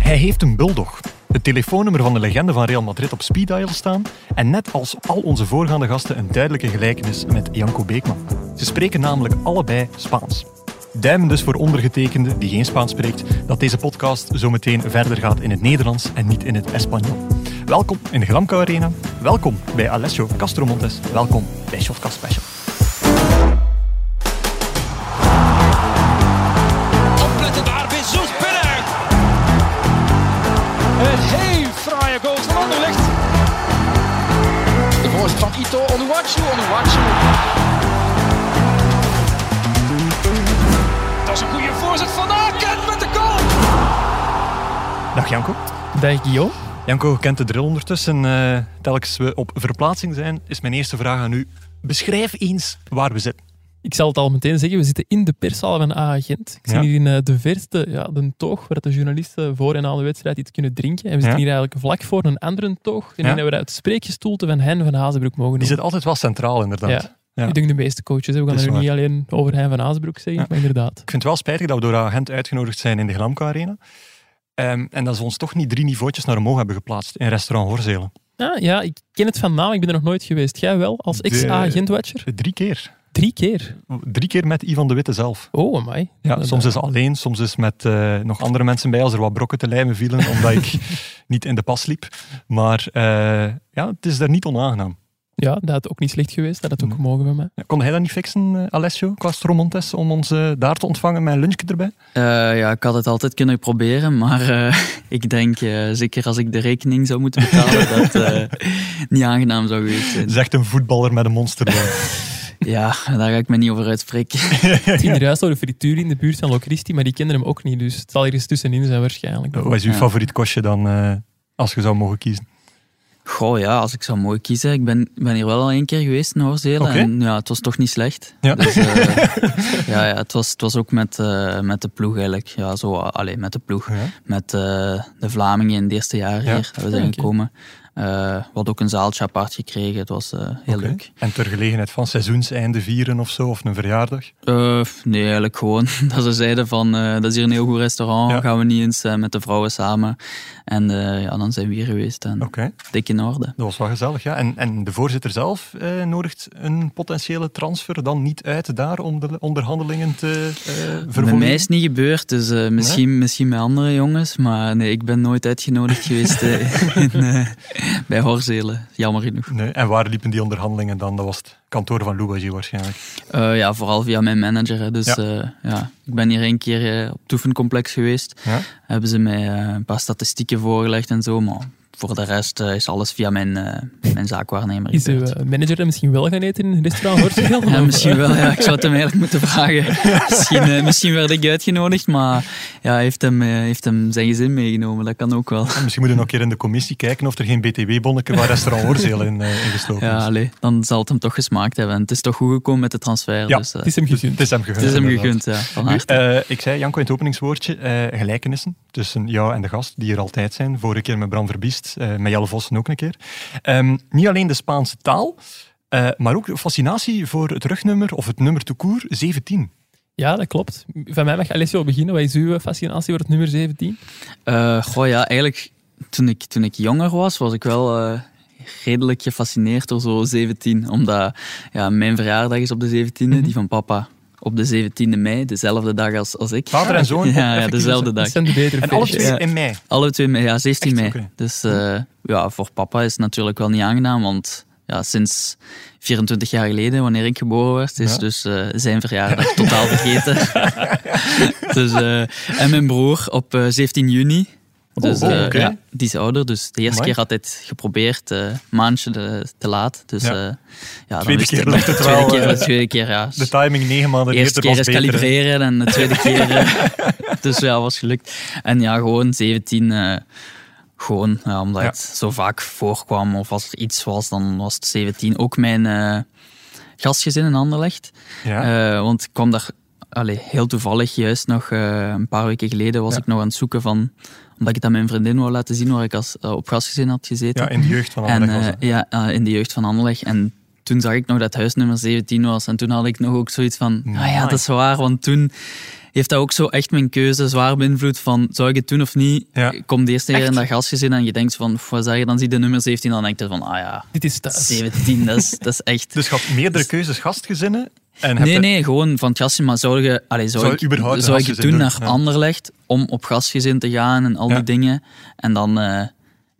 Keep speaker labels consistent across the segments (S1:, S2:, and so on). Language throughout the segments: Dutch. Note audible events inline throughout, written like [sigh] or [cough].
S1: Hij heeft een bulldog. Het telefoonnummer van de legende van Real Madrid op speeddial staan en net als al onze voorgaande gasten een duidelijke gelijkenis met Janko Beekman. Ze spreken namelijk allebei Spaans. Duim dus voor ondergetekende, die geen Spaans spreekt, dat deze podcast zo meteen verder gaat in het Nederlands en niet in het Espanol. Welkom in de Gramco Arena, welkom bij Alessio Castromontes, welkom bij Shotcast Special.
S2: Opletten daar, Bezoet binnen. Een heel fraaie goal van Anderlecht. De voorzet van Ito Onuwachu, Onuwachu. Dat is een goede voorzet van Aken met de goal.
S1: Dag Janko.
S3: Dag Guillaume.
S1: Janko, je kent de drill ondertussen. Eh, telkens we op verplaatsing zijn, is mijn eerste vraag aan u. Beschrijf eens waar we zitten.
S3: Ik zal het al meteen zeggen, we zitten in de perszaal van AA Gent. Ik
S1: Ja.
S3: zie hier in eh, de verste ja, de toog waar de journalisten voor en na de wedstrijd iets kunnen drinken. En we zitten
S1: Ja.
S3: hier eigenlijk vlak voor een andere toog. En die
S1: Ja.
S3: hebben we uit het spreekgestoelte van Hein van Hazenbroek mogen
S1: Die
S3: doen.
S1: zit altijd wel centraal, inderdaad.
S3: Ja.
S1: Ja.
S3: Ik denk de meeste coaches. Hè. We gaan
S1: Dat
S3: er
S1: is
S3: nu niet alleen over Hein van Hazenbroek zeggen,
S1: Ja.
S3: maar inderdaad.
S1: Ik vind het wel spijtig dat we door agent uitgenodigd zijn in de Glamco Arena. Ehm, en dat ze ons toch niet drie niveautjes naar omhoog hebben geplaatst in restaurant Horzelen.
S3: Ja, Ah, ja, ik ken het van naam, ik ben er nog nooit geweest. Jij wel, als
S1: De-
S3: ex-AA Gent-watcher?
S1: Drie keer.
S3: Drie keer.
S1: Drie keer met Ivan de Witte zelf.
S3: Oh, amai.
S1: Ja,
S3: Dat-
S1: soms is alleen, soms is met eh, nog andere mensen bij als er wat brokken te lijmen vielen omdat ik niet in de pas liep. Maar eh, ja, het is daar niet onaangenaam.
S3: Ja, dat had ook niet slecht geweest. Dat had ook
S1: Nee.
S3: mogen van mij.
S1: Ja, kon hij dat niet fixen, eh, Alessio, qua Stromontes, om ons eh, daar te ontvangen met een lunchje erbij?
S4: Eh, ja, ik had het altijd kunnen proberen, maar eh, [laughs] ik denk, eh, zeker als ik de rekening zou moeten betalen, [laughs] dat eh, niet aangenaam zou geweest zijn.
S1: Zegt een voetballer met een [laughs] monsterloon.
S4: Ja, daar ga ik me niet over uitspreken.
S3: Het ging er juist door de frituur in de buurt van Locristi, maar die kenden hem ook niet. Dus het zal ergens tussenin zijn waarschijnlijk.
S1: Wat is uw
S4: Ja.
S1: favoriet kostje dan, eh, als je zou mogen kiezen?
S4: Goh, ja, als ik zou mooi kiezen. Ik ben, ben hier wel al één keer geweest in Horsdelen
S1: Oké.
S4: en ja, het was toch niet slecht.
S1: Ja.
S4: Dus, eh, [laughs] ja, ja het, was, het was ook met, eh, met de ploeg eigenlijk. Ja, zo, alleen met de ploeg.
S1: Ja.
S4: met eh, de Vlamingen in het eerste jaar
S1: Ja.
S4: hier dat we zijn
S3: Oké.
S4: gekomen. Eh, we hadden ook een zaaltje apart gekregen. Het was eh, heel
S1: Oké.
S4: leuk.
S1: En ter gelegenheid van seizoenseinde vieren of zo, of een verjaardag.
S4: Eh, nee, eigenlijk gewoon [laughs] dat ze zeiden van eh, dat is hier een heel goed restaurant.
S1: Ja.
S4: Gaan we niet eens eh, met de vrouwen samen. En eh, ja, dan zijn we hier geweest en
S1: Oké,
S4: dik in orde.
S1: dat was wel gezellig. Ja. En, en de voorzitter zelf eh, nodigt een potentiële transfer dan niet uit daar om de onderhandelingen te eh
S4: Bij
S1: vervolgen?
S4: mij is het niet gebeurd, dus eh, misschien, misschien met andere jongens. Maar nee, ik ben nooit uitgenodigd geweest eh, [laughs] in, eh, bij Horzelen. Jammer genoeg.
S1: Nee. En waar liepen die onderhandelingen dan? Dat was het kantoor van Louwagie waarschijnlijk.
S4: Eh, ja, vooral via mijn manager. hè. Dus
S1: Ja.
S4: ja. ja, ik ben hier één keer eh, op het oefencomplex geweest.
S1: Ja?
S4: Hebben ze mij eh, een paar statistieken voorgelegd en zo. Maar voor de rest eh, is alles via mijn, eh, mijn zaakwaarnemer.
S3: Is de
S4: gebeurd.
S3: eh, manager dan misschien wel gaan eten in een restaurant
S4: [laughs]
S3: Horsegeld?
S4: ja, misschien wel. Ja. Ik zou het hem eigenlijk moeten vragen. misschien, eh, misschien werd ik uitgenodigd, maar ja, hij heeft hem, eh, heeft hem zijn gezin meegenomen. Dat kan ook wel. [laughs]
S1: En Misschien moeten we nog een keer in de commissie kijken of er geen BTW-bonnetje waar restaurant Horzeel in, eh, in gestoken
S4: Ja,
S1: is.
S4: allee, dan zal het hem toch gesmaakt hebben. En het is toch goed gekomen met de transfer.
S1: Ja,
S4: dus, eh,
S3: Het is hem
S1: Dus
S3: gegund.
S1: het is hem gegund.
S4: het is hem
S1: inderdaad.
S4: gegund, ja, van
S1: Nu,
S4: harte.
S1: eh, ik zei, Janko, in het openingswoordje, eh, gelijkenissen tussen jou en de gast, die er altijd zijn. Vorige keer met Bram Verbiest, eh, met Jelle Vossen ook een keer. Ehm, niet alleen de Spaanse taal, eh, maar ook de fascinatie voor het rugnummer of het nummer to court 17.
S3: Ja, dat klopt. Van mij mag Alessio beginnen. Wat is uw fascinatie voor het nummer 17?
S4: Eh, goh, ja, eigenlijk toen ik, toen ik jonger was, was ik wel eh, redelijk gefascineerd door zo 17. Omdat ja, mijn verjaardag is op de 17e,
S1: Mhm.
S4: die van papa op de 17e mei, dezelfde dag als, als ik.
S1: Vader en zoon.
S4: [laughs] Ja, ja,
S1: effectief.
S4: dezelfde
S3: Dat
S4: dag.
S3: zijn de betere
S1: En alle
S3: feestjes.
S1: twee
S4: Ja.
S1: in mei.
S4: Alle twee mei, ja, 17
S1: Echt?
S4: mei.
S1: Oké.
S4: Dus eh, ja, voor papa is het natuurlijk wel niet aangenaam, want ja, sinds 24 jaar geleden, wanneer ik geboren werd, is
S1: Ja.
S4: dus eh, zijn verjaardag [laughs] totaal vergeten. dus, eh, en mijn broer op eh, 17 juni. Dus,
S1: oh,
S4: eh,
S1: oké.
S4: ja, die is ouder, dus de eerste
S1: Amai.
S4: keer had hij het geprobeerd, eh, een maandje de- te laat. Dus,
S1: Ja.
S4: eh, ja, dan
S1: Tweede
S4: is
S1: keer
S4: de-
S1: lukt het
S4: [laughs] tweede
S1: wel,
S4: Keer,
S1: eh,
S4: de tweede keer, ja.
S1: De timing negen maanden
S4: De eerste
S1: eerder
S4: keer
S1: was
S4: is
S1: beter. hè.
S4: kalibreren en de
S1: [laughs]
S4: tweede keer. eh, dus ja, was gelukt. En ja, gewoon 17. eh, gewoon ja, omdat
S1: Ja.
S4: het zo vaak voorkwam. Of als er iets was, dan was het 17. Ook mijn eh, gastgezin in Anderlecht.
S1: Ja.
S4: Eh, want ik kwam daar allee, heel toevallig juist nog eh, een paar weken geleden. Was
S1: Ja.
S4: ik nog aan het zoeken van. Omdat ik het aan mijn vriendin wou laten zien waar ik als, eh, op gastgezin had gezeten.
S1: ja, in de jeugd van
S4: En
S1: Anderlecht was
S4: eh,
S1: dat.
S4: ja, eh, in de jeugd van Anderlecht. En toen zag ik nog dat huis nummer 17 was. En toen had ik nog ook zoiets van, ah ja,
S1: Nice.
S4: dat is waar. Want toen heeft dat ook zo echt mijn keuze zwaar beïnvloed van zou ik het doen of niet?
S1: Ja.
S4: Ik kom de eerste keer
S3: Echt?
S4: in dat gastgezin en je denkt van, pff, wat zeg je? Dan zie je de nummer 17 en dan denk je van, ah ja,
S3: Dit is thuis.
S4: 17, dat is, dat is echt...
S1: Dus je had meerdere keuzes gastgezinnen. En heb
S4: Nee,
S1: je-
S4: nee, gewoon van het gastgezin. Maar zou, je, allez, zou,
S1: Zou je
S4: ik,
S1: überhaupt een
S4: zou ik het
S1: gastgezin
S4: doen
S1: doen?
S4: naar
S1: Ja.
S4: Anderlecht om op gastgezin te gaan en al
S1: Ja.
S4: die dingen? En dan eh,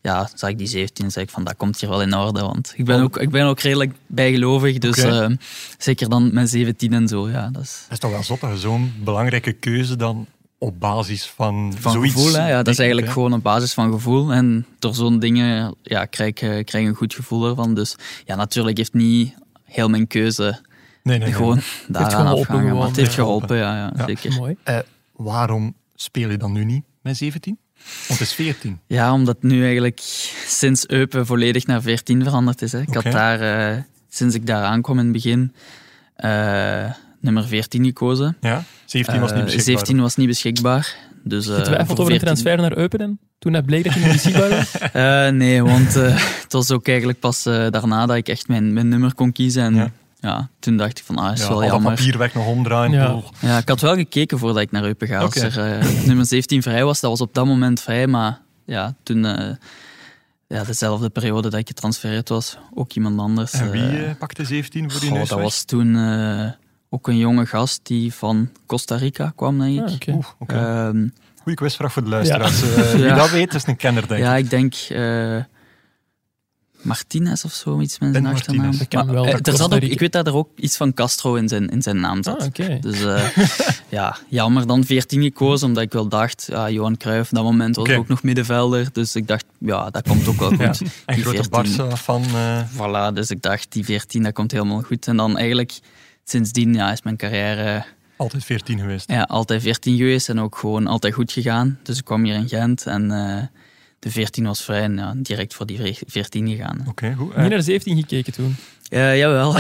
S4: ja, zag ik die 17 zei ik van, dat komt hier wel in orde. Want ik ben ook, ik ben ook redelijk bijgelovig. Dus
S1: Oh. Oké.
S4: eh, zeker dan mijn 17 en zo. Ja, dat is
S1: Dat is toch wel zot dat je zo'n belangrijke keuze dan op basis van,
S4: van
S1: zoiets...
S4: gevoel. Hè? Ja, dat is
S1: denkt,
S4: eigenlijk
S1: hè.
S4: gewoon op basis van gevoel. En door zo'n dingen ja, krijg, ik, eh, krijg ik een goed gevoel ervan. Dus ja, natuurlijk heeft niet heel mijn keuze
S1: Nee, nee, nee.
S4: gewoon daaraan
S3: geholpen
S4: afgehangen. Maar
S3: gewoon,
S4: het heeft
S1: ja.
S4: geholpen, ja, ja,
S1: Ja.
S4: zeker.
S3: Mooi.
S1: Eh, waarom speel je dan nu niet met 17? Want het is 14.
S4: Ja, omdat nu eigenlijk sinds Eupen volledig naar 14 veranderd is. Hè. Ik
S1: Oké.
S4: had daar, eh, sinds ik daar aankwam in het begin, eh, nummer 14 gekozen.
S1: Ja? 17 was niet
S4: Eh,
S1: beschikbaar.
S4: 17 was niet beschikbaar. Dus, eh,
S3: Getwijfeld
S4: voor
S3: over een
S4: 14
S3: transfer naar Eupen toen dat bleek dat je niet beschikbaar
S4: [laughs]
S3: was?
S4: Eh, nee, want eh, het was ook eigenlijk pas eh, daarna dat ik echt mijn, mijn nummer kon kiezen. En
S1: Ja.
S4: ja. toen dacht ik van, ah, is
S1: Ja,
S4: wel
S1: al dat
S4: jammer.
S1: papier weg nog omdraaien.
S3: Ja.
S1: Oh.
S4: Ja, ik had wel gekeken voordat ik naar Eupen ga.
S1: Oké.
S4: Als er eh, [laughs] nummer 17 vrij was, dat was op dat moment vrij. Maar ja, toen, eh, ja, dezelfde periode dat ik getransfereerd was, ook iemand anders.
S1: En wie
S4: eh,
S1: eh, pakte 17 voor die
S4: goh,
S1: neus
S4: dat
S1: weg?
S4: was toen eh, ook een jonge gast die van Costa Rica kwam, denk ik.
S3: Ah, oké.
S1: Oeh, oké.
S4: Ehm,
S1: Goeie quizvraag voor de luisteraars. Eh, wie
S4: Ja.
S1: dat weet, is een kenner, denk ik.
S4: Ja, ik denk eh, Martinez of zo, iets met zijn
S1: Ben
S4: achternaam.
S1: Martinez.
S3: Ik ken
S4: Maar,
S3: wel
S4: eh,
S3: dat
S4: er zat
S3: Costa
S4: ook,
S3: Rica-
S4: ik weet dat er ook iets van Castro in zijn, in zijn naam zat.
S3: Ah, oké.
S4: Dus eh, [laughs] ja, jammer dan 14 gekozen, omdat ik wel dacht, ja, Johan Cruijff, dat moment was
S1: Oké.
S4: ook nog middenvelder. Dus ik dacht, ja, dat komt ook wel goed.
S1: Ja. En
S4: Die
S1: grote
S4: 14.
S1: Barca van... eh,
S4: Voilà, dus ik dacht, die 14, dat komt helemaal goed. En dan eigenlijk, sindsdien ja, is mijn carrière
S1: altijd 14 geweest.
S4: ja, altijd 14 geweest en ook gewoon altijd goed gegaan. Dus ik kwam hier in Gent en eh, de 14 was vrij en ja, direct voor die veer- 14 gegaan.
S1: Oké, goed. Eh,
S3: Niet naar 17 gekeken
S4: [laughs]
S3: toen.
S4: Eh, [laughs] jawel.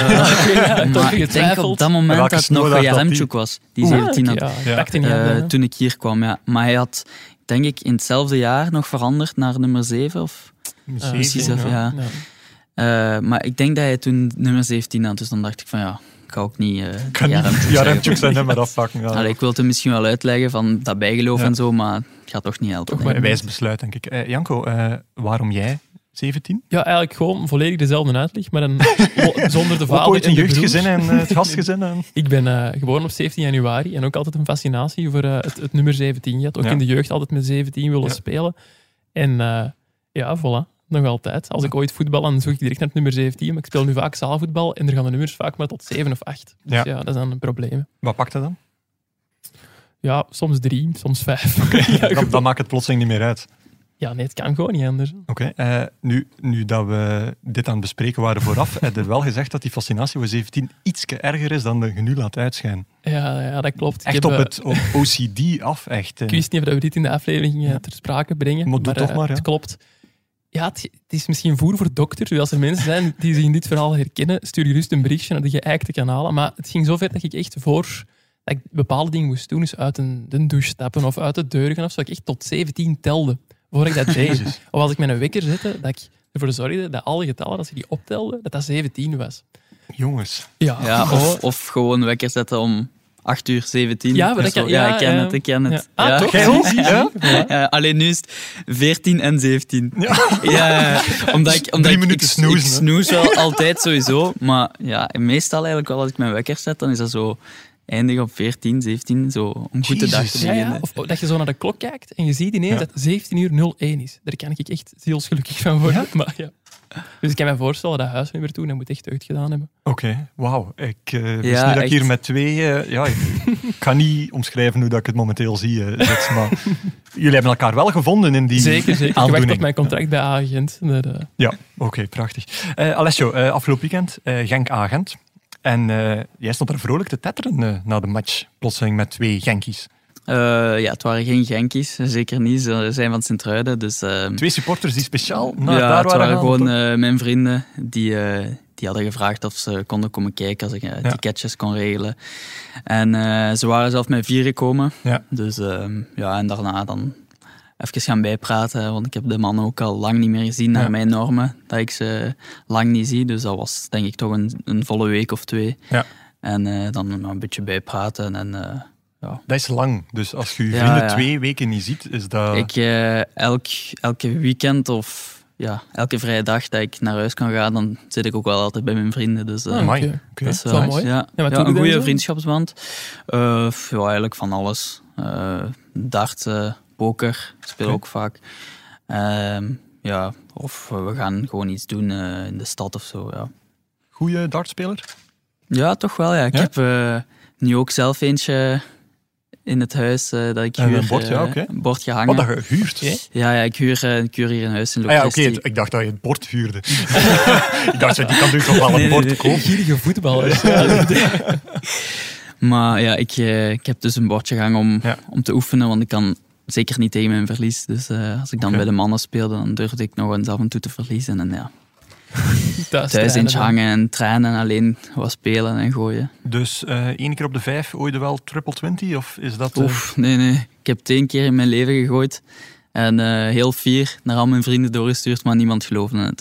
S4: maar ik denk
S3: getwijfeld.
S4: op dat moment
S1: Welke
S4: dat het nog
S1: snoer had dat
S4: Jaremchuk was, die
S3: Oeh.
S4: 17
S3: Ah,
S4: had.
S3: oké, ja, ik
S1: Ja.
S3: pakte niet
S4: eh,
S3: aan, hè.
S4: toen ik hier kwam, ja. Maar hij had, denk ik, in hetzelfde jaar nog veranderd naar nummer 7. Of,
S1: misschien
S4: Ah, precies,
S1: eh, ja.
S4: even, ja.
S3: Ja.
S4: Eh, maar ik denk dat hij toen nummer 17 had. Dus dan dacht ik van, ja, ik ga ook niet eh
S1: Ik kan niet
S3: [laughs]
S4: Jaremchuk
S1: Jaremchuk zijn
S4: zeggen.
S1: nummer afpakken. Ja.
S4: Allee, ik wilde hem misschien wel uitleggen van dat bijgeloof
S1: Ja.
S4: en zo, maar het gaat toch niet helpen.
S3: Toch
S4: denk
S1: Een
S4: ik.
S1: wijs besluit, denk ik. Eh, Janko, eh, waarom jij 17?
S3: Ja, eigenlijk gewoon volledig dezelfde uitleg, maar dan [laughs] wo- zonder de
S1: Ook
S3: vader
S1: ooit
S3: en
S1: een
S3: de broer.
S1: jeugdgezin en eh,
S3: [laughs]
S1: het gastgezin. En...
S3: Ik ben eh, geboren op 17 januari en ook altijd een fascinatie voor eh, het, het nummer 17 gehad. Ook
S1: Ja.
S3: in de jeugd altijd met 17 willen
S1: Ja.
S3: spelen. En eh, ja, voilà. Nog altijd. Als ik ooit voetbal, dan zoek ik direct naar het nummer 17. Maar ik speel nu vaak zaalvoetbal en er gaan de nummers vaak maar tot 7 of 8. Dus
S1: Ja.
S3: ja, dat is dan een probleem.
S1: Wat pakt dat dan?
S3: Ja, soms 3, soms 5. [laughs] ja,
S1: dan?
S3: goed.
S1: Dan maakt het plotseling niet meer uit.
S3: ja, nee, het kan gewoon niet anders.
S1: Oké, eh, nu, nu dat we dit aan het bespreken waren vooraf, [laughs] heb je wel gezegd dat die fascinatie voor 17 iets erger is dan de je nu laat uitschijnen.
S3: Ja, ja dat klopt.
S1: Echt
S3: ik, heb,
S1: op
S3: eh,
S1: het
S3: [laughs]
S1: op OCD af, echt. eh.
S3: ik wist niet of we dit in de aflevering eh, ter sprake brengen.
S1: Maar doe toch
S3: eh,
S1: maar, ja.
S3: Het klopt. Ja, het, het is misschien voer voor dokters. Dus als er mensen zijn die zich in dit verhaal herkennen, stuur gerust een berichtje naar de geëikte kanalen. Maar het ging zover dat ik echt voor dat ik bepaalde dingen moest doen. Dus uit een, de douche stappen of uit de deur gaan. Of zo, dat ik echt tot 17 telde. Voordat ik dat deed.
S1: Jezus.
S3: Of als ik mijn wekker zette, dat ik ervoor zorgde dat alle getallen, als je die optelde, dat dat 17 was.
S1: Jongens,
S3: Ja,
S4: Ja,
S3: oh.
S4: of, of gewoon wekker zetten om 8 uur 17.
S3: Ja, maar
S4: of
S3: dat
S4: zo.
S3: kan-
S4: ja,
S3: ja,
S4: ik ken
S3: ja.
S4: het, ik ken
S3: Ja.
S4: het.
S3: Ah,
S4: Ja.
S3: toch?
S1: Jij ook?
S3: Zie, zie,
S1: Ja?
S3: zie.
S4: [laughs]
S3: Voilà.
S4: Ja, alleen Eh, nu is het 14 en 17. Ja, ja, omdat ik, omdat
S1: Drie
S4: ik,
S1: minuten
S4: ik,
S1: snoezen,
S4: ik
S1: hè?
S4: snoes wel altijd sowieso. Maar ja, meestal eigenlijk wel als ik mijn wekker zet, dan is dat zo eindig op 14, 17. Zo, om goed de dag te
S1: Jezus.
S3: Ja,
S4: beginnen.
S3: ja. Of dat je zo naar de klok kijkt en je ziet ineens
S1: Ja.
S3: dat 17 uur 01 is. Daar kan ik echt zielsgelukkig van worden. Maar ja. Dus ik kan me voorstellen dat huisnummer toen dat moet echt uitgedaan hebben.
S1: Oké, wauw. Ik eh wist
S4: Ja,
S1: niet dat ik
S4: echt.
S1: hier met twee... eh, ja, ik,
S3: [laughs]
S1: ik kan niet omschrijven hoe dat ik het momenteel zie, eh, Zets, maar jullie hebben elkaar wel gevonden in die
S3: [laughs] Zeker, zeker. Ik wacht
S1: aandoening.
S3: op mijn contract bij agent. Daar, eh,
S1: Ja, oké, prachtig. Eh Alessio, eh, afgelopen weekend eh, Genk-Agent. En eh, jij stond er vrolijk te tetteren eh, na de match, plotseling met twee Genkies.
S4: Eh, ja, het waren geen Genkies, zeker niet. Ze zijn van Sint-Truiden, dus... ehm,
S1: Twee supporters die speciaal naar
S4: ja,
S1: daar
S4: het waren
S1: waren gegaan,
S4: gewoon
S1: toch?
S4: eh, mijn vrienden die, eh, die hadden gevraagd of ze konden komen kijken als ik eh, ticketjes kon regelen. En eh, ze waren zelf met vier gekomen.
S1: Ja.
S4: Dus ehm, ja, en daarna dan even gaan bijpraten, want ik heb de mannen ook al lang niet meer gezien naar
S1: Ja.
S4: mijn normen, dat ik ze lang niet zie. Dus dat was denk ik toch een, een volle week of twee.
S1: Ja.
S4: En eh, dan maar een beetje bijpraten en eh, ja.
S1: Dat is lang. Dus als je je
S4: Ja,
S1: vrienden
S4: ja.
S1: twee weken niet ziet, is dat...
S4: Ik, eh, elk, elke weekend of ja, elke vrije dag dat ik naar huis kan gaan, dan zit ik ook wel altijd bij mijn vrienden. Dus, eh,
S3: Ah,
S1: Amai,
S3: oké.
S1: oké.
S4: dat is eh, wel
S3: Zo
S4: nice.
S3: mooi.
S4: Ja.
S3: wat
S4: Ja,
S3: doe je
S4: een
S3: dan
S4: goede
S3: zo?
S4: vriendschappsband. Eh, ja, eigenlijk van alles. Eh darten, poker, speel
S1: Oké.
S4: ook vaak. Ehm, ja, of eh, we gaan gewoon iets doen eh, in de stad of zo. Ja,
S1: Goeie dartspeler?
S4: ja toch wel. Ja. Ik
S1: Ja?
S4: heb eh, nu ook zelf eentje in het huis eh, dat ik
S1: En
S4: huur,
S1: een bord, ja,
S4: eh,
S1: oké.
S4: een bord
S1: Wat
S4: gehangen.
S1: dat je huurt?
S3: Oké.
S4: Ja, ja, ik huur, eh, ik huur hier een huis in
S1: Ah ja, oké.
S4: Locatie.
S1: het- Ik dacht dat je het bord huurde. [laughs] ik dacht, zo, die kan nu toch wel een
S4: Nee, nee,
S1: bord
S4: nee.
S1: kopen?
S3: Gierige voetballers.
S4: [laughs] Maar ja, ik, eh, ik heb dus een bordje gehangen om,
S1: Ja.
S4: om te oefenen, want ik kan zeker niet tegen mijn verlies. Dus eh, als ik dan
S1: Oké.
S4: bij de mannen speelde, dan durfde ik nog eens af en toe te verliezen. En ja,
S3: Thuis,
S4: thuis eentje
S3: trainen.
S4: hangen en trainen en alleen wat spelen en gooien.
S1: Dus eh één keer op de vijf ooit wel triple 20? Of is dat... eh,
S4: Oef, nee, nee. Ik heb het één keer in mijn leven gegooid. En eh, heel fier naar al mijn vrienden doorgestuurd, maar niemand geloofde het.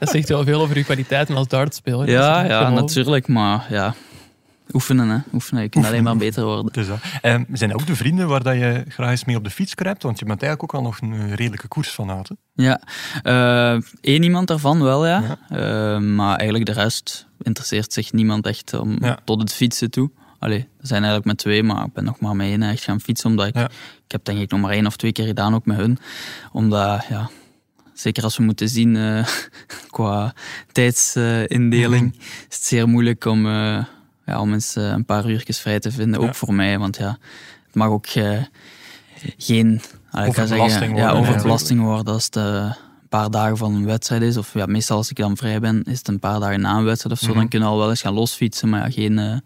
S3: Dat zegt wel veel over uw kwaliteiten als dartspeler.
S4: Ja,
S3: Dus,
S4: ja,
S3: gewoon-
S4: natuurlijk, maar ja. Oefenen, hè. Oefenen. Je kunt alleen maar beter worden.
S1: het is dat. Eh, zijn dat ook de vrienden waar dat je graag eens mee op de fiets kruipt? Want je bent eigenlijk ook al nog een eh, redelijke koers van uit, hè?
S4: Ja, eh, één iemand daarvan wel, ja.
S1: Ja.
S4: Eh, maar eigenlijk de rest interesseert zich niemand echt om,
S1: Ja.
S4: tot het fietsen toe. Allee, er zijn eigenlijk met twee, maar ik ben nog maar met één echt gaan fietsen. Omdat ik,
S1: Ja.
S4: ik heb denk ik nog maar één of twee keer gedaan, ook met hun. Omdat, ja, zeker als we moeten zien eh, [laughs] qua tijdsindeling,
S1: Mhm.
S4: is het zeer moeilijk om, eh, ja, om eens eh, een paar uurtjes vrij te vinden. Ook
S1: Ja.
S4: voor mij, want ja, het mag ook eh, geen... allee, ik kan zeggen,
S1: Overbelasting worden,
S4: Ja,
S1: hè.
S4: overbelasting worden als het... eh, een paar dagen van een wedstrijd is, of ja, meestal als ik dan vrij ben, is het een paar dagen na een wedstrijd of zo,
S1: Mhm.
S4: dan kunnen we al wel eens gaan losfietsen, maar ja, geen eh,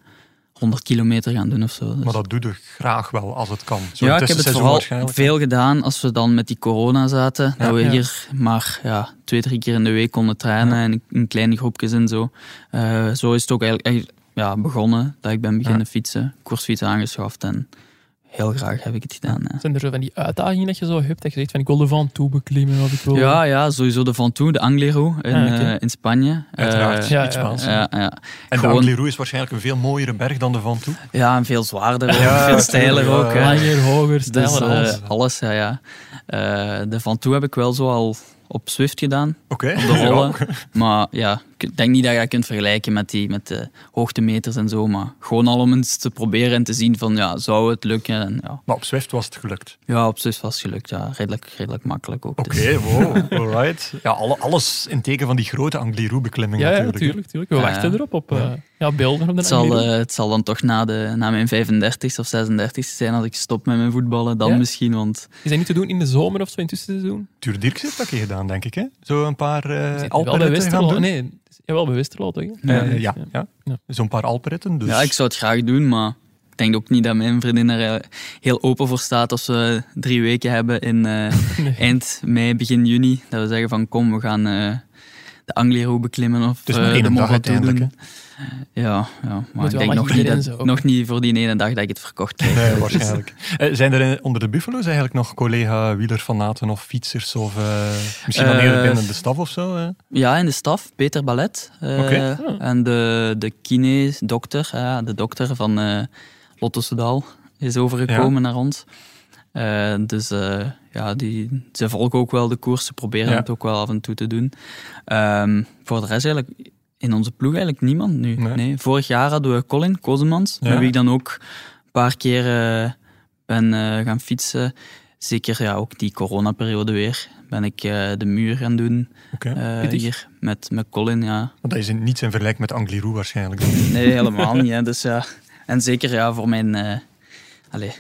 S4: 100 kilometer gaan doen of zo. Dus-
S1: Maar dat doe je graag wel, als het kan. Zo
S4: ja, ik heb
S1: tussenseizoen
S4: het vooral
S1: waarschijnlijk.
S4: veel gedaan als we dan met die corona zaten,
S1: Ja.
S4: dat we
S3: Ja.
S4: hier maar ja, twee, drie keer in de week konden trainen en in kleine groepjes en zo. Eh, zo is het ook eigenlijk eigenlijk, ja, begonnen, dat ik ben beginnen fietsen, koersfiets aangeschaft en heel graag heb ik het gedaan. ja.
S3: Zijn er zo van die uitdagingen dat je zo hebt? Dat je zegt van ik wil de van toe beklimmen of ik wil...
S4: Ja, ja, sowieso de Van Toe, de Anglerou in,
S3: Ah, oké.
S4: eh, in Spanje.
S1: Uiteraard,
S4: Eh,
S3: ja,
S1: iets
S3: ja,
S1: Spaans.
S4: ja, ja.
S1: En de
S4: gewoon-
S1: Angliru is waarschijnlijk een veel mooiere berg dan de Van Toe.
S4: Ja, en veel zwaarder ook,
S1: Ja,
S4: [laughs] veel steiler
S1: tuurlijk,
S4: ook.
S1: ja,
S4: hè.
S1: ja.
S3: Langer, hoger, sneller,
S4: Dus eh,
S3: alles.
S4: alles. ja, ja. Eh, de Van Toe heb ik wel zo al op Swift gedaan,
S1: Oké. [laughs]
S4: op de rollen. Maar ja, ik denk niet dat je dat kunt vergelijken met, die, met de hoogtemeters en zo. Maar gewoon al om eens te proberen en te zien van, ja, zou het lukken? En, ja.
S1: Maar op Zwift was het gelukt.
S4: ja, op Swift was het gelukt. Ja, redelijk, redelijk makkelijk ook.
S1: Oké,
S4: Dus, [laughs]
S1: wow, alright. Ja, alle- alles in teken van die grote Angliru-beklimming
S3: Ja, ja,
S1: natuurlijk. hè.
S3: natuurlijk. natuurlijk. We
S4: Ja,
S3: wachten
S4: ja.
S3: erop op eh, ja, beelden op de
S4: het, zal,
S3: Angliru.
S4: eh, het zal dan toch na, de, na mijn 35 of 36 zijn als ik stop met mijn voetballen. Dan
S3: Ja?
S4: misschien, want
S3: Die zijn niet te doen in de zomer of zo in het doen.
S1: Tuur Dirks heeft dat een keer gedaan, denk ik. Hè? Zo een paar eh
S3: wel bij
S1: Alpenritten gaan
S3: Westerlo.
S1: doen.
S3: Nee, jawel, bij Westerlo toch? hè? dus,
S1: Eh,
S4: nee.
S1: ja, ja.
S3: Ja. [laughs]
S1: zo'n paar Alpenritten. Dus.
S4: Ja, ik zou het graag doen, maar ik denk ook niet dat mijn vriendin er eh, heel open voor staat als we drie weken hebben in eh,
S3: Nee.
S4: eind mei, begin juni. Dat we zeggen van kom, we gaan eh, de Angliru beklimmen of
S1: Het is maar
S4: eh,
S1: één
S4: de
S1: dag
S4: Mont Ventoux
S1: uiteindelijk,
S4: doen. Ja, ja maar
S3: wel
S4: ik denk
S3: maar
S4: nog niet,
S3: iedereen
S4: dat-
S3: zo ook.
S4: nog niet voor die ene dag dat ik het verkocht
S1: [laughs]
S4: heb.
S1: Nee, waarschijnlijk. Eh, zijn er eh, onder de Buffalo's eigenlijk nog collega wielerfanaten of fietsers? Of eh, misschien wel
S4: Eh,
S1: eerder binnen de staf of zo? eh?
S4: Ja, in de staf, Peter Ballet. eh,
S1: Oké. Ah.
S4: En de, de kine, dokter, ja, de dokter van eh Lotto Soudal is overgekomen
S1: Ja.
S4: naar ons. Eh, dus eh, ja, die, ze volgen ook wel de koers, ze proberen
S1: Ja.
S4: het ook wel af en toe te doen. Ehm, voor de rest eigenlijk in onze ploeg eigenlijk niemand nu.
S1: Nee.
S4: Nee. vorig jaar hadden we Colin Kozemans,
S1: Ja.
S4: met wie ik dan ook een paar keer eh, ben eh, gaan fietsen. Zeker ja, ook die coronaperiode weer ben ik eh, de muur gaan doen.
S1: Oké.
S4: Eh,
S3: Pittig.
S4: hier met, met Colin, ja.
S1: Want dat is in- niets in vergelijk met Angliru waarschijnlijk.
S4: Nee, helemaal niet. Hè. Dus ja. En zeker ja, voor mijn. eh allee,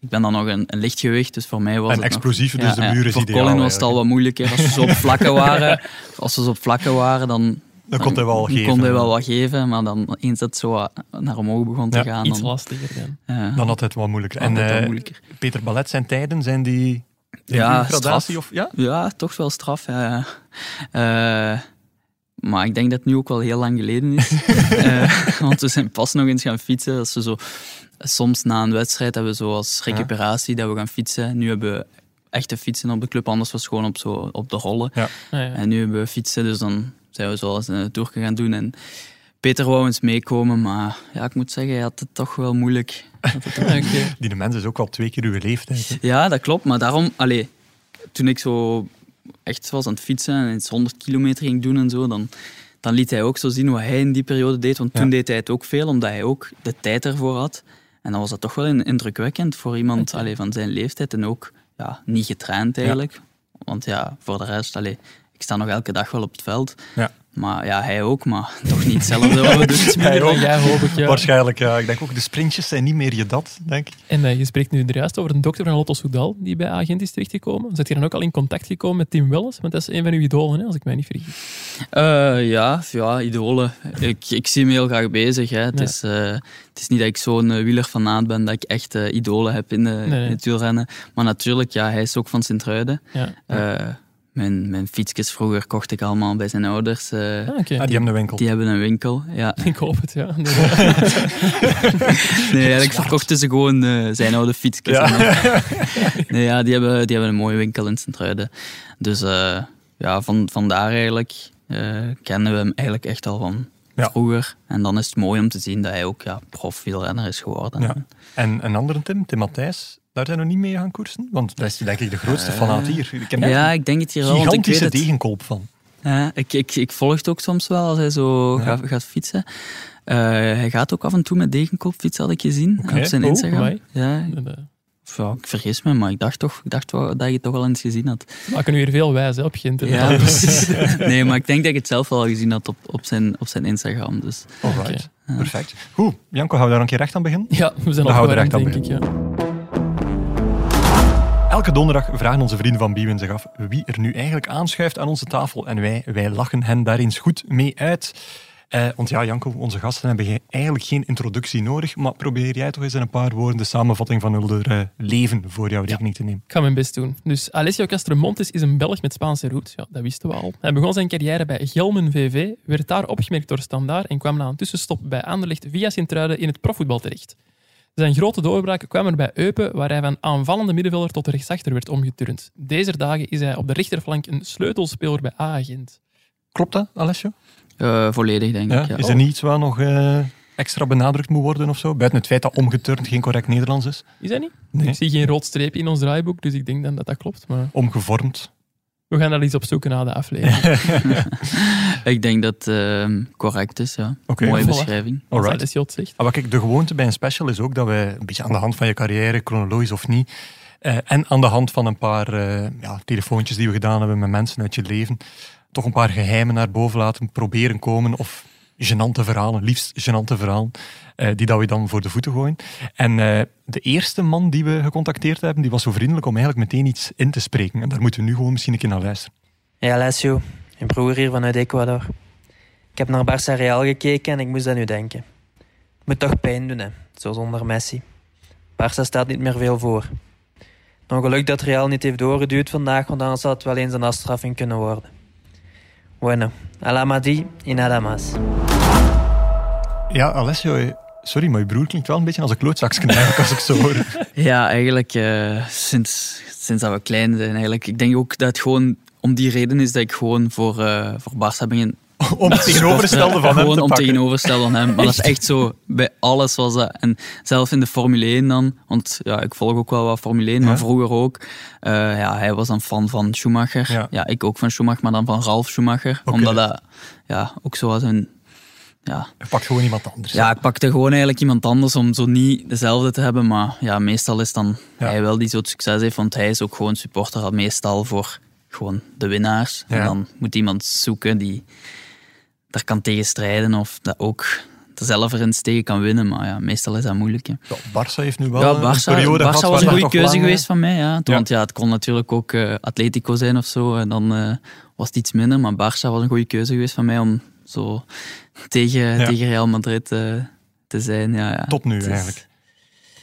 S4: ik ben dan nog een, een lichtgewicht, dus voor mij was
S1: en
S4: het. nog-
S1: explosief, dus
S4: ja,
S1: de
S4: ja.
S1: muur is
S4: voor
S1: ideaal.
S4: Colin was het al
S1: eigenlijk.
S4: wat moeilijker. Als we zo op vlakken waren, [laughs] als we zo op vlakken waren dan,
S1: Dat kon hij
S4: [laughs]
S1: wel
S4: dan
S1: geven.
S4: kon hij wel wat geven. Maar dan eens dat zo wat naar omhoog begon te
S1: Ja,
S4: gaan,
S3: Iets
S4: dan,
S3: lastiger dan.
S4: ja,
S1: Dan had het wat moeilijker. En
S4: altijd wel
S1: eh,
S4: moeilijker.
S1: Peter Ballet, zijn tijden, zijn die... zijn
S4: Ja,
S1: die gradatie
S4: straf.
S1: of Ja?
S4: Ja, toch wel straf. Ja, ja. Eh, maar ik denk dat het nu ook wel heel lang geleden
S1: [laughs]
S4: is. Eh, want we zijn pas nog eens gaan fietsen. Dat we zo, soms na een wedstrijd hebben we zo als recuperatie dat we gaan fietsen. Nu hebben we echte fietsen op de club, anders was het gewoon op, zo, op de rollen.
S3: Ah, ja.
S4: En nu hebben we fietsen, dus dan zijn we zoals een tour gaan eh, doen. En Peter wou eens meekomen, maar ja, ik moet zeggen, hij had het toch wel moeilijk.
S3: [laughs] Oké.
S1: Die mens is ook al twee keer uw leeftijd. hè.
S4: Ja, dat klopt. Maar daarom, allee, toen ik zo echt was aan het fietsen en eens 100 kilometer ging doen en zo, dan, dan liet hij ook zo zien wat hij in die periode deed. Want toen
S1: Ja.
S4: deed hij het ook veel, omdat hij ook de tijd ervoor had. En dan was dat toch wel in- indrukwekkend voor iemand allee, van zijn leeftijd en ook ja, niet getraind eigenlijk. Want ja, voor de rest, allee, ik sta nog elke dag wel op het veld.
S1: Ja.
S4: Maar ja, hij ook, maar [laughs] toch niet hetzelfde. wat we doen.
S1: [laughs]
S3: Iets minder
S1: ook.
S3: dan jij, hoop ik. Ja.
S1: Waarschijnlijk, ja. Ik denk ook, de sprintjes zijn niet meer je dat, denk ik.
S3: En eh, je spreekt nu er juist over een dokter van Lotto Soudal die bij Agent is terechtgekomen. Zit je dan ook al in contact gekomen met Tim Wellens? Want dat is een van uw idolen, hè, als ik mij niet vergis.
S4: Eh, ja, ja, idolen. Ik, ik zie hem heel graag bezig. Hè. Het,
S3: Ja.
S4: is, eh, het is niet dat ik zo'n eh, wielerfanaat ben, dat ik echt eh, idolen heb in, de,
S3: nee.
S4: in het wielrennen. Maar natuurlijk, ja, hij is ook van Sint-Truiden.
S3: Ja.
S4: Eh, mijn, mijn fietsjes vroeger kocht ik allemaal bij zijn ouders.
S3: Ah,
S4: eh,
S3: oké.
S1: Ah, die hebben een winkel.
S4: Die hebben een winkel. Ja.
S3: Ik hoop het, ja. [laughs] inderdaad. [laughs]
S4: Nee, eigenlijk verkochten ze gewoon eh, zijn oude fietsjes. En dan- nee, ja, die hebben, die hebben een mooie winkel in Sint-Truiden. Dus eh, ja, van, vandaar eigenlijk eh, kennen we hem eigenlijk echt al van
S1: Ja.
S4: vroeger. En dan is het mooi om te zien dat hij ook ja, profielrenner is geworden.
S1: Ja. En een andere Tim, Tim Matthijs, daar zijn we niet mee gaan koersen? Want dat is denk ik de grootste fanaat hier. Ik heb
S4: Eh, Ja,
S1: daar
S4: ik denk het hier
S1: een
S4: wel, want ik weet
S1: gigantische
S4: het.
S1: degenkolp van.
S4: Ja, ik, ik, ik volg het ook soms wel als hij zo
S1: Ja.
S4: gaat, gaat fietsen. Eh, hij gaat ook af en toe met degenkop fietsen, had ik gezien
S1: Oké.
S4: op zijn
S3: Oh,
S4: Instagram.
S3: amai.
S4: ja,
S3: Inderdaad.
S4: ja, ik vergis me, maar ik dacht toch ik dacht wel dat je het toch al eens gezien had.
S3: We maken nu weer veel wijs hè, op Gent.
S4: Ja,
S3: inderdaad.
S4: precies. [laughs] Nee, maar ik denk dat ik het zelf wel gezien had op, op, zijn, op zijn Instagram. Dus.
S1: Alright, perfect. Goed, Janko, gaan we daar een keer recht aan beginnen?
S3: Ja, we zijn
S1: We
S3: al
S1: houden er
S3: warm,
S1: echt aan
S3: denk ik. Ja.
S1: Elke donderdag vragen onze vrienden van Biewen zich af wie er nu eigenlijk aanschuift aan onze tafel. En wij, wij lachen hen daar eens goed mee uit. Eh, want ja, Janko, onze gasten hebben ge- eigenlijk geen introductie nodig. Maar probeer jij toch eens in een paar woorden de samenvatting van hun eh, leven voor jouw rekening te nemen.
S3: Ik ga mijn best doen. Dus Alessio Castromontes is een Belg met Spaanse roots. Ja, dat wisten we al. Hij begon zijn carrière bij Gelmen VV, werd daar opgemerkt door Standaard en kwam na een tussenstop bij Anderlecht via Sint-Truiden in het profvoetbal terecht. Zijn grote doorbraak kwam er bij Eupen, waar hij van aanvallende middenvelder tot rechtsachter werd omgeturnd. Deze dagen is hij op de rechterflank een sleutelspeler bij A-agent.
S1: Klopt dat, Alessio?
S4: Eh, volledig, denk ik. Ja.
S1: Is er niet iets wat nog eh, extra benadrukt moet worden of zo? Buiten het feit dat omgeturnd geen correct Nederlands is.
S3: Is dat niet?
S1: Nee.
S3: Ik zie geen rood streep in ons draaiboek, dus ik denk dan dat dat klopt. Maar
S1: Omgevormd.
S3: we gaan daar iets op zoeken na de
S1: [laughs]
S3: aflevering.
S4: Ik denk dat het correct is, ja.
S1: Oké.
S4: Mooie
S3: voilà.
S4: beschrijving.
S3: Als
S1: Alright.
S3: Alessio het zegt.
S1: Ah, Maar kijk, de gewoonte bij een special is ook dat we een beetje aan de hand van je carrière, chronologisch of niet, eh, en aan de hand van een paar eh, ja, telefoontjes die we gedaan hebben met mensen uit je leven, toch een paar geheimen naar boven laten proberen komen of gênante verhalen, liefst gênante verhalen, eh, die dat we dan voor de voeten gooien. En eh, de eerste man die we gecontacteerd hebben, die was zo vriendelijk om eigenlijk meteen iets in te spreken. En daar moeten we nu gewoon misschien een keer naar luisteren.
S5: Hey Alessio, een broer hier vanuit Ecuador. Ik heb naar Barça Real gekeken en ik moest aan u denken. Het moet toch pijn doen, hè? Zo zonder Messi. Barça staat niet meer veel voor. Nog geluk dat Real niet heeft doorgeduwd vandaag, want anders had het wel eens een afstraffing kunnen worden. Bueno, alamadi y nada más.
S1: Ja, Alessio, eh, sorry, maar je broer klinkt wel een beetje als een klootzaksknijp, eigenlijk, als ik zo hoor.
S4: [laughs] Ja, eigenlijk eh, sinds, sinds dat we klein zijn. Eigenlijk. Ik denk ook dat het gewoon om die reden is dat ik gewoon voor, eh voor Barça begin.
S1: Om het tegenovergestelde van hem te
S4: Gewoon om
S1: pakken.
S4: tegenovergestelde van hem. Maar dat is echt zo. Bij alles was dat. En zelf in de Formule 1 dan. Want ja, ik volg ook wel wat Formule 1,
S1: Ja.
S4: maar vroeger ook. Eh, ja, hij was dan fan van Schumacher.
S1: Ja.
S4: Ja. ik ook van Schumacher, maar dan van Ralf Schumacher.
S1: Oké.
S4: Omdat dat ja, ook zo was een... Ja,
S1: Pak gewoon iemand anders.
S4: ja, ik pakte gewoon eigenlijk iemand anders om zo niet dezelfde te hebben. Maar ja, meestal is dan
S1: Ja.
S4: hij wel die zo het succes heeft. Want hij is ook gewoon supporter had meestal voor gewoon de winnaars.
S1: Ja.
S4: En dan moet iemand zoeken die daar kan tegen strijden of dat ook er zelf er eens tegen kan winnen. Maar ja, meestal is dat moeilijk. Hè.
S1: Ja, Barça heeft nu wel eh,
S4: Ja,
S1: een
S4: Barça,
S1: periode
S4: Barça
S1: gehad waar
S4: was een
S1: dat
S4: goede
S1: nog
S4: keuze
S1: lang, eh,
S4: geweest van mij. Ja.
S1: Ja.
S4: Want ja, het kon natuurlijk ook eh, Atletico zijn of zo. En dan eh, was het iets minder. Maar Barça was een goede keuze geweest van mij om zo tegen,
S1: Ja.
S4: tegen Real Madrid eh, te zijn. Ja, ja.
S1: eh, Tot nu
S4: Het is-
S1: eigenlijk.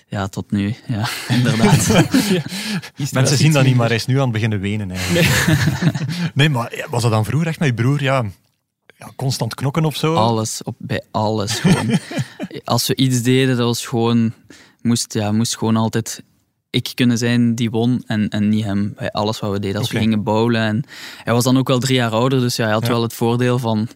S4: Ja, tot nu.
S1: [laughs]
S4: Ja, inderdaad.
S1: Mensen zien dat niet, maar hij is nu aan het beginnen wenen eigenlijk. [laughs] Nee, maar ja, was dat dan vroeger echt met je broer? Ja, ja constant knokken of zo?
S4: alles, op, bij
S1: [laughs]
S4: alles gewoon. Als we iets deden, dat was gewoon... Moest, ja, moest gewoon altijd ik kunnen zijn die won en, en niet hem bij alles wat we deden. Als
S1: Oké.
S4: we gingen bowlen. En hij was dan ook wel drie jaar ouder, dus ja, hij had
S1: Ja.
S4: wel het voordeel van...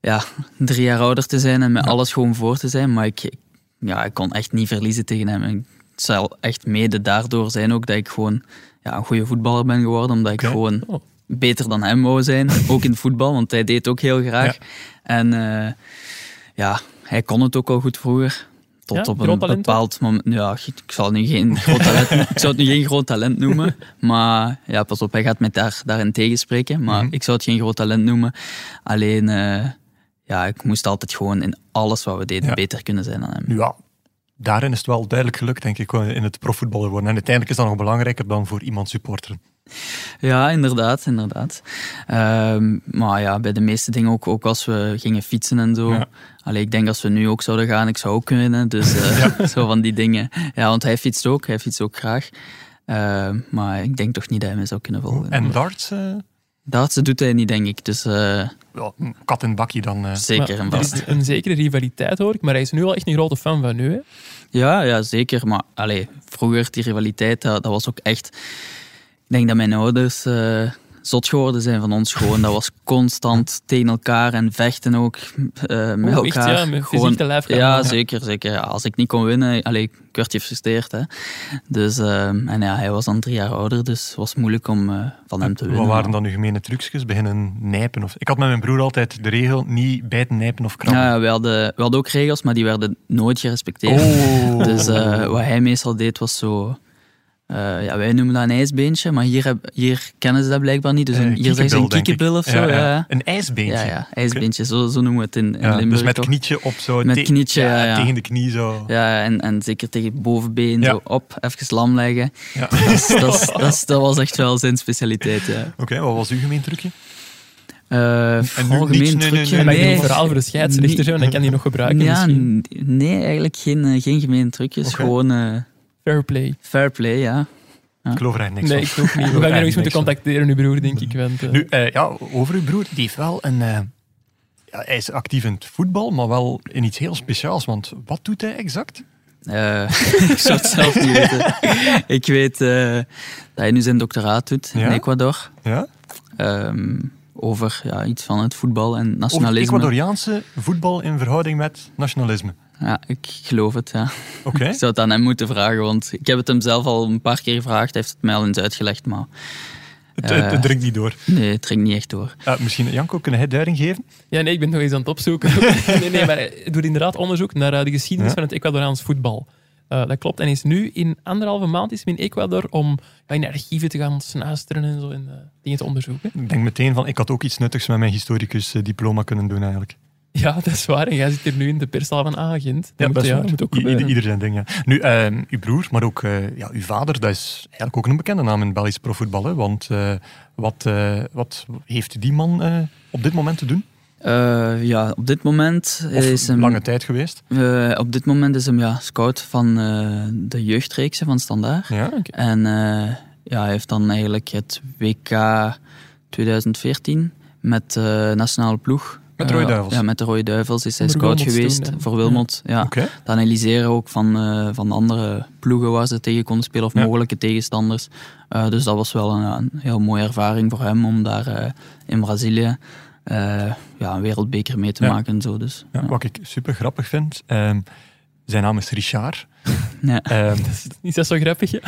S4: ja, drie jaar ouder te zijn en met alles gewoon voor te zijn. Maar ik, ja, ik kon echt niet verliezen tegen hem. En het zal echt mede daardoor zijn ook dat ik gewoon ja, een goede voetballer ben geworden. Omdat ik
S1: Oké.
S4: gewoon
S3: Oh.
S4: beter dan hem
S3: [laughs]
S4: wou zijn. Ook in het voetbal, want hij deed het ook heel graag. En eh, ja, hij kon het ook al goed vroeger. Tot
S3: Ja,
S4: op een
S3: groot talent ook?
S4: bepaald moment. Ja, ik zal het nu geen groot
S3: [laughs]
S4: talent, ik zou het nu geen groot talent noemen. Maar ja, pas op, hij gaat mij daar, daarin tegenspreken. Maar
S1: Mhm.
S4: ik zou het geen groot talent noemen. Alleen, eh, ja, ik moest altijd gewoon in alles wat we deden
S1: Ja.
S4: beter kunnen zijn dan hem.
S1: Nu ja, daarin is het wel duidelijk gelukt, denk ik, eh, in het profvoetballer worden. En uiteindelijk is dat nog belangrijker dan voor iemand supporteren.
S4: Ja, inderdaad, inderdaad. Ehm, maar ja, bij de meeste dingen ook, ook als we gingen fietsen en zo.
S1: Ja.
S4: Allee, ik denk als we nu ook zouden gaan, ik zou ook kunnen. Dus
S1: [laughs]
S4: eh, [laughs] zo van die dingen. Ja, want hij fietst ook, hij fietst ook graag. Ehm, maar ik denk toch niet dat hij mij zou kunnen volgen.
S1: En darts, eh,
S4: Dat doet hij niet, denk ik. Dus eh,
S1: ja, kat in bakje dan. eh.
S4: zeker en
S3: Maar er
S4: vast.
S3: is een zekere rivaliteit hoor ik, maar hij is nu wel echt een grote fan van nu. Hè?
S4: Ja, ja, zeker. Maar allee, vroeger, die rivaliteit, dat, dat was ook echt... Ik denk dat mijn ouders eh, zot geworden zijn van ons gewoon. Dat was constant tegen elkaar en vechten ook eh, met
S3: Oeh, Oh, echt,
S4: elkaar.
S3: ja, met
S4: Gewoon-
S3: fysiek te lijf gaan,
S4: Ja,
S3: ja.
S4: zeker, zeker. Ja, als ik niet kon winnen, allee, ik werd gefrustreerd. Hè. Dus, eh, en ja, hij was dan drie jaar ouder, dus het was moeilijk om eh, van hem te winnen.
S1: Wat waren dan uw gemene trucjes? Beginnen nijpen? Of... Ik had met mijn broer altijd de regel niet bijten, nijpen of krabben.
S4: Ja, we hadden, we hadden ook regels, maar die werden nooit gerespecteerd.
S1: Oh.
S4: [laughs] Dus eh, wat hij meestal deed was zo. eh, ja, wij noemen dat een ijsbeentje, maar hier, heb- hier kennen ze dat blijkbaar niet. Dus een,
S1: Eh,
S4: hier zeggen ze een
S1: denk ik.
S4: kiekebil of zo.
S1: Ja,
S4: Ja,
S1: ja.
S4: ja.
S1: Een ijsbeentje.
S4: ja, ja, ijsbeentje, zo, zo noemen we het in, in
S1: Ja,
S4: Limburg.
S1: dus met
S4: toch?
S1: knietje op zo.
S4: Met
S1: te-
S4: knietje, ja, ja.
S1: Tegen de knie zo.
S4: Ja, en, en zeker tegen het bovenbeen,
S1: Ja.
S4: zo op, even lam leggen. [laughs]
S1: Ja.
S4: Dat,
S1: [laughs]
S4: is- dat, is- dat, is- dat was echt wel zijn specialiteit, ja.
S1: Oké, wat was uw gemeen trucje?
S4: Eh
S1: nu
S4: algemeen
S1: niks, nee, nee,
S4: trucje,
S1: nee,
S3: En dan
S1: nee.
S3: een verhaal voor de scheidsrechter,
S4: Nee.
S3: hè, want dan kan hij nog gebruiken
S4: Ja,
S3: misschien.
S4: n- nee, eigenlijk geen, eh, geen gemeen trucjes.
S1: Oké.
S4: Gewoon eh,
S3: Fair play.
S4: fair play, ja.
S1: Ik geloof er eigenlijk
S3: Nee,
S1: niks
S3: ik ook niet. We gaan je nog eens moeten
S1: niks van.
S3: contacteren, uw broer, denk ik. Want, eh,
S1: van. Nu, eh, ja, over uw broer, die heeft wel een... eh, ja, hij is actief in het voetbal, maar wel in iets heel speciaals. Want wat doet hij exact?
S4: Eh, [laughs] ik zou het zelf niet weten. ik weet eh, dat hij nu zijn doctoraat doet in
S1: Ja?
S4: Ecuador.
S1: Ja?
S4: Ehm, over ja, iets van het voetbal en
S1: Over het
S4: nationalisme.
S1: Ecuadoriaanse voetbal in verhouding met nationalisme.
S4: Ja, ik geloof het. [laughs] Ja.
S1: Oké.
S4: Ik zou het aan hem moeten vragen, want ik heb het hem zelf al een paar keer gevraagd. Hij heeft het mij al eens uitgelegd, maar
S1: Het, het, het dringt niet door.
S4: nee, het ging niet echt door.
S1: Eh, misschien, Janko, kunnen hij duiding geven?
S3: Ja, nee, ik ben het nog eens aan het opzoeken. [laughs] nee, nee, maar hij doet inderdaad onderzoek naar eh, de geschiedenis
S1: Ja.
S3: van het Ecuadoriaans voetbal. Eh, dat klopt. En is nu in anderhalve maand is hij in Ecuador om ja, in de archieven te gaan snuisteren en zo en eh, dingen te onderzoeken. [laughs]
S1: Ik denk meteen van, ik had ook iets nuttigs met mijn historicus eh, diploma kunnen doen eigenlijk.
S3: Ja, dat is waar. En jij zit hier nu in de perszaal van Agent. Dat moet,
S1: best
S3: ja,
S1: waar.
S3: moet ook
S1: I- ieder,
S3: gebeuren.
S1: ieder zijn ding, ja. Nu, eh, uw broer, maar ook eh, ja, uw vader, dat is eigenlijk ook een bekende naam in het Belgisch profvoetbal. Hè? Want eh, wat, eh, wat heeft die man eh, op dit moment te doen?
S4: Eh, ja, op dit moment
S1: Of
S4: is hem,
S1: lange tijd geweest?
S4: eh, op dit moment is hem ja, scout van eh, de jeugdreeksen van Standaard.
S1: Ja.
S4: En eh, ja, hij heeft dan eigenlijk het WK 2014 met de nationale ploeg.
S1: Met de Rode
S4: eh,
S1: Duivels.
S4: ja, met de Rode Duivels is hij
S3: Voor
S4: scout
S3: Wilmot
S4: geweest
S3: toen, hè?
S4: voor Wilmot. Ja.
S1: Oké.
S4: Het analyseren ook van, eh, van de andere ploegen waar ze tegen konden spelen of
S1: Ja.
S4: mogelijke tegenstanders. Eh, dus dat was wel een, een heel mooie ervaring voor hem om daar eh, in Brazilië eh, ja, een wereldbeker mee te
S1: Ja.
S4: maken. En zo, dus,
S1: Ja, wat ik super grappig vind, ehm, zijn naam is Richard.
S4: [laughs] Ja.
S1: Ehm,
S3: [laughs] Is dat zo grappig? hè?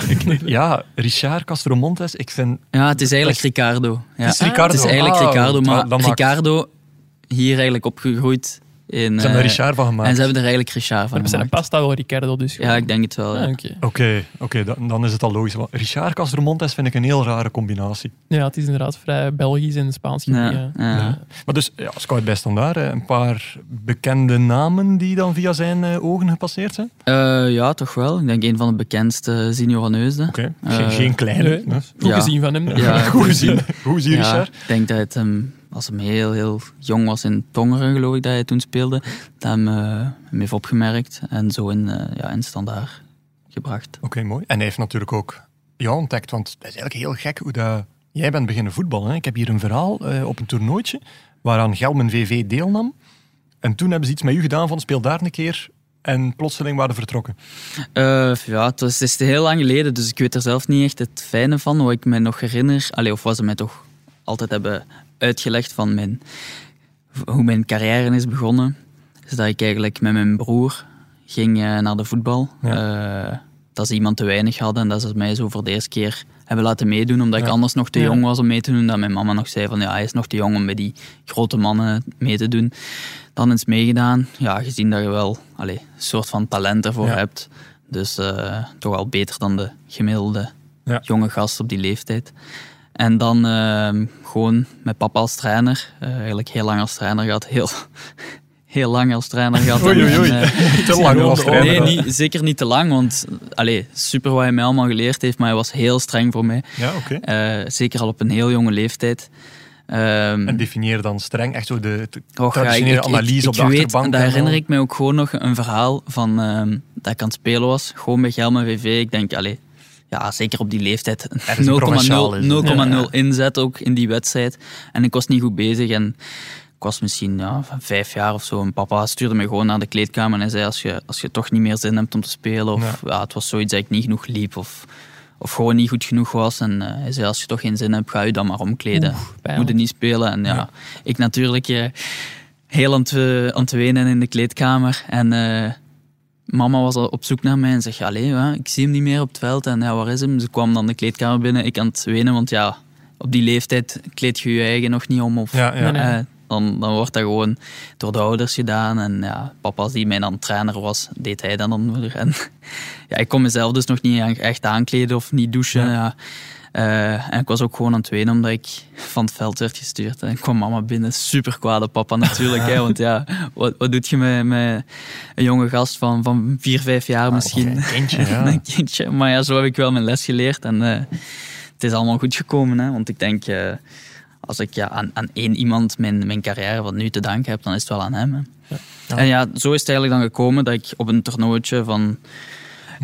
S1: ja, Richard Castromontes, ik vind...
S4: Ja, het is eigenlijk Ricardo. Ja.
S1: Het is Ricardo.
S4: Het is eigenlijk
S1: Ah,
S4: Ricardo,
S1: dat-
S4: maar
S1: dat maakt-
S4: Ricardo hier eigenlijk opgegroeid
S1: Ze
S4: in.
S1: hebben er
S4: eh,
S1: Richard van gemaakt.
S4: En ze hebben er eigenlijk Richard
S3: [laughs] Maar
S4: van
S3: we zijn een
S4: gemaakt.
S3: pasta wel Ricardo dus.
S4: Ja, ik denk het wel.
S3: Ah,
S4: ja.
S3: oké.
S1: Oké, oké, dan, dan is het al logisch. Want Richard Castromontes vind ik een heel rare combinatie.
S3: Ja, het is inderdaad vrij Belgisch en Spaans.
S4: Ja,
S3: gebied, ja.
S4: ja.
S1: Maar dus, ja, Scout bij Standaard, eh, een paar bekende namen die dan via zijn eh, ogen gepasseerd zijn.
S4: Eh, ja, toch wel. Ik denk een van de bekendste Zinio van Heusden.
S1: Oké,
S4: Eh,
S1: geen, geen kleine.
S3: Nee,
S1: hè.
S3: Goed
S4: Ja.
S3: gezien van hem. denk ik.
S1: [laughs]
S4: Ja,
S1: Goed gezien. Hoe zie je
S4: Ja,
S1: Richard?
S4: ik denk dat het hem, als hem heel, heel jong was in Tongeren, geloof ik, dat hij toen speelde, dat hem, eh, hem heeft opgemerkt en zo in, eh, ja, in standaard gebracht.
S1: Oké, mooi. En hij heeft natuurlijk ook jou ontdekt, want het is eigenlijk heel gek hoe dat... Jij bent beginnen voetballen. Hè? Ik heb hier een verhaal eh, op een toernooitje waaraan Gelmen VV deelnam. En toen hebben ze iets met u gedaan van speel daar een keer. En plotseling waren vertrokken.
S4: Eh, ja, het, was, het is heel lang geleden, dus ik weet er zelf niet echt het fijne van. Wat ik me nog herinner, allee, of wat ze mij toch altijd hebben uitgelegd van mijn hoe mijn carrière is begonnen, is dat ik eigenlijk met mijn broer ging eh, naar de voetbal. Eh, dat ze iemand te weinig hadden en dat ze mij zo voor de eerste keer hebben laten meedoen, omdat ik
S3: Ja.
S4: anders nog te
S3: Ja.
S4: jong was om mee te doen. Dat mijn mama nog zei van ja, hij is nog te jong om bij die grote mannen mee te doen. Dan eens meegedaan. Ja, gezien dat je wel allee, een soort van talent ervoor
S1: Ja.
S4: hebt. Dus eh, toch al beter dan de gemiddelde
S1: Ja.
S4: jonge gast op die leeftijd. En dan ehm, gewoon met papa als trainer. Eh, eigenlijk heel lang als trainer gehad. Heel, [laughs] heel lang als trainer gehad.
S1: Oei, oei, oei.
S4: En, eh,
S1: Te lang was het
S4: Nee,
S1: eigenlijk.
S4: niet, zeker niet te lang. Want allee, super wat hij mij allemaal geleerd heeft. Maar hij was heel streng voor mij.
S1: Ja, oké.
S4: Eh, zeker al op een heel jonge leeftijd. Ehm,
S1: En definieer dan streng echt zo de de
S4: Och, Oh, ja,
S1: traditionele analyse op de
S4: weet,
S1: achterbank.
S4: Daar
S1: en
S4: herinner
S1: al.
S4: ik me ook gewoon nog een verhaal van ehm, dat ik aan het spelen was. Gewoon bij Gelme VV. Ik denk, allee, ja, zeker op die leeftijd. 0,0 [laughs]
S1: Ergens provinciaal is het.
S4: 0,0 inzet ook in die wedstrijd. En ik was niet goed bezig. En ik was misschien ja, van vijf jaar of zo. En papa stuurde me gewoon naar de kleedkamer. En hij zei, als je, als je toch niet meer zin hebt om te spelen. Of ja. het was zoiets dat ik niet genoeg liep. Of, of gewoon niet goed genoeg was. En eh, hij zei, als je toch geen zin hebt, ga je dan maar omkleden.
S3: pijnlijk.
S4: Moet je niet spelen. En ja, ik natuurlijk... eh, heel aan het, eh, aan het wenen in de kleedkamer. En eh, mama was al op zoek naar mij en zegt, allee, hè, ik zie hem niet meer op het veld. En ja, waar is hem? Ze kwam dan de kleedkamer binnen, ik aan het wenen, want ja, op die leeftijd kleed je je eigen nog niet om. Of,
S1: Ja, ja.
S3: Nee, nee.
S4: eh, dan, dan wordt dat gewoon door de ouders gedaan. En ja, papa, als die mij dan trainer was, deed hij dat dan moeder. [laughs] En ja, ik kon mezelf dus nog niet aan- echt aankleden of niet douchen. Ja. Eh, en ik was ook gewoon aan het wenen omdat ik van het veld werd gestuurd. En kwam mama binnen, super kwaad op papa natuurlijk. Hè, want ja, wat, wat doet je met, met een jonge gast van, van vier, vijf jaar misschien?
S1: Een
S4: [laughs]
S1: kindje, ja.
S4: Een kindje. Maar ja, zo heb ik wel mijn les geleerd. En eh, het is allemaal goed gekomen. Hè? Want ik denk, eh, als ik ja, aan, aan één iemand mijn, mijn carrière wat nu te danken heb, dan is het wel aan hem. Hè? En ja, zo is het eigenlijk dan gekomen dat ik op een toernooitje van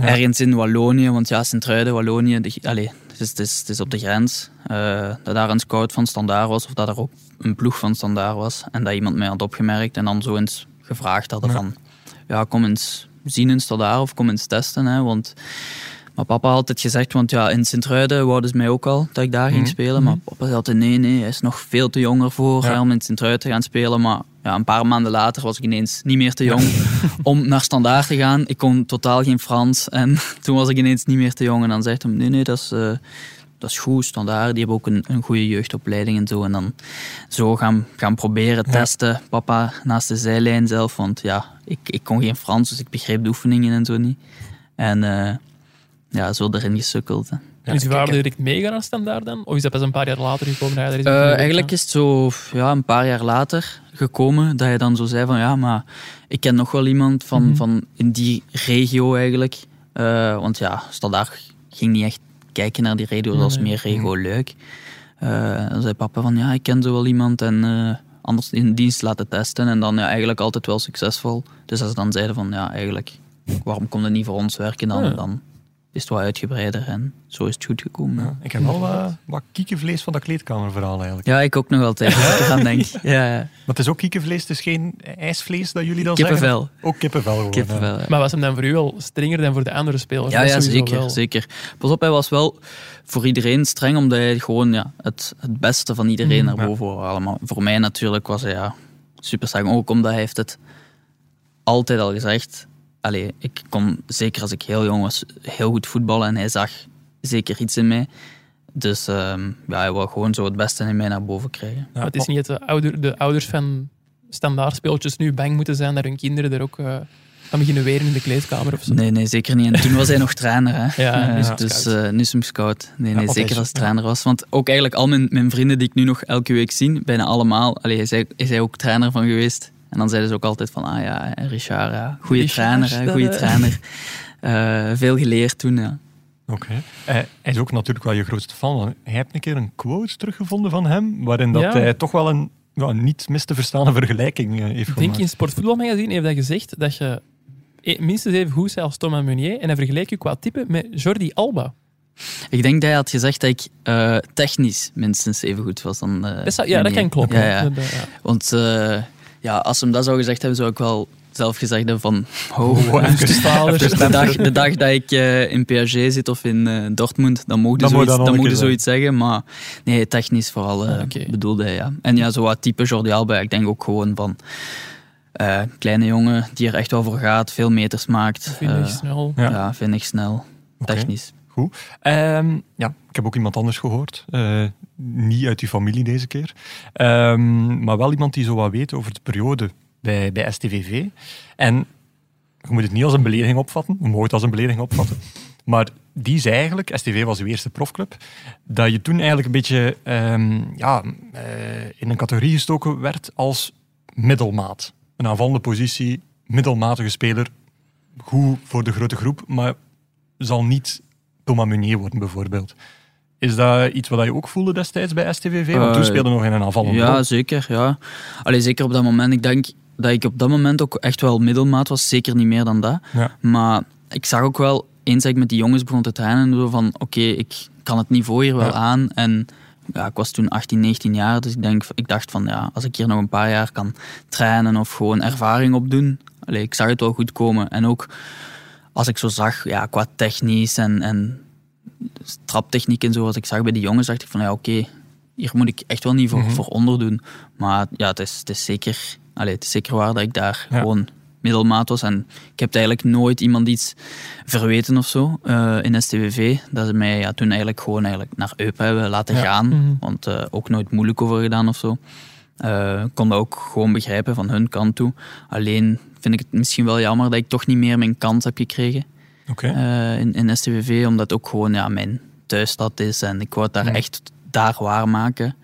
S4: ergens in Wallonië, want ja, Sint-Truiden, Wallonië, de, allee, het, is, het, is, het is op de grens, eh, dat daar een scout van standaard was of dat er ook een ploeg van standaard was en dat iemand mij had opgemerkt en dan zo eens gevraagd hadden van, ja, kom eens zien in standaard of kom eens testen, hè, want... Maar papa had altijd gezegd, want ja, in Sint-Truiden wouden ze mij ook al dat ik daar ging spelen. Maar papa zei altijd, nee, nee, hij is nog veel te jong ervoor
S1: Ja.
S4: hè, om in Sint-Truiden te gaan spelen. Maar ja, een paar maanden later was ik ineens niet meer te jong om naar Standaard te gaan. Ik kon totaal geen Frans en [laughs] toen was ik ineens niet meer te jong. En dan zegt hij, nee, nee, dat is, eh, dat is goed, Standaard. Die hebben ook een, een goede jeugdopleiding en zo. En dan zo gaan, gaan proberen, testen. Papa naast de zijlijn zelf, want ja, ik, ik kon geen Frans, dus ik begreep de oefeningen en zo niet. En... eh, ja, zo erin gesukkeld. hè.
S3: En is uw vader direct meegaan naar standaard dan? Of is dat pas een paar jaar later gekomen? dat hij daar is
S4: Eh,
S3: begonnen?
S4: eigenlijk is het zo ja, een paar jaar later gekomen dat je dan zo zei van ja, maar ik ken nog wel iemand van,
S3: Mhm.
S4: van in die regio eigenlijk. Eh, want ja, Standaard ging niet echt kijken naar die regio, dat was
S3: Nee, nee.
S4: meer regio leuk. Eh, dan zei papa van ja, ik ken zo wel iemand en eh, anders in dienst laten testen. En dan ja, eigenlijk altijd wel succesvol. Dus als ze dan zeiden van ja, eigenlijk waarom komt het niet voor ons werken dan?
S3: Ja.
S4: Dan is het wat uitgebreider en zo is het goed gekomen.
S1: Ja, Ik heb wel wat, wat kiekenvlees van dat kleedkamerverhaal eigenlijk.
S4: Ja, ik ook nog
S3: [laughs]
S4: altijd. Als ik eraan denk. Ja, ja.
S1: Maar het is ook kiekenvlees, het is geen ijsvlees dat jullie dan zeggen? Oh,
S4: Kippenvel.
S1: Ook kippenvel gewoon.
S4: Kippenvel. ja.
S3: Maar was hem dan voor u al strenger dan voor de andere spelers?
S4: Ja,
S3: Dat is
S4: ja
S3: sowieso
S4: zeker,
S3: wel.
S4: zeker. Pas op, hij was wel voor iedereen streng, omdat hij gewoon ja, het, het beste van iedereen naar boven wou halen. Maar voor mij natuurlijk was hij ja, super streng. Ook omdat hij heeft het altijd al gezegd. Allee, ik kon, zeker als ik heel jong was, heel goed voetballen. En hij zag zeker iets in mij. Dus ehm, ja, hij wou gewoon zo het beste in mij naar boven krijgen.
S1: Ja.
S3: Maar het is niet dat de, ouder, de ouders van standaard speeltjes nu bang moeten zijn dat hun kinderen er ook eh aan beginnen weren in de kleedkamer of zo.
S4: Nee, nee, zeker niet. En toen was hij nog trainer. Hè?
S3: [laughs] Ja, nu is hij
S4: Eh, dus
S3: scout.
S4: eh, nu is hij scout. Nee, nee
S1: want hij is-
S4: zeker als hij trainer was. Want ook eigenlijk al mijn, mijn vrienden die ik nu nog elke week zie, bijna allemaal, allee, is, hij, is hij ook trainer van geweest. En dan zeiden ze ook altijd van, ah ja, en Richard, ja, goede
S3: Richard,
S4: trainer, hè,
S3: dat,
S4: goede
S3: eh.
S4: trainer. Eh, veel geleerd toen, ja.
S1: Oké. Eh, hij is ook natuurlijk wel je grootste fan. want Hij hebt een keer een quote teruggevonden van hem, waarin dat
S3: Ja.
S1: hij toch wel een ja, niet mis te verstaande vergelijking eh, heeft
S3: Ik denk
S1: gemaakt.
S3: in Sportvoetbalmagazine heeft hij gezegd dat je e- minstens even goed bent als Thomas Meunier en hij vergelijkt je qua type met Jordi Alba.
S4: Ik denk dat hij had gezegd dat ik eh, technisch minstens even goed was dan... eh,
S3: Dat zou- ja, dat
S4: Meunier.
S3: kan kloppen.
S4: Ja, ja.
S3: Dat, eh, ja.
S4: Want eh, ja, als ze hem dat zou gezegd hebben, zou ik wel zelfgezegde van [laughs]
S3: Oh,
S4: Dus de, [laughs]
S1: Dus
S3: vader.
S4: dag, de dag dat ik eh, in PSG zit of in eh, Dortmund, dan mogen
S1: Dan moet dat nog een
S4: ze
S1: keer
S4: zoiets zeggen. Maar nee, technisch vooral eh,
S3: Ah, oké.
S4: bedoelde hij, ja. En ja, zo wat type Jordi Alba, ik denk ook gewoon van... eh, kleine jongen die er echt wel voor gaat, veel meters maakt.
S3: Vind ik
S4: eh,
S3: snel.
S1: Ja.
S4: ja, vind ik snel.
S1: Oké.
S4: Technisch.
S1: Ehm, ja, ik heb ook iemand anders gehoord. Eh, niet uit uw familie deze keer. Ehm, maar wel iemand die zo wat weet over de periode bij, bij STVV. En je moet het niet als een belediging opvatten. Je mag het als een belediging opvatten. Maar die is eigenlijk, STV was uw eerste profclub, dat je toen eigenlijk een beetje ehm, ja, eh, in een categorie gestoken werd als middelmaat. Een aanvallende positie, middelmatige speler, goed voor de grote groep, maar zal niet Thomas Meunier worden bijvoorbeeld. Is dat iets wat je ook voelde destijds bij STVV? Want toen
S4: Eh,
S1: speelde je nog in een aanvallende
S4: Ja,
S1: rol.
S4: zeker. Ja. Allee, zeker op dat moment. Ik denk dat ik op dat moment ook echt wel middelmaat was. Zeker niet meer dan dat.
S1: Ja.
S4: Maar ik zag ook wel, eens dat ik met die jongens begon te trainen, zo van oké, ik kan het niveau hier wel
S1: Ja.
S4: aan. En ja, ik was toen 18, 19 jaar, dus ik, denk, ik dacht van ja, als ik hier nog een paar jaar kan trainen of gewoon ervaring opdoen, allee, ik zag het wel goed komen. En ook als ik zo zag, ja, qua technisch en, en traptechniek en zo, als ik zag bij die jongens, dacht ik van ja, oké, hier moet ik echt wel niet voor,
S1: Mhm.
S4: voor onder doen. Maar ja, het is, het is zeker, allee, het is zeker waar dat ik daar
S1: Ja.
S4: gewoon middelmaat was. En ik heb eigenlijk nooit iemand iets verweten of zo eh, in STWV. Dat ze mij ja, toen eigenlijk gewoon eigenlijk naar Eup hebben laten
S1: Ja.
S4: gaan.
S3: Mhm.
S4: Want eh, ook nooit moeilijk over gedaan of zo. Eh, ik kon dat ook gewoon begrijpen van hun kant toe. Alleen vind ik het misschien wel jammer dat ik toch niet meer mijn kans heb gekregen
S1: Oké.
S4: eh, in, in STVV, omdat het ook gewoon ja, mijn thuisstad is en ik wou het daar
S1: Mhm.
S4: echt daar waarmaken.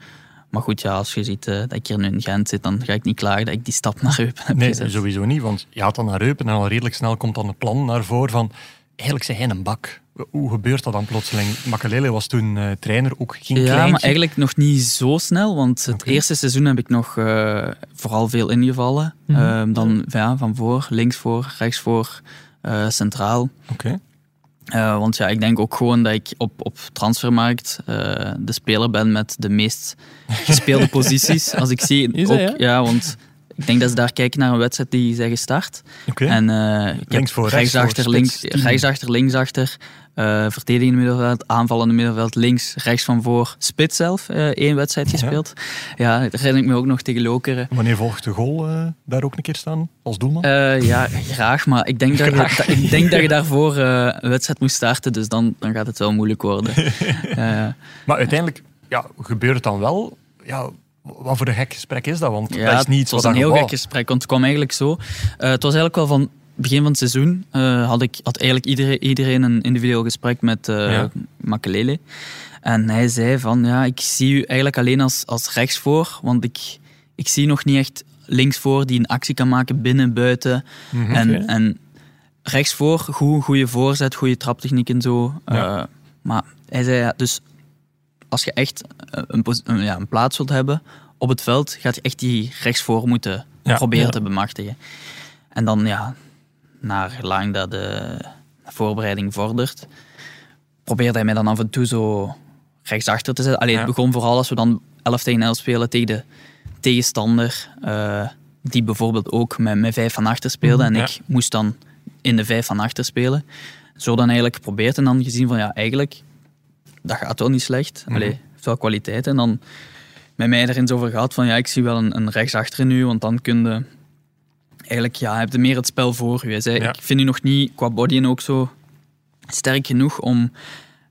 S4: Maar goed, ja, als je ziet eh, dat ik hier nu in Gent zit, dan ga ik niet klagen dat ik die stap naar Eupen heb
S1: Nee,
S4: gezet.
S1: sowieso niet, want je gaat dan naar Eupen en al redelijk snel komt dan een plan naar voren van eigenlijk zijn hij een bak. Hoe gebeurt dat dan plotseling? Makalele was toen eh, trainer, ook geen
S4: ja,
S1: kleintje.
S4: maar eigenlijk nog niet zo snel, want het
S1: Oké.
S4: eerste seizoen heb ik nog eh, vooral veel ingevallen.
S3: Mhm.
S4: Ehm, dan ja, van voor, links voor, rechts voor, eh, centraal.
S1: Oké.
S4: Eh, want ja, ik denk ook gewoon dat ik op, op transfermarkt eh, de speler ben met de meest
S1: [laughs]
S4: gespeelde posities. Als ik zie,
S3: Is dat,
S4: ook,
S3: ja?
S4: want ik denk dat ze daar kijken naar een wedstrijd die zij gestart.
S1: Oké.
S4: En, eh, ik heb
S1: Links voor, rechts voor,
S4: rechtsachter,
S1: spits,
S4: links,
S1: tien.
S4: rechtsachter, linksachter, eh verdedigende middenveld, aanvallende middenveld, links, rechts van voor, spits zelf, eh, één wedstrijd gespeeld. Ja, dat herinner ik me ook nog tegen Lokeren.
S1: Wanneer volgt de goal eh, daar ook een keer staan als doelman?
S4: Eh, ja, graag, maar ik denk dat, Je, dat- ik denk dat je daarvoor eh, een wedstrijd moest starten, dus dan, dan gaat het wel moeilijk worden. Eh,
S1: maar uiteindelijk ja, gebeurt het dan wel. Ja, wat voor een gek gesprek is dat? Want dat is niet iets wat
S4: het was een
S1: je
S4: heel
S1: wou.
S4: gek gesprek, want het kwam eigenlijk zo. Eh, het was eigenlijk wel van begin van het seizoen eh, had, ik, had eigenlijk iedereen, iedereen een individueel gesprek met eh
S1: Ja.
S4: Makelele. En hij zei van, ja, ik zie u eigenlijk alleen als, als rechtsvoor, want ik, ik zie nog niet echt linksvoor die een actie kan maken binnen, buiten.
S1: Mhm.
S4: En,
S3: Oké.
S4: en rechtsvoor, goed, goede voorzet, goede traptechniek en zo.
S1: Ja.
S4: Eh, maar hij zei, ja, dus als je echt eh, een, pos- een- ja, een plaats wilt hebben op het veld, gaat je echt die rechtsvoor moeten
S1: Ja,
S4: proberen
S1: ja.
S4: te bemachtigen. En dan, ja, naar lang dat de voorbereiding vordert, probeerde hij mij dan af en toe zo rechtsachter te zetten. Alleen
S1: Ja.
S4: het begon vooral als we dan 11 tegen 11 spelen tegen de tegenstander, eh, die bijvoorbeeld ook met, met vijf van achter speelde. En
S1: Ja.
S4: ik moest dan in de vijf van achter spelen. Zo dan eigenlijk geprobeerd en dan gezien van ja, eigenlijk, dat gaat wel niet slecht. Allee, heeft wel kwaliteit. En dan met mij er eens over gehad van ja, ik zie wel een, een rechtsachter nu, want dan kun je eigenlijk, ja, heb je meer het spel voor je. Hij zei,
S1: Ja.
S4: Ik vind u nog niet qua body en ook zo sterk genoeg om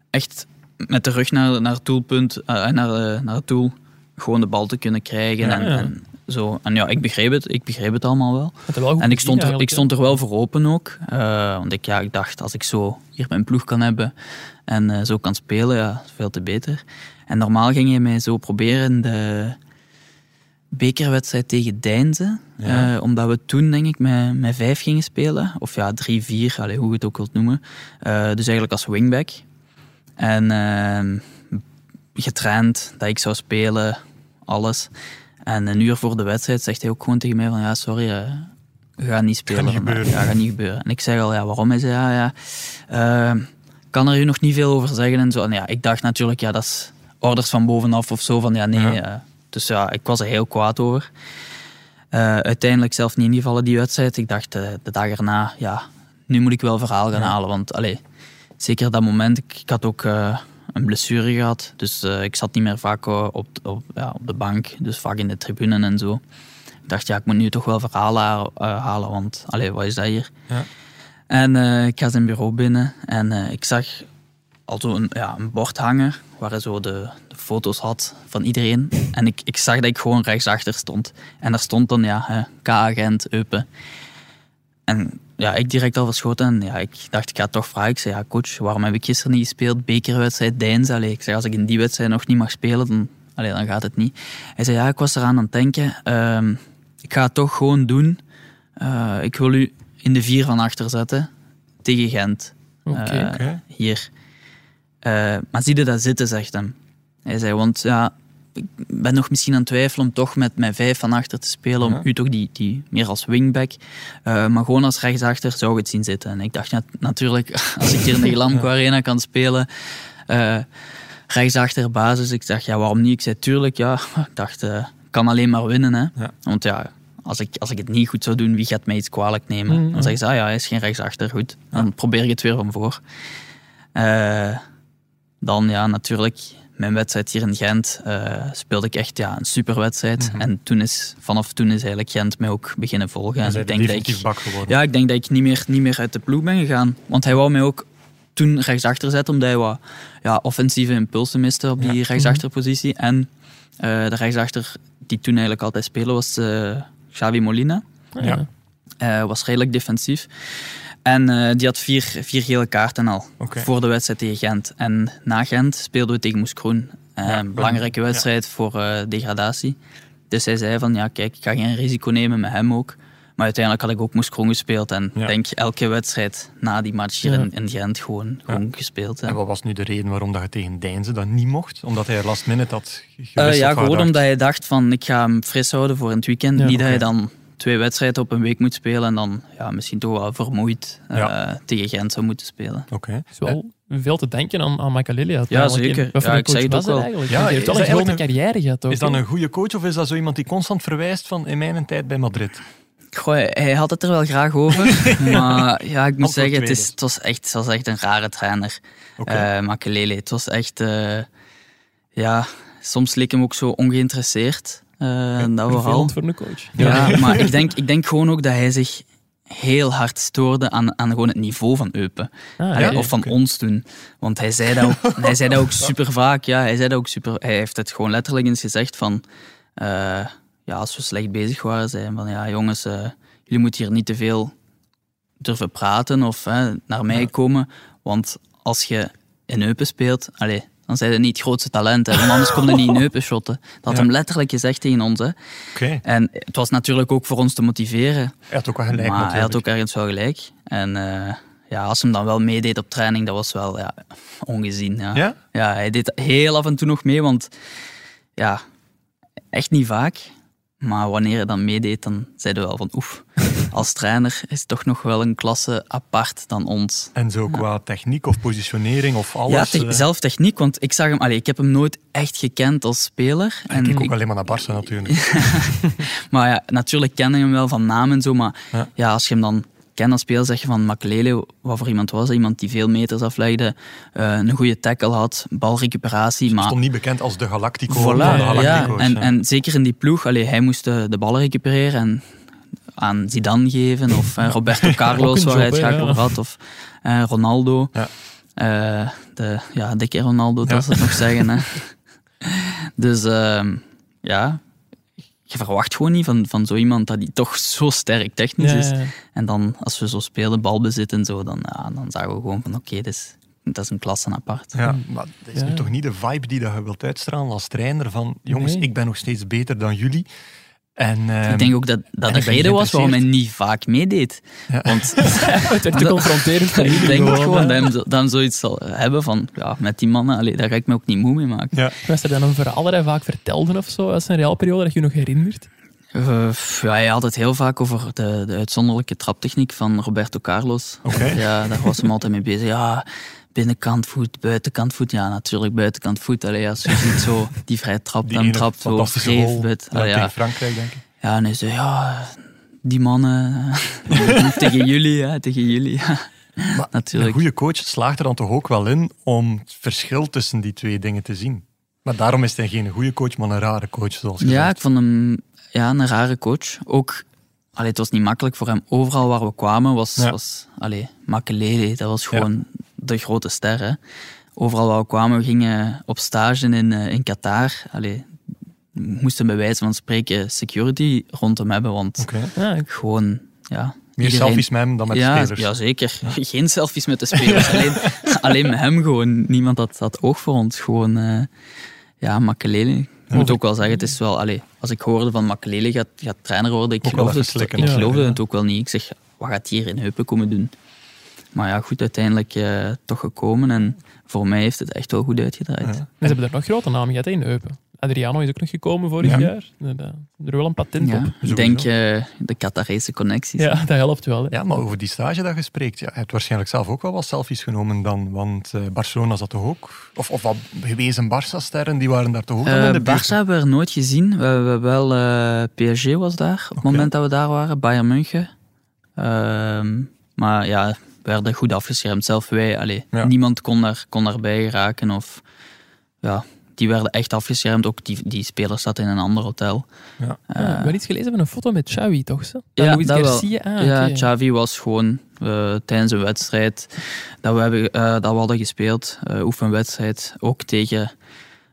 S4: echt met de rug naar, naar het doelpunt, eh, naar, eh, naar het doel, gewoon de bal te kunnen krijgen.
S1: Ja,
S4: en,
S3: ja.
S4: en zo. En ja, ik begreep het, ik begreep het allemaal wel.
S3: Dat wel goed
S4: En ik
S3: gezien
S4: stond, er, ik
S3: eigenlijk,
S4: stond er wel voor open ook. Eh, want ik, ja, ik dacht, als ik zo hier mijn ploeg kan hebben en eh, zo kan spelen, ja, is veel te beter. En normaal ging hij mij zo proberen in de bekerwedstrijd tegen Deinze.
S1: Ja.
S4: Eh, omdat we toen, denk ik, met, met vijf gingen spelen. Of ja, drie, vier, allee, hoe je het ook wilt noemen. Eh, dus eigenlijk als wingback. En ehm, getraind dat ik zou spelen, alles. En een uur voor de wedstrijd zegt hij ook gewoon tegen mij van ja, sorry, eh, je gaat niet spelen.
S1: Gaat niet
S4: vandaag.
S1: gebeuren.
S4: Ja, gaat niet gebeuren. En ik zeg al, ja, waarom? Hij zei, ja, ja, ehm, kan er u nog niet veel over zeggen en zo. En ja, ik dacht natuurlijk, ja, dat is orders van bovenaf of zo, van ja, nee.
S1: Ja.
S4: eh, dus ja, ik was er heel kwaad over. Eh, Eh, uiteindelijk zelf niet ingevallen die wedstrijd. Ik dacht eh, de dag erna, ja, nu moet ik wel verhaal gaan halen. Want allee, zeker dat moment, ik, ik had ook eh, een blessure gehad. Dus eh, ik zat niet meer vaak eh, op, op, ja, op de bank, dus vaak in de tribune en zo. Ik dacht, ja, ik moet nu toch wel verhaal ha- eh, halen, want allee, wat is dat hier?
S3: Ja.
S4: En eh, ik ga zijn bureau binnen en eh, ik zag al zo een, ja, een bord hangen waar hij zo de, de foto's had van iedereen. En ik, ik zag dat ik gewoon rechtsachter stond. En daar stond dan, ja, hè, K-agent, Eupen. En ja, ik direct al verschoten. En ja, ik dacht, ik ga het toch vragen. Ik zei, ja, coach, waarom heb ik gisteren niet gespeeld? Bekerwedstrijd, Deins. Allee, ik zei, als ik in die wedstrijd nog niet mag spelen, dan, allee, dan gaat het niet. Hij zei, ja, ik was eraan aan het denken. Ehm, ik ga het toch gewoon doen. Eh, ik wil u in de vier van achter zetten tegen Gent.
S3: Oké.
S4: Eh, hier. Eh, maar zie je dat zitten, zegt hem. Hij zei, want ja, ik ben nog misschien aan het twijfelen om toch met mijn vijf van achter te spelen, om
S1: Ja.
S4: u toch die, die meer als wingback. Eh, maar gewoon als rechtsachter zou ik het zien zitten. En ik dacht ja, natuurlijk, [laughs] als ik hier in de Glamco Arena kan spelen, eh, rechtsachter basis. Ik dacht, ja, waarom niet? Ik zei, tuurlijk, ja. [laughs] Ik dacht, eh, ik kan alleen maar winnen, hè.
S1: Ja.
S4: Want ja, als ik, als ik het niet goed zou doen, wie gaat mij iets kwalijk nemen?
S1: Mm-hmm.
S3: Mhm.
S4: Dan zeggen ze, ah ja, hij is geen rechtsachter, goed. Dan probeer ik het weer van voor. Eh, dan ja, natuurlijk, mijn wedstrijd hier in Gent eh, speelde ik echt ja, een superwedstrijd.
S1: Mm-hmm.
S4: En toen is, vanaf toen is eigenlijk Gent mij ook beginnen volgen.
S1: En
S4: En
S1: zij
S4: ik
S1: zijn
S4: denk dat
S1: definitief
S4: ik,
S1: bak geworden.
S4: ja, ik denk dat ik niet meer, niet meer uit de ploeg ben gegaan. Want hij wou mij ook toen rechtsachter zetten, omdat hij wat ja, offensieve impulsen miste op die rechtsachterpositie. En eh, de rechtsachter die toen eigenlijk altijd spelen was eh, Xavi Molina.
S3: Ah,
S1: Ja.
S4: Eh, was redelijk defensief. En eh, die had vier, vier gele kaarten al
S1: Oké.
S4: voor de wedstrijd tegen Gent. En na Gent speelden we tegen Moes Kroen. Eh,
S1: Ja,
S4: een belangrijke
S1: ja.
S4: wedstrijd voor eh, degradatie. Dus hij zei van, ja kijk, ik ga geen risico nemen met hem ook. Maar uiteindelijk had ik ook Moes Kroen gespeeld. En
S1: Ja.
S4: ik denk elke wedstrijd na die match hier
S3: Ja.
S4: in, in Gent gewoon, gewoon gespeeld. hè.
S1: En wat was nu de reden waarom dat je tegen Deinze dat niet mocht? Omdat hij last minute had ge-
S4: Eh,
S1: gewisseld
S4: ja,
S1: waar
S4: gewoon
S1: dacht-
S4: omdat hij dacht van ik ga hem fris houden voor in het weekend.
S3: Ja,
S4: Niet
S1: oké.
S4: dat hij dan twee wedstrijden op een week moet spelen en dan ja, misschien toch wel vermoeid eh,
S1: Ja.
S4: tegen Gent zou moeten spelen.
S1: Oké. Eh,
S3: is wel veel te denken aan, aan Michael Lilly.
S4: Ja, zeker.
S3: Wat voor
S4: Ja,
S3: een
S4: ik zeg
S3: coach was
S4: het ook
S3: dat
S4: wel.
S3: eigenlijk?
S1: Ja,
S3: Ja, heeft wel
S1: is
S3: een
S1: dat
S3: grote
S1: eigenlijk
S3: carrière gehad ook.
S1: Is dat
S3: hè?
S1: een goede coach of is dat zo iemand die constant verwijst van in mijn tijd bij Madrid?
S4: Goh, hij had het er wel graag [laughs] over, maar ja, ik moet
S1: Antwoord
S4: zeggen, het,
S1: twee
S4: is,
S1: dus.
S4: het, was echt, het was echt een rare trainer,
S1: Oké.
S4: Eh Makelele. Het was echt, eh, ja, soms leek hem ook zo ongeïnteresseerd. eh, dat vooral.
S3: Vervelend voor een coach.
S4: Ja,
S1: [laughs]
S4: maar ik denk, ik denk gewoon ook dat hij zich heel hard stoorde aan, aan gewoon het niveau van Eupen.
S3: Ah,
S4: Allee,
S3: oké. [laughs]
S4: of van ons toen. Want hij zei dat ook, hij zei dat ook super vaak. Ja, hij, zei dat ook super, hij heeft het gewoon letterlijk eens gezegd van... eh, ja, als we slecht bezig waren, zei hij van... Ja, jongens, eh, jullie moeten hier niet te veel durven praten of hè, naar mij komen. Want als je in Eupen speelt... Allee, dan zijn je niet het grootste talent. Hè, want anders kom je niet
S3: [laughs]
S4: in Eupen shotten. Dat had
S1: Ja.
S4: hem letterlijk gezegd tegen ons. Hè.
S1: Oké.
S4: En het was natuurlijk ook voor ons te motiveren.
S1: Hij had ook wel gelijk
S4: Maar hij had ook
S1: natuurlijk.
S4: ergens wel gelijk. En eh, ja, als hem dan wel meedeed op training, dat was wel ja, [laughs] ongezien. Ja.
S1: Ja?
S4: hij deed heel af en toe nog mee, want ja, echt niet vaak. Maar wanneer hij dan meedeed, dan zeiden we wel van
S1: [laughs]
S4: oef, als trainer is het toch nog wel een klasse apart dan ons.
S1: En zo qua techniek of positionering of alles.
S4: ja,
S1: eh,
S4: te- zelf techniek, want ik zag hem, allee, ik heb hem nooit echt gekend als speler. En
S1: Ah, Ik
S4: ik-
S1: ook alleen maar naar Barça natuurlijk.
S4: Maar ja, natuurlijk kennen je hem wel van naam en zo. Maar
S1: Ja.
S4: ja. als je hem dan kent als speler, zeg je van Makelele, wat voor iemand was. hij? Iemand die veel meters aflegde, eh, een goede tackle had, balrecuperatie. Maar
S1: Stond niet bekend als de Galactico.
S4: Voilà,
S1: of de
S4: ja.
S1: Galactico's,
S4: En,
S1: ja.
S4: en zeker in die ploeg, allee, hij moest eh, de, de ballen recupereren en aan Zidane geven.
S3: [laughs]
S4: Of eh, Roberto
S3: Ook
S4: Carlos,
S3: een
S4: waar hij
S3: job,
S4: het
S3: hè,
S4: graag
S3: ja.
S4: over had. Of eh, Ronaldo.
S1: Ja.
S4: Eh, de, ja, dikke Ronaldo,
S1: Ja.
S4: dat ze het nog
S3: [laughs]
S4: zeggen. Hè. [laughs] Dus ehm, ja, je verwacht gewoon niet van, van zo iemand dat die toch zo sterk technisch
S3: Ja,
S4: is.
S3: ja, ja.
S4: En dan, als we zo spelen, balbezit en zo, dan, ja, dan zagen we gewoon van oké, dit is- dat is een klasse apart.
S1: Ja, maar dat is nu
S3: Ja.
S1: toch niet de vibe die dat je wilt uitstralen als trainer van jongens,
S3: Nee.
S1: ik ben nog steeds beter dan jullie. En, ehm,
S4: Ik denk ook dat dat de
S1: ik ben
S4: reden was waarom hij
S1: geïnteresseerd.
S4: niet vaak
S1: [laughs]
S4: meedeed.
S1: Ja.
S4: Want
S3: Het werd te
S4: Dat-
S3: confronterend voor
S4: [laughs] ik
S3: jullie
S4: denk ook
S3: hè.
S4: gewoon dat hij zo- dat hij zoiets zal hebben van, ja, met die mannen, allee, daar ga ik me ook niet moe mee maken.
S1: Ja,
S3: Was er dan een verhaal dat hij vaak vertelde of zo uit zijn realperiode dat je je nog herinnert? Ah,
S4: Eh, pff, ja, hij had het heel vaak over de, de uitzonderlijke traptechniek van Roberto Carlos.
S1: Oké.
S4: Ja, daar was hem altijd mee bezig. Ja, binnenkant voet, buitenkant voet. Ja, natuurlijk buitenkant voet. Allee, als je ziet zo die vrij trapt
S1: die
S4: en
S1: ene
S4: trapt, zo
S1: fantastische
S4: vreef.
S1: rol
S4: buit-
S1: ja,
S4: Allee, ja.
S1: tegen Frankrijk, denk ik.
S4: Ja, en hij zei, ja, die mannen, [laughs] tegen jullie, ja, tegen jullie. Ja.
S1: Maar
S4: Natuurlijk.
S1: Een goede coach slaagt er dan toch ook wel in om het verschil tussen die twee dingen te zien. Maar daarom is hij geen goede coach, maar een rare coach, zoals gezegd.
S4: Ja, ik vond hem ja, een rare coach. Ook, allee, het was niet makkelijk voor hem. Overal waar we kwamen was,
S1: Ja.
S4: was allee, Makelele, dat was gewoon de grote ster. Hè. Overal waar we kwamen, we gingen op stage in, eh, in Qatar. Allee, we moesten bij wijze van spreken security rond hem hebben, want
S1: Oké.
S3: Ja, ik-
S4: gewoon... Ja,
S1: Meer
S4: iedereen-
S1: selfies met hem dan met de
S4: ja,
S1: spelers.
S4: ja, zeker. [laughs] Geen selfies met de spelers. alleen,
S1: [laughs]
S4: alleen met hem gewoon. Niemand had dat oog voor ons. Gewoon, eh, ja, Makelele. Ik moet ook wel zeggen, het is wel... Allee, als ik hoorde van Makelele gaat, gaat trainer worden, ik
S1: Ook wel
S4: geloofde,
S1: even
S4: het,
S1: slikken
S4: ik
S1: natuurlijk,
S4: geloofde
S1: hè.
S4: het ook wel niet. Ik zeg, wat gaat hier in Heupen komen doen? Maar ja, goed, uiteindelijk eh, toch gekomen. En voor mij heeft het echt wel goed uitgedraaid.
S1: Ja.
S3: En ze hebben er nog grote namen gehad hè, in Eupen. Adriano is ook nog gekomen vorig
S1: Ja.
S3: jaar. Er er wel een patent
S4: Ja,
S3: op.
S4: ik denk eh, de Qatarese connecties.
S3: Ja, dat helpt wel. Hè.
S1: Ja, maar over die stage dat je spreekt, ja, je hebt waarschijnlijk zelf ook wel wat selfies genomen dan, want eh, Barcelona zat toch ook, of, of wat gewezen Barça-sterren, die waren daar toch ook al in
S4: Eh
S1: de buurt.
S4: Barça hebben we er nooit gezien. We, we hebben wel eh, PSG was daar op het
S1: Oké.
S4: moment dat we daar waren, Bayern München. Ehm, maar ja, we werden goed afgeschermd. Zelf wij, allee,
S1: Ja.
S4: niemand kon, daar, kon daarbij raken. Of, ja, die werden echt afgeschermd. Ook die, die speler zat in een ander hotel.
S1: Ja.
S4: Eh,
S3: Ja, we hebben Ah, iets gelezen van een foto met Xavi, toch? Ze?
S4: Ja,
S3: Luis
S4: dat wel.
S3: Garcia. Ah,
S4: ja,
S3: oké.
S4: Xavi was gewoon eh, tijdens een wedstrijd dat we, hebben, eh, dat we hadden gespeeld, eh, oefenwedstrijd, ook tegen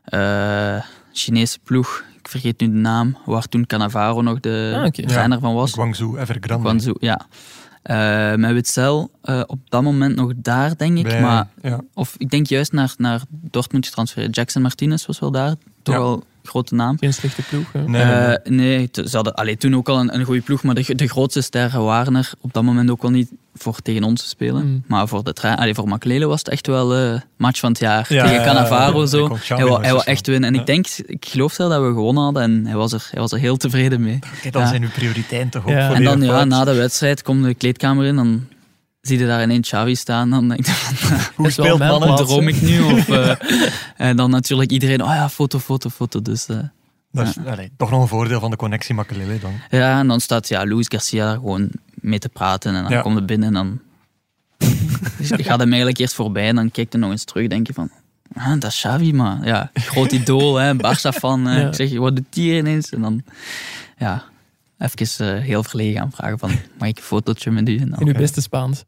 S4: eh Chinese ploeg. Ik vergeet nu de naam, waar toen Cannavaro nog de
S3: Ah, oké.
S4: trainer van was.
S1: Guangzhou, Evergrande.
S4: Guangzhou, ja. Eh, met Witzel eh, op dat moment nog daar, denk ik.
S1: Bij-
S4: Maar, eh,
S1: ja.
S4: of ik denk juist naar, naar Dortmund getransfereerd. Jackson Martinez was wel daar, toch
S1: Ja.
S4: wel een grote naam.
S3: Geen slechte ploeg. hè.
S1: Nee, nee, nee.
S4: Eh, nee, t- ze hadden allee, toen ook al een, een goede ploeg, maar de, gro- de grootste sterren waren er op dat moment ook wel niet voor tegen ons te spelen.
S3: Mm.
S4: Maar voor, de tra- allee, voor Maklele was het echt wel eh match van het jaar.
S1: Ja, ja,
S4: tegen
S1: ja,
S4: Cannavaro
S1: ja. Ik
S4: zo.
S1: kon Xavi
S4: Hij
S1: nog
S4: wou,
S1: eens
S4: hij wou
S1: verslaan.
S4: echt winnen. En
S1: Ja.
S4: ik denk, ik geloof zelf dat we gewonnen hadden en hij was er, hij was er heel tevreden mee.
S1: Kijk, dan
S4: ja.
S1: zijn uw prioriteiten toch ook
S3: Ja.
S1: volledig
S4: en dan ja,
S1: fout.
S4: na de wedstrijd komt de kleedkamer in, dan zie je daar ineens Xavi staan. Dan [laughs] denk je,
S1: Hoe
S3: is wel
S1: speelt
S3: mijn
S1: mannen
S3: plaats,
S4: droom ik nu? Of, eh, en dan natuurlijk iedereen, oh ja, foto, foto, foto. Dus... eh,
S1: Dat is allee, toch nog een voordeel van de connectie Makelele dan.
S4: Ja, en dan staat ja, Luis Garcia daar gewoon mee te praten. En dan
S1: Ja.
S4: komt hij binnen en
S3: [laughs]
S4: dan [laughs] Dus je gaat hem eigenlijk eerst voorbij. En dan kijkt hij nog eens terug denk je van... Ah, dat is Xavi, maar ja, groot idool, hè, Barca-fan. hè.
S3: Ja.
S4: Ik zeg, wat doet die hier ineens? En dan, ja, even eh, heel verlegen aanvragen van... Mag ik een fotootje met u? En dan,
S3: In uw beste Spaans.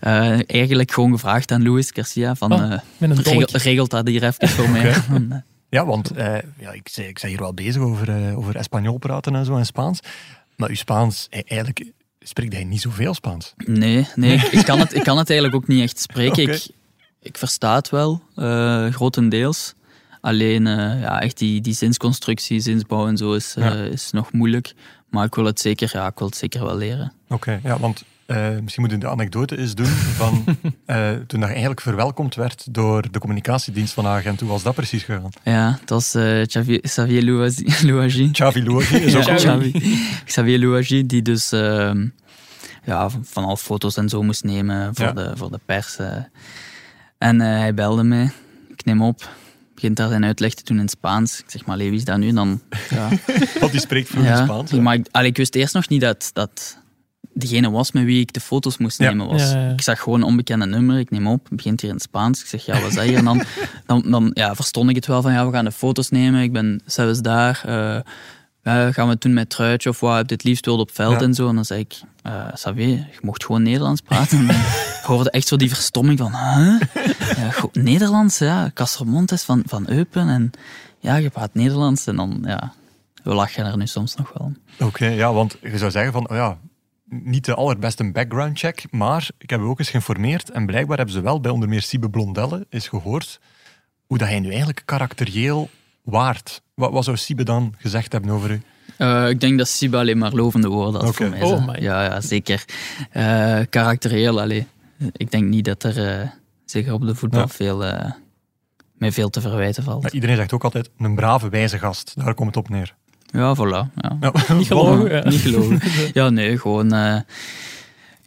S4: eh, eigenlijk gewoon gevraagd aan Luis Garcia van...
S3: Oh,
S4: eh,
S3: Met een
S4: regel-
S3: dolk.
S4: regelt dat hier even
S3: [laughs]
S4: voor mij?
S1: Oké.
S4: Dan, eh,
S1: Ja, want eh, ja, ik, zei- ik ben hier wel bezig over, eh over Espanol praten en zo en Spaans. Maar uw Spaans, eh, eigenlijk spreekt hij niet zoveel Spaans.
S4: Nee,
S1: [laughs]
S4: nee ik, ik kan het, ik kan het eigenlijk ook niet echt spreken.
S1: Oké.
S4: Ik, ik versta het wel, eh, grotendeels. Alleen eh, ja, echt die, die zinsconstructie, zinsbouw en zo is, eh,
S1: Ja.
S4: is nog moeilijk. Maar ik wil het zeker, ja, ik wil het zeker wel leren.
S1: Oké, ja, want eh, misschien moet ik de anekdote eens doen [laughs] van eh, toen dat eigenlijk verwelkomd werd door de communicatiedienst van Agent. Hoe was dat precies gegaan?
S4: Ja, dat was eh, Xavier- Xavier [laughs] Louagie- Louagie.
S1: Xavi Luogi is ook
S4: Ja,
S1: wel-
S4: Xavi. [laughs] Xavier Louagie, die dus ehm, ja, van, van al foto's en zo moest nemen voor,
S1: Ja.
S4: de, voor de pers. eh. En eh, hij belde mij, ik neem op, begint daar zijn uitleg te doen in Spaans. Ik zeg maar, "Allee, wie is dat nu? Dan, ja.
S1: want die spreekt vloeiend Spaans. hè.
S4: Maar ik, allee, ik wist eerst nog niet dat dat degene was met wie ik de foto's moest
S1: Ja.
S4: nemen was.
S3: Ja, ja, ja.
S4: Ik zag gewoon een onbekende nummer, ik neem op, het begint hier in het Spaans. Ik zeg, ja, wat is dat hier? En
S3: [laughs]
S4: dan, dan, dan ja, verstond ik het wel van, ja, we gaan de foto's nemen, ik ben zelfs daar. eh, ja, gaan we het doen met truitje of wat, heb je het liefst wel op het veld
S1: Ja.
S4: en zo. En dan zei ik, eh Xavier, je mocht gewoon Nederlands praten.
S3: [laughs]
S4: En ik hoorde echt zo die verstomming van, huh? Ja, goed, Nederlands, ja, Castermont is van, van Eupen en ja, je praat Nederlands. En dan, ja, we lachen er nu soms nog wel om.
S1: Oké, ja, want je zou zeggen van, oh ja, niet de allerbeste background check, maar ik heb u ook eens geïnformeerd en blijkbaar hebben ze wel bij onder meer Siebe Blondelle eens gehoord hoe dat hij nu eigenlijk karakterieel waard. Wat, wat zou Siebe dan gezegd hebben over u?
S4: Eh, ik denk dat Siba alleen maar lovende woorden had
S1: Oké.
S4: voor mij.
S3: Oh
S4: zei.
S3: my.
S4: ja, ja, zeker. Eh, karakterieel, allee. Ik denk niet dat er, eh, zeker op de voetbal,
S1: Ja.
S4: veel, eh mij veel te verwijten valt.
S1: Ja, iedereen zegt ook altijd, een brave, wijze gast. Daar komt het op neer.
S4: Ja, voilà. Ja.
S1: Ja,
S3: [laughs] Niet gelogen. ja.
S4: Niet
S3: [laughs]
S4: gelogen. ja, nee, gewoon... eh,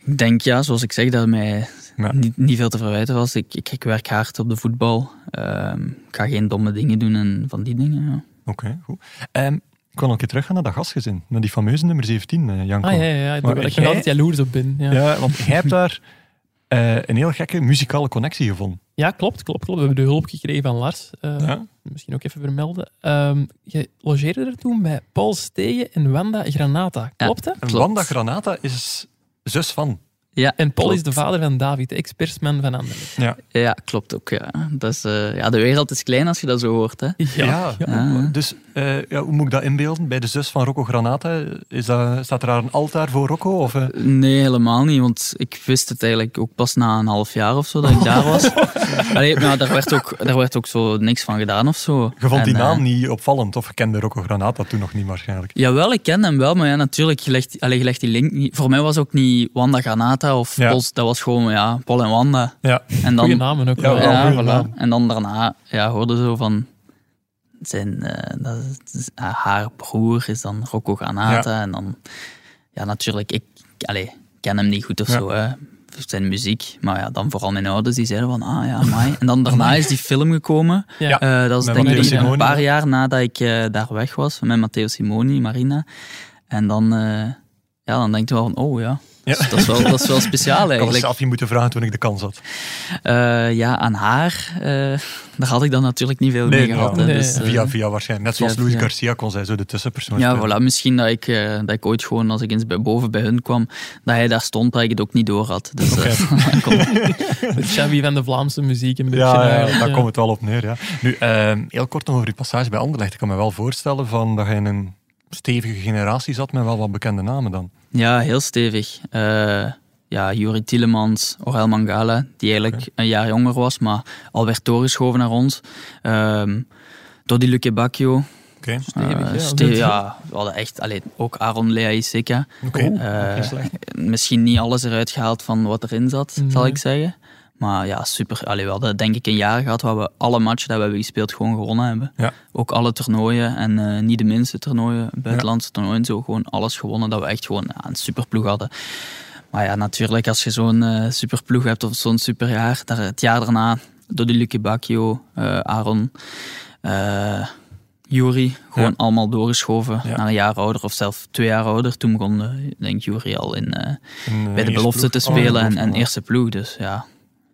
S4: ik denk, ja, zoals ik zeg, dat mij
S1: Ja.
S4: niet, niet veel te verwijten was. Ik, ik, ik werk hard op de voetbal. Ehm, ik ga geen domme dingen doen en van die dingen, ja.
S1: Oké, goed. Ehm, Ik kon al een keer teruggaan naar dat gastgezin. Naar die fameuze nummer 17, eh, Janko.
S3: Ah ja, ja, ja. ik
S1: Maar
S3: ben- ik
S1: jij-
S3: ben altijd jaloers op ben. Ja, ja.
S1: Ja, want jij hebt daar eh, een heel gekke muzikale connectie gevonden.
S3: klopt, klopt, klopt. We hebben de hulp gekregen van Lars. eh,
S1: Ja.
S3: Misschien ook even vermelden. Ehm, je logeerde er toen bij Paul Stegen en Wanda Granata.
S4: Ja.
S3: Klopt, hè?
S1: En
S4: Klopt.
S1: Wanda Granata is zus van.
S4: Ja,
S3: En Paul is
S4: klopt.
S3: de vader van David, de expertsman van Anderlecht.
S4: Ja, klopt ook. Ja. Dat is, eh, ja, de wereld is klein als je dat zo hoort. Hè.
S1: Ja.
S4: Ja.
S1: Dus eh, ja, hoe moet ik dat inbeelden? Bij de zus van Rocco Granata, is dat, staat er daar een altaar voor Rocco? Of, eh?
S4: Nee, helemaal niet. Want ik wist het eigenlijk ook pas na een half jaar of zo dat ik daar
S1: [laughs]
S4: was. Allee, nou, daar, werd ook, daar werd ook zo niks van gedaan of zo.
S1: Je vond die
S4: En,
S1: naam
S4: eh,
S1: niet opvallend, of je kende Rocco Granata toen nog niet waarschijnlijk.
S4: Jawel, ik ken hem wel, maar ja, natuurlijk, je legt, allee, je legt die link niet. Voor mij was ook niet Wanda Granata of
S1: Ja.
S4: Pols, dat was gewoon ja, Paul en Wanda.
S1: Ja.
S4: En
S3: Goeie
S4: dan,
S3: namen ook.
S1: Ja,
S3: wel.
S1: wel,
S4: ja,
S1: goeie
S4: voilà.
S1: naam.
S4: en dan daarna ja, hoorde zo van zijn, eh, dat is- ah, haar broer is dan Rocco Granata. En dan, ja, natuurlijk, ik allee, ik ken hem niet goed of
S1: Ja.
S4: zo. Hè. Zijn muziek, maar ja, dan vooral mijn ouders die zeiden van ah ja, amai. En dan daarna is die film gekomen.
S3: Ja.
S4: Eh, dat
S1: Met
S4: was denk
S1: Matteo
S4: ik
S1: Simoni.
S4: een paar jaar nadat ik eh, daar weg was met Matteo Simoni, Marina. En dan, eh, ja, dan denk je wel van oh ja,
S1: Ja.
S4: Dat, is wel, dat is wel
S1: [laughs]
S4: speciaal
S1: Ik had het
S4: eigenlijk.
S1: zelf niet moeten vragen toen ik de kans had.
S4: Eh, ja, aan haar, eh, [laughs] daar had ik dan natuurlijk niet veel
S1: Nee,
S4: mee
S1: ja.
S4: gehad. hè,
S3: Nee.
S4: dus, eh,
S1: Via via waarschijnlijk. Net zoals
S4: via,
S1: Luis
S4: via.
S1: Garcia kon zij zo de tussenpersoon
S4: Ja,
S1: spelen.
S4: voilà. Misschien dat ik, eh, dat ik ooit gewoon, als ik eens bij boven bij hun kwam, dat hij daar stond, dat ik het ook niet door had. Dus, eh, [laughs] kom.
S3: De Chevy van de Vlaamse muziek een eh, beetje.
S1: Ja, ja,
S3: eigenlijk,
S1: daar
S3: ja.
S1: komt het wel op neer. Ja. Nu, ehm, heel kort nog over die passage bij Anderlecht. Ik kan me wel voorstellen van dat je in een stevige generatie zat met wel wat bekende namen dan.
S4: Ja, heel stevig. Eh, ja, Juri Tielemans, Orel Mangala, die eigenlijk een jaar jonger was, maar al werd doorgeschoven naar ons. Ehm Dodi Luque Bacchio.
S1: Oké.
S3: Stevig,
S4: Eh,
S3: ja.
S4: ste- ja, we hadden echt, allee, ook Aaron Leaiseka.
S1: Oké.
S4: Eh,
S1: Geen slecht. Mhm.
S4: misschien niet alles eruit gehaald van wat erin zat,
S3: Nee.
S4: zal ik zeggen. Maar ja, super. Allee, we hadden denk ik een jaar gehad waar we alle matchen dat we hebben gespeeld gewoon gewonnen hebben.
S1: Ja.
S4: Ook alle toernooien en eh, niet de minste toernooien, buitenlandse toernooien, zo gewoon alles gewonnen. Dat we echt gewoon ja, een superploeg hadden. Maar ja, natuurlijk, als je zo'n eh, superploeg hebt of zo'n superjaar, daar, het jaar daarna, Dodi Luke Bacchio, eh, Aaron, eh Juri, gewoon
S1: Ja.
S4: allemaal doorgeschoven
S1: Ja.
S4: naar een jaar ouder of zelf twee jaar ouder. Toen begon, eh, denk ik, Juri al in, eh,
S1: Een, eh,
S4: bij de
S1: eerste
S4: belofte
S1: ploeg.
S4: te
S1: Oh,
S4: spelen en,
S1: belofte,
S4: en
S1: ja.
S4: eerste ploeg. Dus ja,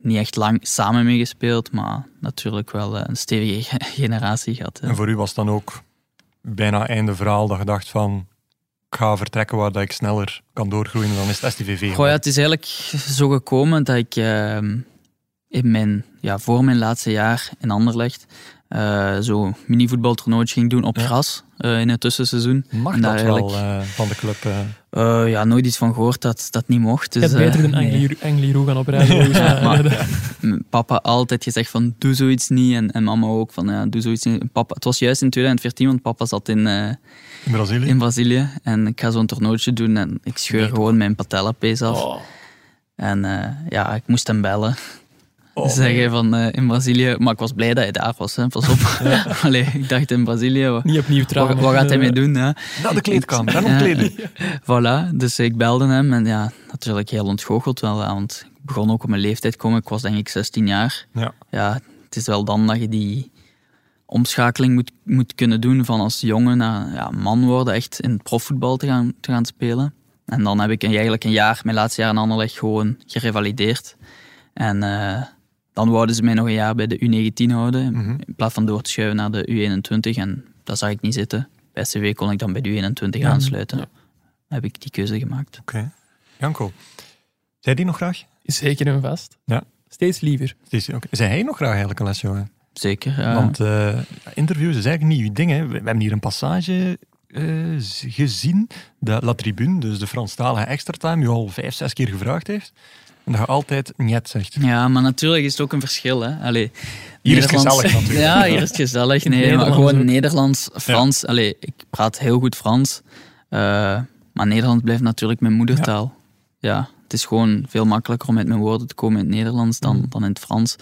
S4: niet echt lang samen meegespeeld, maar natuurlijk wel eh, een stevige [laughs] ge- generatie gehad. hè.
S1: En voor u was dan ook bijna einde verhaal dat je dacht van ik ga vertrekken waar dat ik sneller kan doorgroeien dan is het STVV.
S4: Goh, ja, het is eigenlijk zo gekomen dat ik ehm, in mijn, ja, voor mijn laatste jaar in Anderlecht eh zo mini-voetbaltoernooitje ging doen op
S1: Ja.
S4: gras eh, in het tussenseizoen.
S1: Mag
S4: en
S1: dat
S4: daar
S1: wel
S4: eigenlijk-
S1: eh, van de club? eh?
S4: Eh, ja, nooit iets van gehoord dat dat niet mocht.
S3: Je
S4: Dus,
S3: hebt
S4: eh,
S3: beter dan
S4: [laughs] nee.
S3: Angli- Angli Roe gaan
S1: [laughs]
S3: oprijden. volgens mij. [laughs]
S4: [laughs] maar-
S3: Ja,
S4: M- papa altijd gezegd van doe zoiets niet en, en mama ook van ja, doe zoiets niet. Papa, het was juist in 2014, want papa zat in, eh,
S1: in Brazilië?
S4: in Brazilië en ik ga zo'n toernooitje doen en ik scheur gewoon mijn patellapees af.
S3: Oh.
S4: En eh, ja, ik moest hem bellen.
S1: Oh,
S4: zeggen van eh, in Brazilië, maar ik was blij dat hij daar was, hè. pas op. [laughs] Allee, ik dacht in Brazilië, wa-
S3: Niet opnieuw
S4: wat,
S3: trouwen. dus, eh,
S4: wat gaat hij mee doen? Hè?
S1: Naar de kleedkamer, en
S4: Ja.
S1: omkleden.
S4: [laughs] Voilà, dus ik belde hem en ja, natuurlijk heel ontgoocheld wel, hè, want ik begon ook op mijn leeftijd te komen, ik was denk ik 16 jaar.
S1: Ja.
S4: ja, het is wel dan dat je die omschakeling moet, moet kunnen doen van als jongen naar ja, man worden, echt in het profvoetbal te gaan, te gaan spelen. En dan heb ik een- eigenlijk een jaar, mijn laatste jaar in Anderlecht, gewoon gerevalideerd. En eh, dan wouden ze mij nog een jaar bij de U19 houden, in-
S1: Mhm.
S4: in plaats van door te schuiven naar de U21. En dat zag ik niet zitten. Bij CW kon ik dan bij de U21 aansluiten.
S3: ja.
S4: Heb ik die keuze gemaakt.
S1: Oké. Janko, zei die nog graag?
S3: Zeker en vast.
S1: Ja.
S3: Steeds liever.
S1: Is die- oké. Zei hij nog graag eigenlijk een lesjongen?
S4: Zeker. ja.
S1: Want eh, interviews is eigenlijk niet uw ding. Hè. We, we hebben hier een passage eh, z- gezien dat La Tribune, dus de Franstalige extra time, u al vijf, zes keer gevraagd heeft. En dat je altijd niet zegt.
S4: Ja, maar natuurlijk is het ook een verschil. Hè. Allee,
S1: Hier is het
S4: Nederlands-
S1: gezellig natuurlijk.
S4: Ja, hier is het gezellig.
S3: In het
S4: Nee, maar
S3: Nederlands
S4: gewoon
S3: ook.
S4: Nederlands, Frans. Allee, ik praat heel goed Frans. eh, maar Nederlands blijft natuurlijk mijn moedertaal. Ja. het is gewoon veel makkelijker om met mijn woorden te komen in het Nederlands dan,
S1: Mm.
S4: dan in het Frans.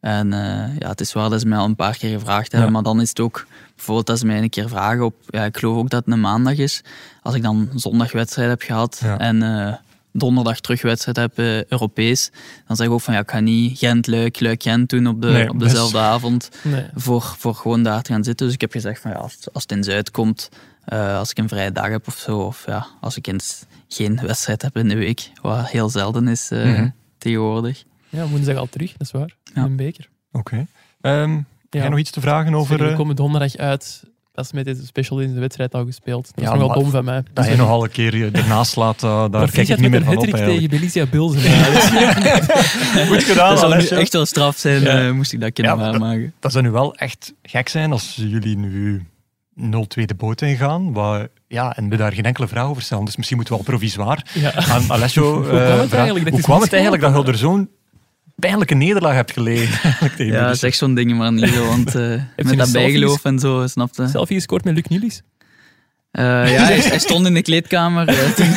S4: En eh, ja, het is waar dat ze mij al een paar keer gevraagd hebben.
S1: Ja.
S4: Maar dan is het ook, bijvoorbeeld dat ze mij een keer vragen op... Ja, ik geloof ook dat het een maandag is. Als ik dan zondag wedstrijd heb gehad
S1: Ja.
S4: en eh, donderdag terug wedstrijd heb, eh, Europees. Dan zeg ik ook van, ja, ik ga niet Gent-Luik, Luik-Gent doen op, de,
S1: Nee,
S4: op
S1: dat is-
S4: dezelfde avond
S3: Nee.
S4: voor, voor gewoon daar te gaan zitten. Dus ik heb gezegd van ja, als, als het in Zuid komt, eh, als ik een vrije dag heb of zo. Of ja, als ik eens geen wedstrijd heb in de week, wat heel zelden is eh,
S1: Mhm.
S4: tegenwoordig.
S3: Ja, woensdag al terug, dat is waar.
S4: Ja.
S3: In een beker.
S1: Oké. Ehm
S3: Ja.
S1: Heb jij nog iets te vragen over...
S3: Sorry,
S1: eh,
S3: we komen donderdag uit. Dat is met deze special in de wedstrijd al gespeeld. Dat
S1: Ja,
S3: is nogal
S1: maar-
S3: dom van mij. Dus-
S1: dat je nogal een keer je ernaast laat, eh, daar
S3: maar
S1: kijk ik
S3: Vincent
S1: niet
S3: met
S1: meer
S3: een
S1: van op.
S3: hattrick
S1: eigenlijk.
S3: tegen Belicia Bilzen. Ja, dat is-
S1: Goed gedaan,
S4: dat zou nu
S1: Alessio.
S4: echt wel straf zijn,
S1: Ja.
S4: eh, moest ik dat kunnen
S1: Ja, maar dat-
S4: waarmaken.
S1: Dat zou nu wel echt gek zijn als jullie nu 0-2 de boot ingaan. Waar, ja, en we daar geen enkele vraag over stellen. Dus misschien moeten we al provisoir
S3: [laughs] ja.
S1: aan Alessio
S3: [laughs] Hoe kwam het
S1: eh,
S3: eigenlijk?
S1: vragen.
S3: Dat
S1: Hoe
S3: is
S1: kwam
S3: niet
S1: het eigenlijk dat
S3: gelopen.
S1: je er zo'n pijnlijke nederlaag hebt gelegen? [laughs] eigenlijk tegen Dus
S4: Ja,
S1: Belize?
S4: dat is echt zo'n ding, maar niet zo,
S1: [laughs]
S4: want eh,
S3: een
S4: met dat
S3: selfie
S4: bijgeloof en zo, snapte.
S3: Selfie gescoord met Luc Nielis.
S4: Eh, ja, hij, hij stond in de
S1: [laughs]
S4: kleedkamer. eh, toen-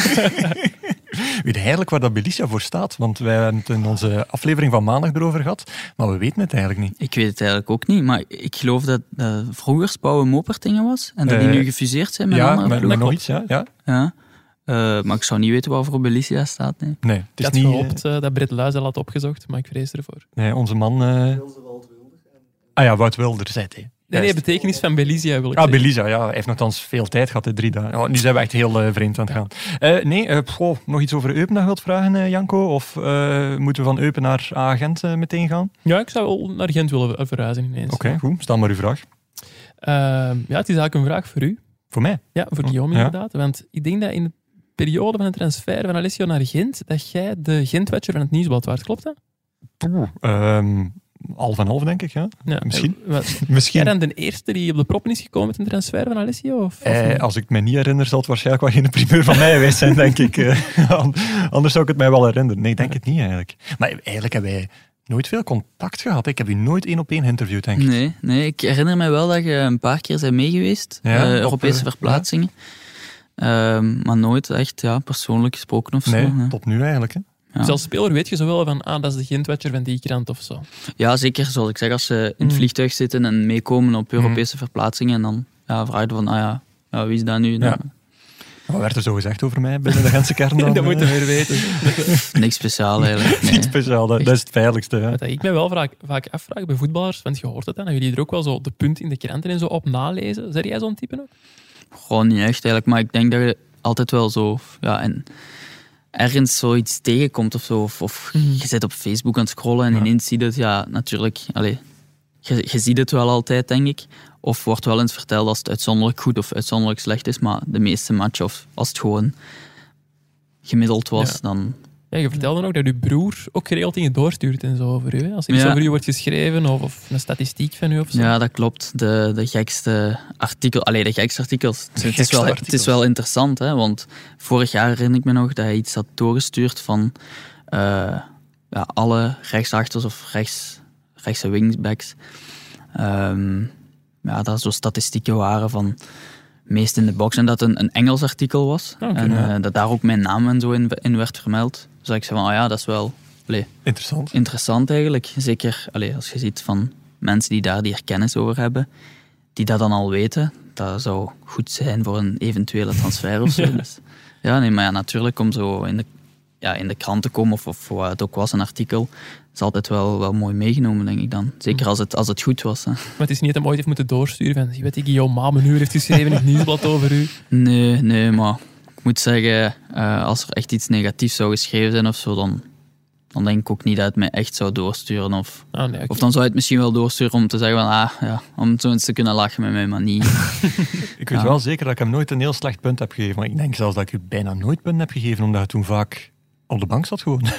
S1: weet eigenlijk waar dat Belicia voor staat. Want wij hebben het in onze aflevering van maandag erover gehad. Maar we weten het eigenlijk niet.
S4: ik weet het eigenlijk ook niet, maar ik geloof dat eh, vroeger Spouwen Mopertingen was en dat die
S1: Eh,
S4: nu gefuseerd zijn met
S1: ja,
S4: andere
S1: met, met
S4: ploegen.
S1: nog iets. Ja, ja.
S4: Ja. Eh, maar ik zou niet weten waarvoor Belicia staat. Nee.
S1: Nee, het
S3: Ik
S1: is
S3: had
S1: niet eh,
S3: gehoopt eh, dat Britt Luijs dat had opgezocht, maar ik vrees ervoor.
S1: nee, onze man. eh, Ah ja, Wout Wilder, zei hij.
S3: Nee, nee,
S1: Juist.
S3: betekenis van Belicia wil ik
S1: Ah,
S3: zeggen.
S1: Belisa, ja. Hij heeft nogthans veel tijd gehad, hè, drie dagen. Oh, nu zijn we echt heel eh, vreemd aan het gaan. Eh, nee, eh, goh, nog iets over Eupen dat je wilt vragen, eh, Janko? Of eh, moeten we van Eupen naar agent meteen gaan?
S3: Ja, ik zou wel naar Gent willen ver- verhuizen ineens.
S1: Oké, goed. Stel maar uw vraag.
S3: Ehm, ja, het is eigenlijk een vraag voor u.
S1: Voor mij?
S3: Ja, voor Guillaume
S1: Ja.
S3: inderdaad. Want ik denk dat in de periode van de transfer van Alessio naar Gent, dat jij de Gent-watcher van het nieuwsblad waard klopt dat?
S1: Ehm, half en half, denk ik, ja.
S3: Ja.
S1: Misschien.
S3: Eh, wat-
S1: Misschien.
S3: Jij dan de eerste die op de proppen is gekomen met een transfer van Alessio? Of, of
S1: Eh,
S3: niet?
S1: als ik het me niet herinner, zal het waarschijnlijk wel geen primeur van mij geweest zijn, denk ik. Eh, [laughs] an- Anders zou ik het mij wel herinneren. Nee, ik denk het niet eigenlijk. Maar eigenlijk hebben wij nooit veel contact gehad. Ik heb u nooit één op één geïnterviewd, denk ik.
S4: Nee, nee, ik herinner me wel dat je een paar keer bent meegeweest.
S1: Ja,
S4: eh,
S1: op,
S4: Europese
S1: eh,
S4: verplaatsingen. Ehm, maar nooit echt ja, persoonlijk gesproken of zo.
S1: Nee,
S4: ja.
S1: tot nu eigenlijk. Hè.
S4: Ja.
S3: Dus als speler weet je zo wel van, ah, dat is de Gent-watcher van die krant of zo.
S4: [laughs] Ja, zeker. Zoals ik zeg, als ze in
S3: Mm.
S4: het vliegtuig zitten en meekomen
S1: Mm.
S4: op Europese verplaatsingen. En dan ja, vraag je van, ah ja, ja, wie is dat nu? Dan-
S1: Ja. Wat werd er zo gezegd over mij binnen de Gentse kern dan?
S3: dat
S1: eh? [laughs]
S3: moeten we weer weten.
S4: Niks speciaal eigenlijk. Nee.
S1: Niet speciaal, dat, dat is het veiligste. Hè.
S3: Wat ik me wel vaak, vaak afvraag bij voetballers, want je hoort het dan, dat jullie er ook wel zo de punten in de kranten en zo op nalezen. Zeg jij zo'n type ook?
S4: Gewoon niet echt eigenlijk. Maar ik denk dat je altijd wel zo... Ja, en ergens zoiets tegenkomt of zo. Of, of je zit op Facebook aan het scrollen en
S1: Ja.
S4: ineens zie je het. Ja, natuurlijk. Allee, je, je ziet het wel altijd, denk ik. Of wordt wel eens verteld als het uitzonderlijk goed of uitzonderlijk slecht is. Maar de meeste matchen, of als het gewoon gemiddeld was,
S3: Ja.
S4: dan...
S3: Ja, je vertelde ook dat je broer ook geregeld dingen doorstuurt en zo over u. hè. Als er iets
S4: Ja.
S3: over u wordt geschreven of, of een statistiek van u of zo.
S4: Ja, dat klopt. De, de gekste artikel, allee, de gekste artikels. Het, is
S1: gekste
S4: wel,
S1: artikels.
S4: het is wel interessant, hè? want vorig jaar herinner ik me nog dat hij iets had doorgestuurd van eh, ja, alle rechtsachters of rechts, rechtse wingbacks. Ehm, ja, dat er zo statistieken waren van meest in de box. En dat een, een Engels artikel was.
S3: Oké,
S4: en
S1: ja.
S4: eh, dat daar ook mijn naam en zo in, in werd vermeld. Dus dat ik zei van, ah ja, dat is wel
S1: Interessant.
S4: interessant eigenlijk. Zeker allee, als je ziet van mensen die daar die er kennis over hebben, die dat dan al weten. Dat zou goed zijn voor een eventuele transfer of zo. Dus- Ja, nee, maar ja, natuurlijk om zo in de, ja, in de krant te komen of, of wat het ook was, een artikel, is altijd wel, wel mooi meegenomen, denk ik dan. Zeker als het, als het goed was. Hè.
S3: Maar het is niet dat hem ooit heeft moeten doorsturen van, je weet die Guillaume Maam een uur heeft geschreven in het nieuwsblad over u.
S4: Nee, nee, maar ik moet zeggen, eh, als er echt iets negatiefs zou geschreven zijn of zo, dan, dan denk ik ook niet dat het mij echt zou doorsturen of...
S3: Ah, nee, oké.
S4: Of dan zou je het misschien wel doorsturen om te zeggen van, ah, ja, om zo eens te kunnen lachen met mij, maar niet.
S1: Ik weet
S4: Ja.
S1: wel zeker dat ik hem nooit een heel slecht punt heb gegeven. Maar ik denk zelfs dat ik u bijna nooit punten heb gegeven, omdat je toen vaak op de bank zat gewoon. [laughs]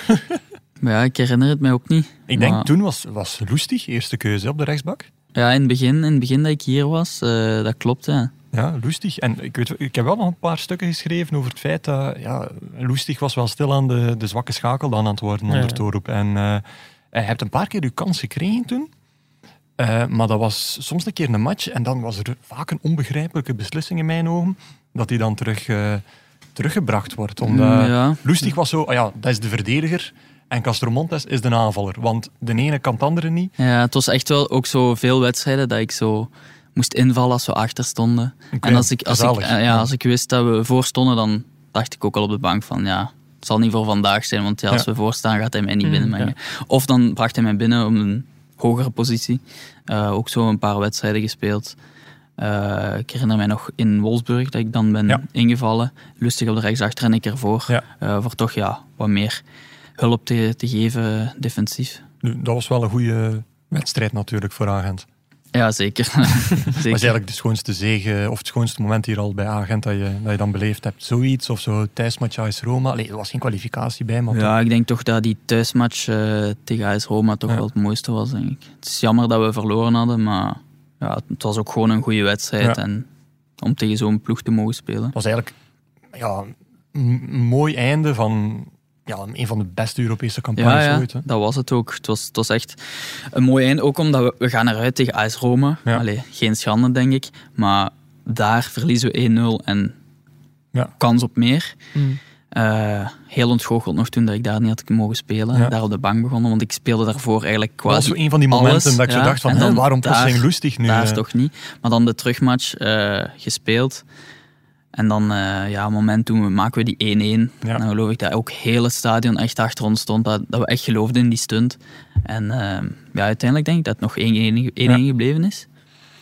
S4: Maar [laughs] ja, ik herinner het mij ook niet.
S1: Ik denk,
S4: Maar-
S1: toen was, was Loestig eerste keuze op de rechtsbak.
S4: Ja, in het begin, in het begin dat ik hier was, eh, dat klopt, ja.
S1: Ja, Loestig. En ik, weet, ik heb wel nog een paar stukken geschreven over het feit dat ja, Loestig was wel stil aan de, de zwakke schakel dan aan het worden
S3: Ja.
S1: onder Torop. En eh, je hebt een paar keer uw kans gekregen toen. Eh, maar dat was soms een keer een match en dan was er vaak een onbegrijpelijke beslissing in mijn ogen dat die dan terug, eh, teruggebracht wordt. Omdat,
S4: Mm, ja.
S1: Lustig was zo, ah ja, dat is de verdediger en Castromontes is de aanvaller. Want de ene kan de andere niet.
S4: ja, het was echt wel ook zo veel wedstrijden dat ik zo moest invallen als we achter stonden.
S1: Oké,
S4: en als ik, als, ik,
S1: zalig.
S4: eh, ja, als ik wist dat we voor stonden, dan dacht ik ook al op de bank van, ja, het zal niet voor vandaag zijn, want ja, als
S1: Ja.
S4: we voor staan gaat hij mij niet
S3: Mm,
S4: binnenbrengen. Of dan bracht hij mij binnen om een hogere positie. Eh, ook zo een paar wedstrijden gespeeld. Eh, ik herinner mij nog in Wolfsburg dat ik dan ben
S1: Ja.
S4: ingevallen. Lustig op de rechtsachter en ik ervoor.
S1: Ja.
S4: Eh, voor toch ja, wat meer hulp te, te geven eh, defensief.
S1: Nu, dat was wel een goede wedstrijd natuurlijk voor Agent.
S4: Ja, zeker. [laughs]
S1: [laughs] Dat is
S4: zeker.
S1: eigenlijk de schoonste zege of het schoonste moment hier al bij Agent dat je, dat je dan beleefd hebt. Zoiets of zo, thuismatch AS Roma. Allee, er was geen kwalificatie bij, maar
S4: Ja, ik denk toch dat die thuismatch eh, tegen AS Roma toch
S1: Ja.
S4: wel het mooiste was, denk ik. Het is jammer dat we verloren hadden, maar ja, het- het was ook gewoon een goede wedstrijd.
S1: Ja.
S4: En om tegen zo'n ploeg te mogen spelen.
S1: Het was eigenlijk ja, een mooi einde van ja, een van de beste Europese
S4: Ja,
S1: campagnes
S4: ja
S1: ooit. Hè.
S4: dat was het ook. Het was, het was echt een mooi einde. Ook omdat we, we gaan eruit tegen AS Roma.
S1: Ja.
S4: Allee, geen schande, denk ik. Maar daar verliezen we 1-0 en
S1: Ja.
S4: kans op meer.
S3: Mm.
S4: Eh, heel ontgoocheld nog toen dat ik daar niet had mogen spelen.
S1: Ja.
S4: Daar op de bank begonnen, want ik speelde daarvoor eigenlijk
S1: Dat was
S4: quasi
S1: zo een van die momenten
S4: alles,
S1: dat ik zo
S4: ja.
S1: dacht van,
S4: En
S1: hè,
S4: dan
S1: waarom plotseling
S4: daar-
S1: lustig nu?
S4: daar
S1: eh?
S4: toch niet. Maar dan de terugmatch eh, gespeeld. En dan, eh ja, moment toen we maken we die 1-1.
S1: Ja.
S4: Dan geloof ik dat ook heel het stadion echt achter ons stond. Dat, dat we echt geloofden in die stunt. En eh, ja, uiteindelijk denk ik dat het nog 1-1 ge- 1-1 gebleven is.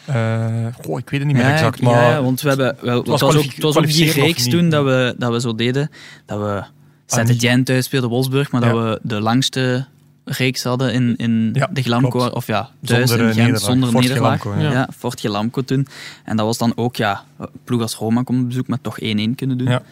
S1: Eh, goh, ik weet het niet meer
S4: ja,
S1: exact,
S4: ja,
S1: maar
S4: ja, want we hebben, wel, het
S1: was
S4: was, ook,
S1: kwalific-
S4: het was ook die
S1: kwalificeren of
S4: reeks
S1: niet? Ah,
S4: toen dat we, dat we zo deden. Dat we Saint-Etienne thuis speelden, Wolfsburg. Maar dat
S1: Ja.
S4: we de langste reeks hadden in, in
S1: Ja,
S4: de Glamco.
S1: klopt.
S4: Of ja, thuis
S1: zonder
S4: in
S1: eh,
S4: Gent, zonder
S1: Fort
S4: nederlaag.
S1: Gelamco, ja.
S4: Ja. Fort Gelamco toen. En dat was dan ook, ja, ploeg als Roma komt op bezoek, maar toch 1-1 kunnen doen.
S1: Ja.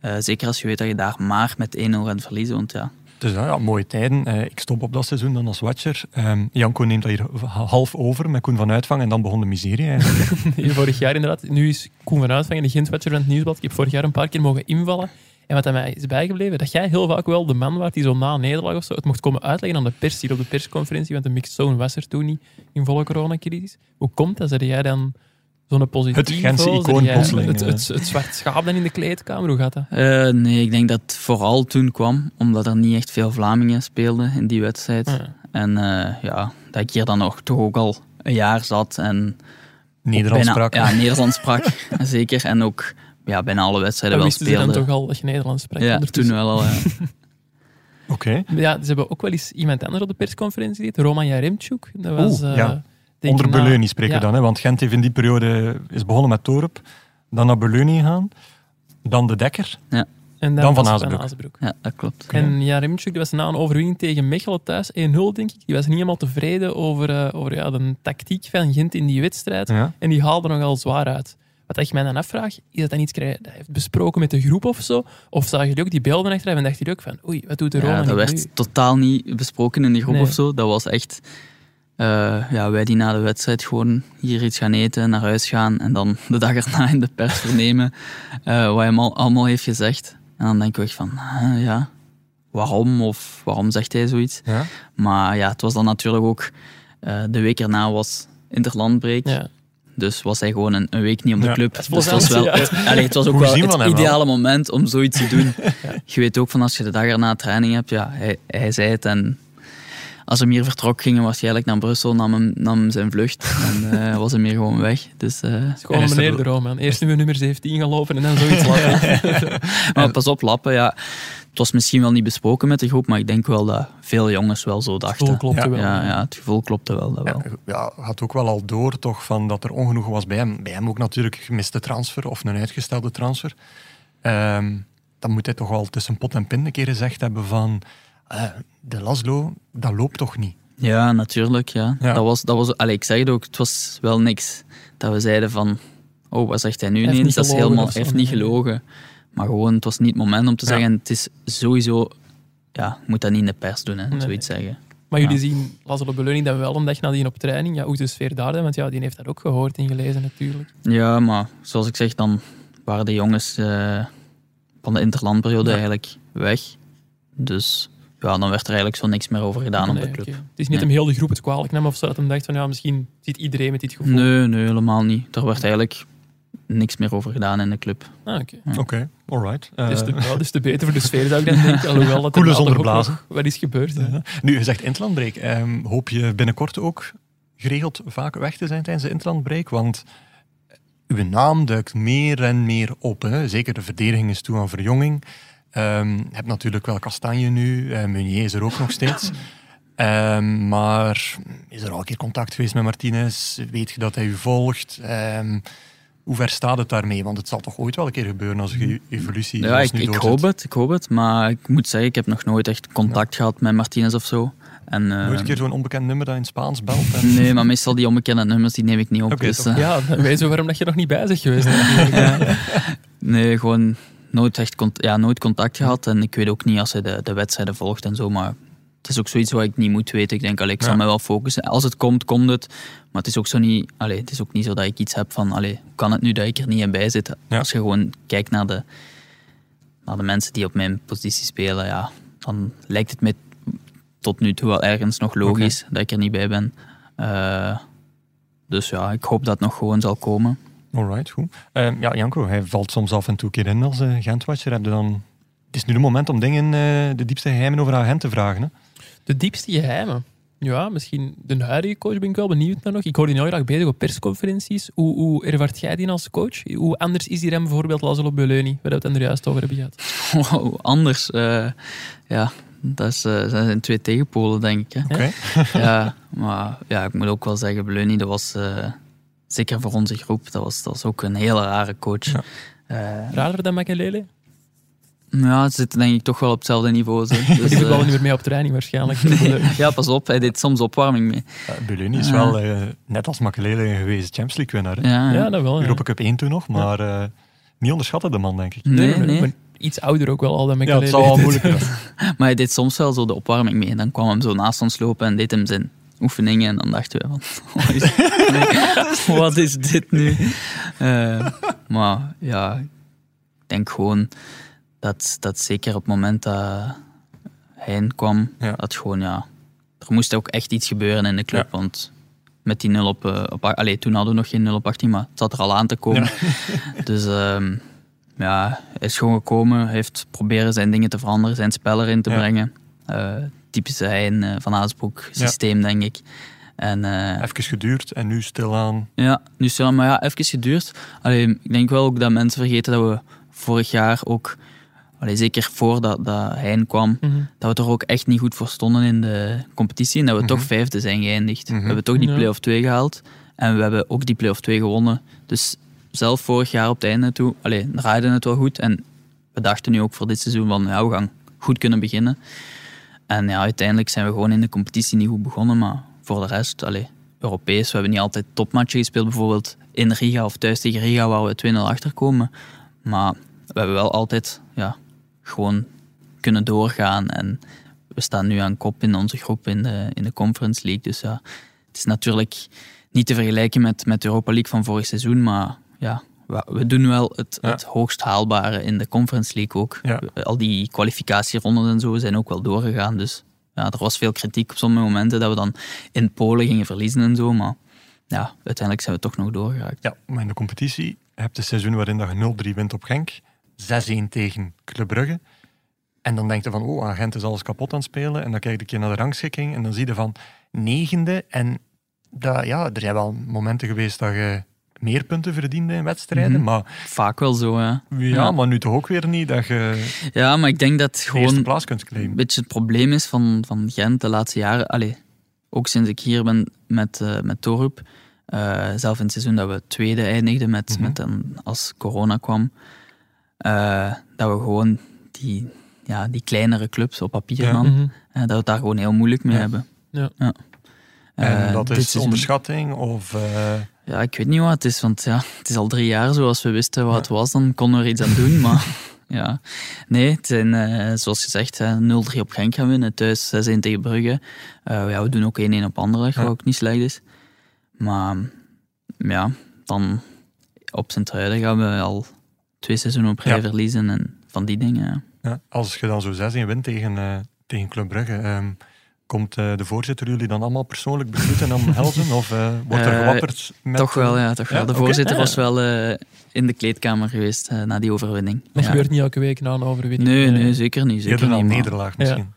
S4: Eh, zeker als je weet dat je daar maar met 1-0 gaat verliezen. Want ja,
S1: Dus ja, ja, mooie tijden. Eh, ik stop op dat seizoen dan als watcher. Ehm, Janko neemt dat hier half over met Koen van Uitvang en dan begon de miserie
S4: [laughs]
S1: eigenlijk.
S3: Hier vorig jaar inderdaad. Nu is Koen van Uitvang in de Gentwetcher van het Nieuwsblad. Ik heb vorig jaar een paar keer mogen invallen. En wat aan mij is bijgebleven, dat jij heel vaak wel de man was die zo na een nederlaag of zo het mocht komen uitleggen aan de pers hier op de persconferentie, want de mixed zone was er toen niet in volle coronacrisis. Hoe komt dat? Zet jij dan zo'n positief?
S1: Het Gentse
S3: Zeg
S1: icoon
S3: jij
S1: plotseling,
S3: Het,
S1: eh.
S3: het, het zwart schaap dan in de kleedkamer, hoe gaat dat?
S4: Eh, nee, ik denk dat het vooral toen kwam, omdat er niet echt veel Vlamingen speelden in die wedstrijd.
S3: Ja.
S4: En eh, ja, dat ik hier dan nog, toch ook al een jaar zat en
S1: Nederlands
S4: bijna-
S1: sprak.
S4: Ja, Nederlands sprak, [laughs] zeker. En ook ja, bijna alle wedstrijden
S3: Dan
S4: wel
S3: wisten ze dan
S4: speelden.
S3: toch al dat je Nederlands sprak.
S4: Ja, eh.
S3: ondertussen.
S4: toen wel al. ja.
S1: Oké.
S3: Ja, ze hebben ook wel eens iemand anders op de persconferentie deed. Roman Jaremchuk. Dat was,
S1: Oeh,
S3: eh,
S1: ja.
S3: denk ik
S1: Onder
S3: na-
S1: Beleunie spreken
S3: ja.
S1: we dan, hè, want Gent heeft in die periode is begonnen met Torup, dan naar Beleunie gegaan, dan de Dekker.
S3: En
S1: Dan Van
S3: was het
S1: Azenbroek.
S4: ja, dat klopt.
S3: En ja, Remchuk die was na een overwinning tegen Mechelen thuis, 1-0 denk ik. Die was niet helemaal tevreden over, eh, over ja, de tactiek van Gent in die wedstrijd.
S1: Ja.
S3: En die haalde nogal zwaar uit. Wat ik mij dan afvraag, is dat dan iets krijg, dat hij heeft besproken met de groep of zo? Of zag jullie ook die beelden achteraf en dacht jullie ook van, oei, wat doet de Roma
S4: Ja, dat
S3: niet
S4: werd
S3: nu?
S4: totaal niet besproken in die groep
S3: Nee.
S4: of zo. Dat was echt eh, ja, wij die na de wedstrijd gewoon hier iets gaan eten, naar huis gaan en dan de dag erna in de pers vernemen eh, wat hij allemaal- allemaal heeft gezegd. En dan denk ik echt van, huh, ja, waarom of waarom zegt hij zoiets?
S1: Ja.
S4: Maar ja, het was dan natuurlijk ook eh, de week erna was interlandbreek.
S3: Ja.
S4: Dus was hij gewoon een, een week niet om de
S1: Ja.
S4: club.
S3: Dat is
S4: Dus het was,
S3: [laughs]
S4: wel,
S3: plezant,
S4: het, allee, het was ook
S1: Goed
S4: wel
S1: zien van
S4: het
S1: hem wel.
S4: ideale moment om zoiets te
S1: [laughs]
S4: doen. Je weet ook van als je de dag erna training hebt, ja, hij, hij zei het. En als hem hier vertrok, ging hij waarschijnlijk naar Brussel, nam, hem, nam zijn vlucht en eh,
S1: [laughs]
S4: was hem hier gewoon weg. Dus, eh,
S3: Het is gewoon
S1: En is er-
S3: meneer de Roma. Eerst nu we nummer 17 gaan lopen en dan
S4: [laughs]
S3: zoiets laten.
S4: maar pas op, Lappen, ja, het was misschien wel niet besproken met de groep, maar ik denk wel dat veel jongens wel zo dachten.
S3: Zo klopte
S1: Ja,
S3: oh, wel.
S4: Ja, ja, het gevoel klopte wel. Dat wel.
S1: Ja, ja, had ook wel al door toch van dat er ongenoegen was bij hem. Bij hem ook natuurlijk gemiste transfer of een uitgestelde transfer. Ehm, dan moet hij toch al tussen pot en pin een keer gezegd hebben van eh, de Laszlo, dat loopt toch niet.
S4: Ja, natuurlijk. Ja.
S1: Ja.
S4: Dat was, dat was, allee, ik zeg het ook, het was wel niks dat we zeiden van, oh, wat zegt hij nu
S3: Hij heeft
S4: ineens?
S3: niet
S4: Dat is
S3: gelogen of
S4: helemaal,
S3: zo,
S4: hij heeft niet
S3: nee.
S4: gelogen. Maar gewoon, het was niet het moment om te
S1: Ja.
S4: zeggen, het is sowieso, ja, je moet dat niet in de pers doen, hè,
S3: Nee.
S4: zoiets zeggen.
S3: Maar jullie
S4: Ja.
S3: zien Lazaro Beleuning dan wel een dag nadien op training. Ja, hoe is de sfeer daar dan? Want ja, die heeft dat ook gehoord en gelezen natuurlijk.
S4: Ja, maar zoals ik zeg, dan waren de jongens eh, van de interlandperiode
S1: Ja.
S4: eigenlijk weg. Dus ja, dan werd er eigenlijk zo niks meer over gedaan op
S3: Nee,
S4: de club.
S3: oké. Het is niet
S4: Nee.
S3: hem heel de groep het kwalijk nam of zo, dat hem dacht van ja, misschien zit iedereen met dit gevoel.
S4: Nee, nee, helemaal niet. Er werd eigenlijk niks meer over gedaan in de club.
S3: Ah, oké.
S1: Oké, alright. Eh,
S3: Dus te, ja, dus te beter voor de sfeer zou ik
S4: [laughs]
S3: dan denken. Alhoewel dat er
S1: Koele
S3: later
S1: zonder
S3: ook nog
S1: blazen.
S3: Wat is gebeurd? hè.
S1: Ja. Nu, je zegt interlandbreek. Ehm, hoop je binnenkort ook geregeld vaak weg te zijn tijdens de interlandbreek? Want uw naam duikt meer en meer op. Hè? Zeker de verdediging is toe aan verjonging. Ehm, je hebt natuurlijk wel Kastanje nu. eh Meunier is er ook nog steeds. Ehm, maar is er al een keer contact geweest met Martinez? Weet je dat hij u volgt? Ehm, hoe ver staat het daarmee? Want het zal toch ooit wel een keer gebeuren als je evolutie
S4: Ja,
S1: zoals
S4: ik,
S1: nu
S4: ik
S1: doorzet.
S4: hoop het, ik hoop het. Maar ik moet zeggen, ik heb nog nooit echt contact gehad met Martinez of zo. En, eh,
S1: Nooit een keer zo'n onbekend nummer dat in het Spaans belt. En...
S4: Nee, maar meestal die onbekende nummers, die neem ik niet op.
S1: Oké,
S4: dus,
S1: top.
S4: eh,
S3: Ja, dan weet je waarom dat je nog niet bij bent geweest.
S4: [laughs] Nee, gewoon nooit echt cont- ja, nooit contact gehad. En ik weet ook niet als hij de, de wedstrijden volgt en zo. Maar het is ook zoiets wat ik niet moet weten. Ik denk, allee, ik zal
S1: Ja.
S4: me wel focussen. Als het komt, komt het. Maar het is ook, zo niet, allee, het is ook niet zo dat ik iets heb van... Allee, hoe kan het nu dat ik er niet in bij zit?
S1: Ja.
S4: Als je gewoon kijkt naar de, naar de mensen die op mijn positie spelen... Ja, dan lijkt het me tot nu toe wel ergens nog logisch dat ik er niet bij ben. Eh, dus ja, ik hoop dat het nog gewoon zal komen.
S1: Alright, goed. Ehm, ja, Janko, hij valt soms af en toe een keer in als eh Gentwatcher. Heb je dan... Het is nu de moment om dingen, eh, de diepste geheimen over agent te vragen. Hè?
S3: De diepste geheimen. Ja, misschien de huidige coach ben ik wel benieuwd naar nog. Ik hoor die heel graag bezig op persconferenties. Hoe, hoe ervaart jij die als coach? Hoe anders is die hem bijvoorbeeld Lazlo Beleuni, waar we het er juist over hebben gehad?
S4: [laughs] Wow, anders. eh, ja, dat is, eh, dat zijn twee tegenpolen, denk ik. Hè?
S1: Oké.
S4: [laughs] Ja, maar ja, ik moet ook wel zeggen, Bleuny, dat was eh, zeker voor onze groep, dat was, dat was ook een hele rare coach.
S1: Ja.
S4: Ja.
S3: Raarder dan Makelele?
S4: ja, het zit denk ik toch wel op hetzelfde niveau. Zo. Dus,
S3: Die
S4: eh,
S3: voetballen niet meer mee op training
S4: [laughs]
S3: waarschijnlijk.
S4: nee. Ja, pas op, hij deed soms opwarming mee.
S1: Eh, Beluni is wel, eh, net als Makelele, geweest Champions League winnaar. hè?
S4: Ja,
S3: Ja, dat wel. ja.
S1: Europa Cup 1 toen nog, maar eh, niet onderschatten de man, denk ik.
S4: Nee,
S3: maar-
S4: nee.
S3: maar Iets ouder ook wel al
S1: Ja,
S3: dan Makelele.
S1: het zal wel
S3: [laughs]
S1: moeilijk zijn.
S4: Maar hij deed soms wel zo de opwarming mee. En dan kwam hem zo naast ons lopen en deed hem zijn oefeningen. En dan dachten we van, wat is, nee, [laughs] wat is dit nu? [laughs] Eh, maar ja, ik denk gewoon dat, dat zeker op het moment dat hij inkwam,
S1: Ja.
S4: dat gewoon ja... Er moest ook echt iets gebeuren in de club, want... Met die 0 op, eh, op a- allee, toen hadden we nog geen 0 op 18, maar het zat er al aan te komen. [laughs] Dus ehm, ja, hij is gewoon gekomen, hij heeft proberen zijn dingen te veranderen, zijn spel erin te
S1: Ja.
S4: brengen. Eh, typische Hein eh, van Haasbroek
S1: Ja.
S4: systeem, denk ik. En eh,
S1: Even geduurd en nu stilaan.
S4: ja, nu stil, maar ja, even geduurd. Alleen, ik denk wel ook dat mensen vergeten dat we vorig jaar ook, allee, zeker voordat dat Hein kwam,
S3: Mhm.
S4: dat we er ook echt niet goed voor stonden in de competitie. En dat we
S1: Mhm.
S4: toch vijfde zijn geëindigd.
S1: Mhm.
S4: We hebben toch die
S3: Ja.
S4: play-off 2 gehaald. En we hebben ook die play-off 2 gewonnen. Dus zelf vorig jaar op het einde toe, allee, draaide het wel goed. En we dachten nu ook voor dit seizoen van, ja, we gaan goed kunnen beginnen. En ja, uiteindelijk zijn we gewoon in de competitie niet goed begonnen. Maar voor de rest, allee, Europees, we hebben niet altijd topmatchen gespeeld. Bijvoorbeeld in Riga of thuis tegen Riga, waar we 2-0 achterkomen. Maar we hebben wel altijd ja, gewoon kunnen doorgaan. En we staan nu aan kop in onze groep in de, in de Conference League. Dus ja, het is natuurlijk niet te vergelijken met, met de Europa League van vorig seizoen. Maar ja, we, we doen wel het,
S1: Ja.
S4: het hoogst haalbare in de Conference League ook.
S1: Ja.
S4: Al die kwalificatieronden en zo zijn ook wel doorgegaan. Dus ja, er was veel kritiek op sommige momenten dat we dan in Polen gingen verliezen en zo. Maar ja, uiteindelijk zijn we toch nog doorgeraakt.
S1: Ja, maar in de competitie heb je het seizoen waarin dat je 0-3 wint op Genk. 6-1 tegen Club Brugge. En dan denk je van, oh, agent is alles kapot aan het spelen. En dan kijk je een keer naar de rangschikking en dan zie je van negende. En dat, ja, er zijn wel momenten geweest dat je meer punten verdiende in wedstrijden.
S4: Mhm.
S1: Maar
S4: Vaak wel zo, ja.
S1: ja,
S4: Ja.
S1: maar nu toch ook weer niet dat je
S4: Ja, maar ik denk dat
S1: de eerste
S4: gewoon
S1: plaats kunt
S4: een
S1: claimen.
S4: beetje het probleem is van, van Gent de laatste jaren. Allee, ook sinds ik hier ben met, eh met Torup. eh, zelf in het seizoen dat we tweede eindigden met,
S1: Mhm.
S4: met een, als corona kwam. eh, dat we gewoon die, ja, die kleinere clubs op papier
S1: Ja.
S4: dan,
S3: Mhm.
S4: eh, dat we het daar gewoon heel moeilijk mee
S1: Ja.
S4: hebben.
S3: Ja.
S1: En
S4: Eh,
S1: dat
S4: dit
S1: is
S4: seizoen-
S1: onderschatting of... eh,
S4: Ja, ik weet niet wat het is, want ja, het is al drie jaar zo. Als we wisten wat het was, dan konden we er iets aan doen. Maar [laughs] ja, nee, het zijn, eh, zoals gezegd, hè, 0-3 op Genk gaan winnen. Thuis 6-1 tegen Brugge. Eh, ja, we doen ook 1-1 op Anderlecht,
S1: Ja.
S4: wat ook niet slecht is. Maar ja, dan op Sint-Truiden gaan we al twee seizoenen op rij
S1: Ja.
S4: verliezen en van die dingen. ja.
S1: Ja, als je dan zo 6-1 wint tegen, eh, tegen Club Brugge, ehm, komt eh, de voorzitter jullie dan allemaal persoonlijk begroeten en
S4: [laughs]
S1: omhelzen? Of eh, wordt er
S4: Eh,
S1: gewapperd met...
S4: Toch wel, ja. Toch
S1: Ja,
S4: wel. De
S1: oké.
S4: voorzitter
S3: Ja.
S4: was wel eh, in de kleedkamer geweest eh, na die overwinning.
S3: Dat
S4: Ja.
S3: gebeurt niet elke week na een overwinning. Eh,
S4: Nee, nee, zeker niet. Zeker
S1: Eerder dan
S4: niet, maar-
S1: nederlaag misschien.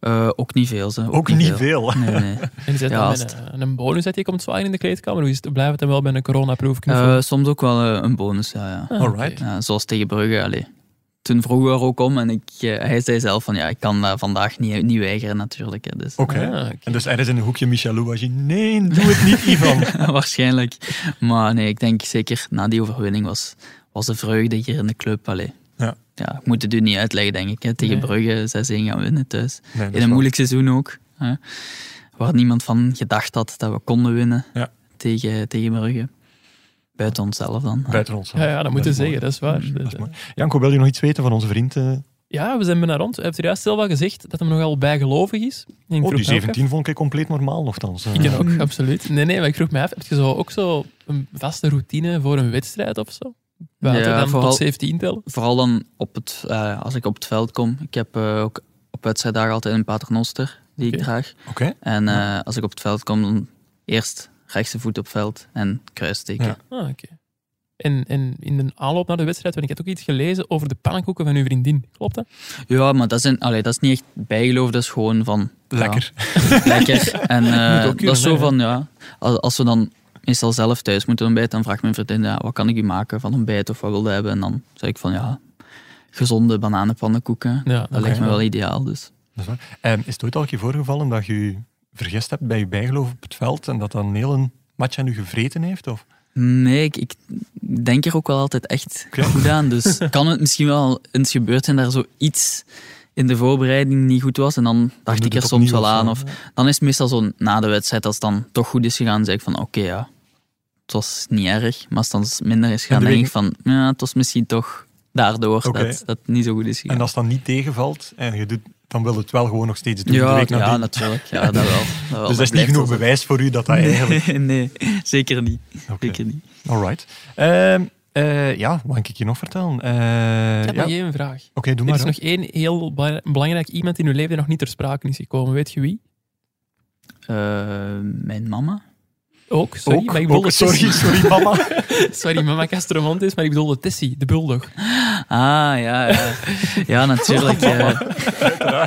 S4: Eh, ook niet veel. Ze.
S1: Ook niet veel. [laughs]
S4: Nee, nee.
S3: En zet
S4: Ja,
S3: dan
S4: als
S3: met een, een bonus dat je komt zwaaien in de kleedkamer. Hoe is het, blijft het dan wel bij een coronaproef? Ah,
S4: Eh, soms ook wel eh, een bonus, ja. ja.
S1: Alright.
S4: Ja, zoals tegen Brugge, allee. toen vroeg er ook om en ik, eh, hij zei zelf van ja, ik kan dat vandaag niet, niet weigeren natuurlijk. Hè, dus.
S1: Oké.
S3: Ah, oké.
S1: En dus ergens in een hoekje Michelou was je, nee, doe het
S4: [laughs]
S1: niet, Ivan.
S4: Waarschijnlijk. Maar nee, ik denk zeker na die overwinning was, was de vreugde hier in de club. Allee.
S1: Ja.
S4: Ja, ik moet het u niet uitleggen, denk ik. Hè. Tegen
S3: Nee.
S4: Brugge 6-1 gaan winnen thuis.
S1: Nee, dat
S4: In
S1: is
S4: een
S1: waar.
S4: moeilijk seizoen ook. Hè. Waar niemand van gedacht had dat we konden winnen
S1: Ja.
S4: tegen, tegen Brugge. Buiten onszelf dan.
S1: Buiten ons.
S3: Ja, ja, dat moet je
S1: is
S3: zeggen,
S1: mooi.
S3: dat is
S4: Mhm,
S3: waar.
S1: Dat is mooi. Janko, wil je nog iets weten van onze vriend? eh?
S3: Ja, we zijn bijna rond. Hij heeft er juist zelf al gezegd dat hem nogal bijgelovig is. Ik
S1: Oh,
S3: vroeg me
S1: die
S3: ook
S1: 17 vond ik compleet normaal, nogthans. eh.
S3: af- Ik ken
S4: Mhm.
S3: ook, absoluut. Nee, nee, maar ik vroeg me af, heb je zo ook zo een vaste routine voor een wedstrijd of zo? Buiten
S4: Ja,
S3: dan
S4: vooral-
S3: tot 17 tellen?
S4: Vooral dan op het, eh, als ik op het veld kom. Ik heb eh, ook op wedstrijddagen altijd een paternoster die ik
S3: Oké.
S4: draag.
S1: Oké.
S4: En eh, als ik op het veld kom, dan eerst rechtse voet op veld en kruis steken.
S1: Ja.
S3: Ah, oké. En, en in de aanloop naar de wedstrijd, want ik had ook iets gelezen over de pannenkoeken van uw vriendin. Klopt dat?
S4: Ja, maar dat is, een, allee, dat is niet echt bijgeloof, dat is
S3: [laughs]
S4: gewoon van... ja,
S1: Lekker.
S4: lekker. En eh,
S3: Moet ook
S4: dat
S3: kunnen,
S4: is zo
S3: hè.
S4: van, ja... Als, als we dan meestal zelf thuis moeten ontbijten, dan vraagt mijn vriendin, ja, wat kan ik u maken van ontbijt of wat wilde hebben? En dan zeg ik van, ja, gezonde bananenpannenkoeken.
S3: Ja,
S4: Dat lijkt me wel ideaal, dus...
S1: Dat is waar. En Ehm, is het ooit al een keer voorgevallen dat je je vergist hebt bij je bijgeloof op het veld en dat dan een hele match aan u gevreten heeft? Of?
S4: Nee, ik, ik denk er ook wel altijd echt
S1: Oké.
S4: goed aan.
S1: [laughs]
S4: Dus kan het misschien wel eens gebeurd zijn dat er zoiets in de voorbereiding niet goed was. En dan dacht
S1: doe
S4: ik
S1: je
S4: er
S1: het
S4: soms
S1: opnieuw
S4: wel
S1: of zo,
S4: aan. Of,
S1: ja.
S4: dan is het meestal zo na de wedstrijd, als het dan toch goed is gegaan, zeg ik van oké ja, het was niet erg. Maar als het dan minder is gegaan,
S1: de
S4: denk ik
S1: week-
S4: van ja, het was misschien toch daardoor
S1: Oké.
S4: dat, dat het niet zo goed is
S1: En
S4: gegaan.
S1: als het dan niet tegenvalt en je doet, dan wil het wel gewoon nog steeds doen. de
S4: ja,
S1: week nadien.
S4: ja, natuurlijk. Ja, dat wel.
S1: dus
S4: wel.
S1: dat is niet
S4: blijft
S1: genoeg
S4: wel zo.
S1: bewijs voor u dat dat eigenlijk...
S4: [laughs] Nee, nee, zeker niet.
S1: Oké.
S4: Zeker niet.
S1: Alright. Ehm, eh, ja, wat kan ik je nog vertellen? Eh,
S3: Ik
S1: ja.
S3: heb
S1: Oké,
S3: nog één vraag.
S1: doe
S3: Er
S1: maar.
S3: is nog één heel bela- belangrijk iemand in uw leven die nog niet ter sprake is gekomen. Weet je wie?
S4: Eh, mijn mama?
S3: Ook, sorry.
S1: Ook,
S3: maar ik
S1: ook,
S3: bedoelde
S1: sorry, sorry mama.
S4: [laughs]
S1: [laughs]
S3: Tessie. [laughs] Sorry, mama Castromont is, maar ik bedoelde Tessie, de bulldog.
S4: Ah, ja, ja. Ja, natuurlijk. ja.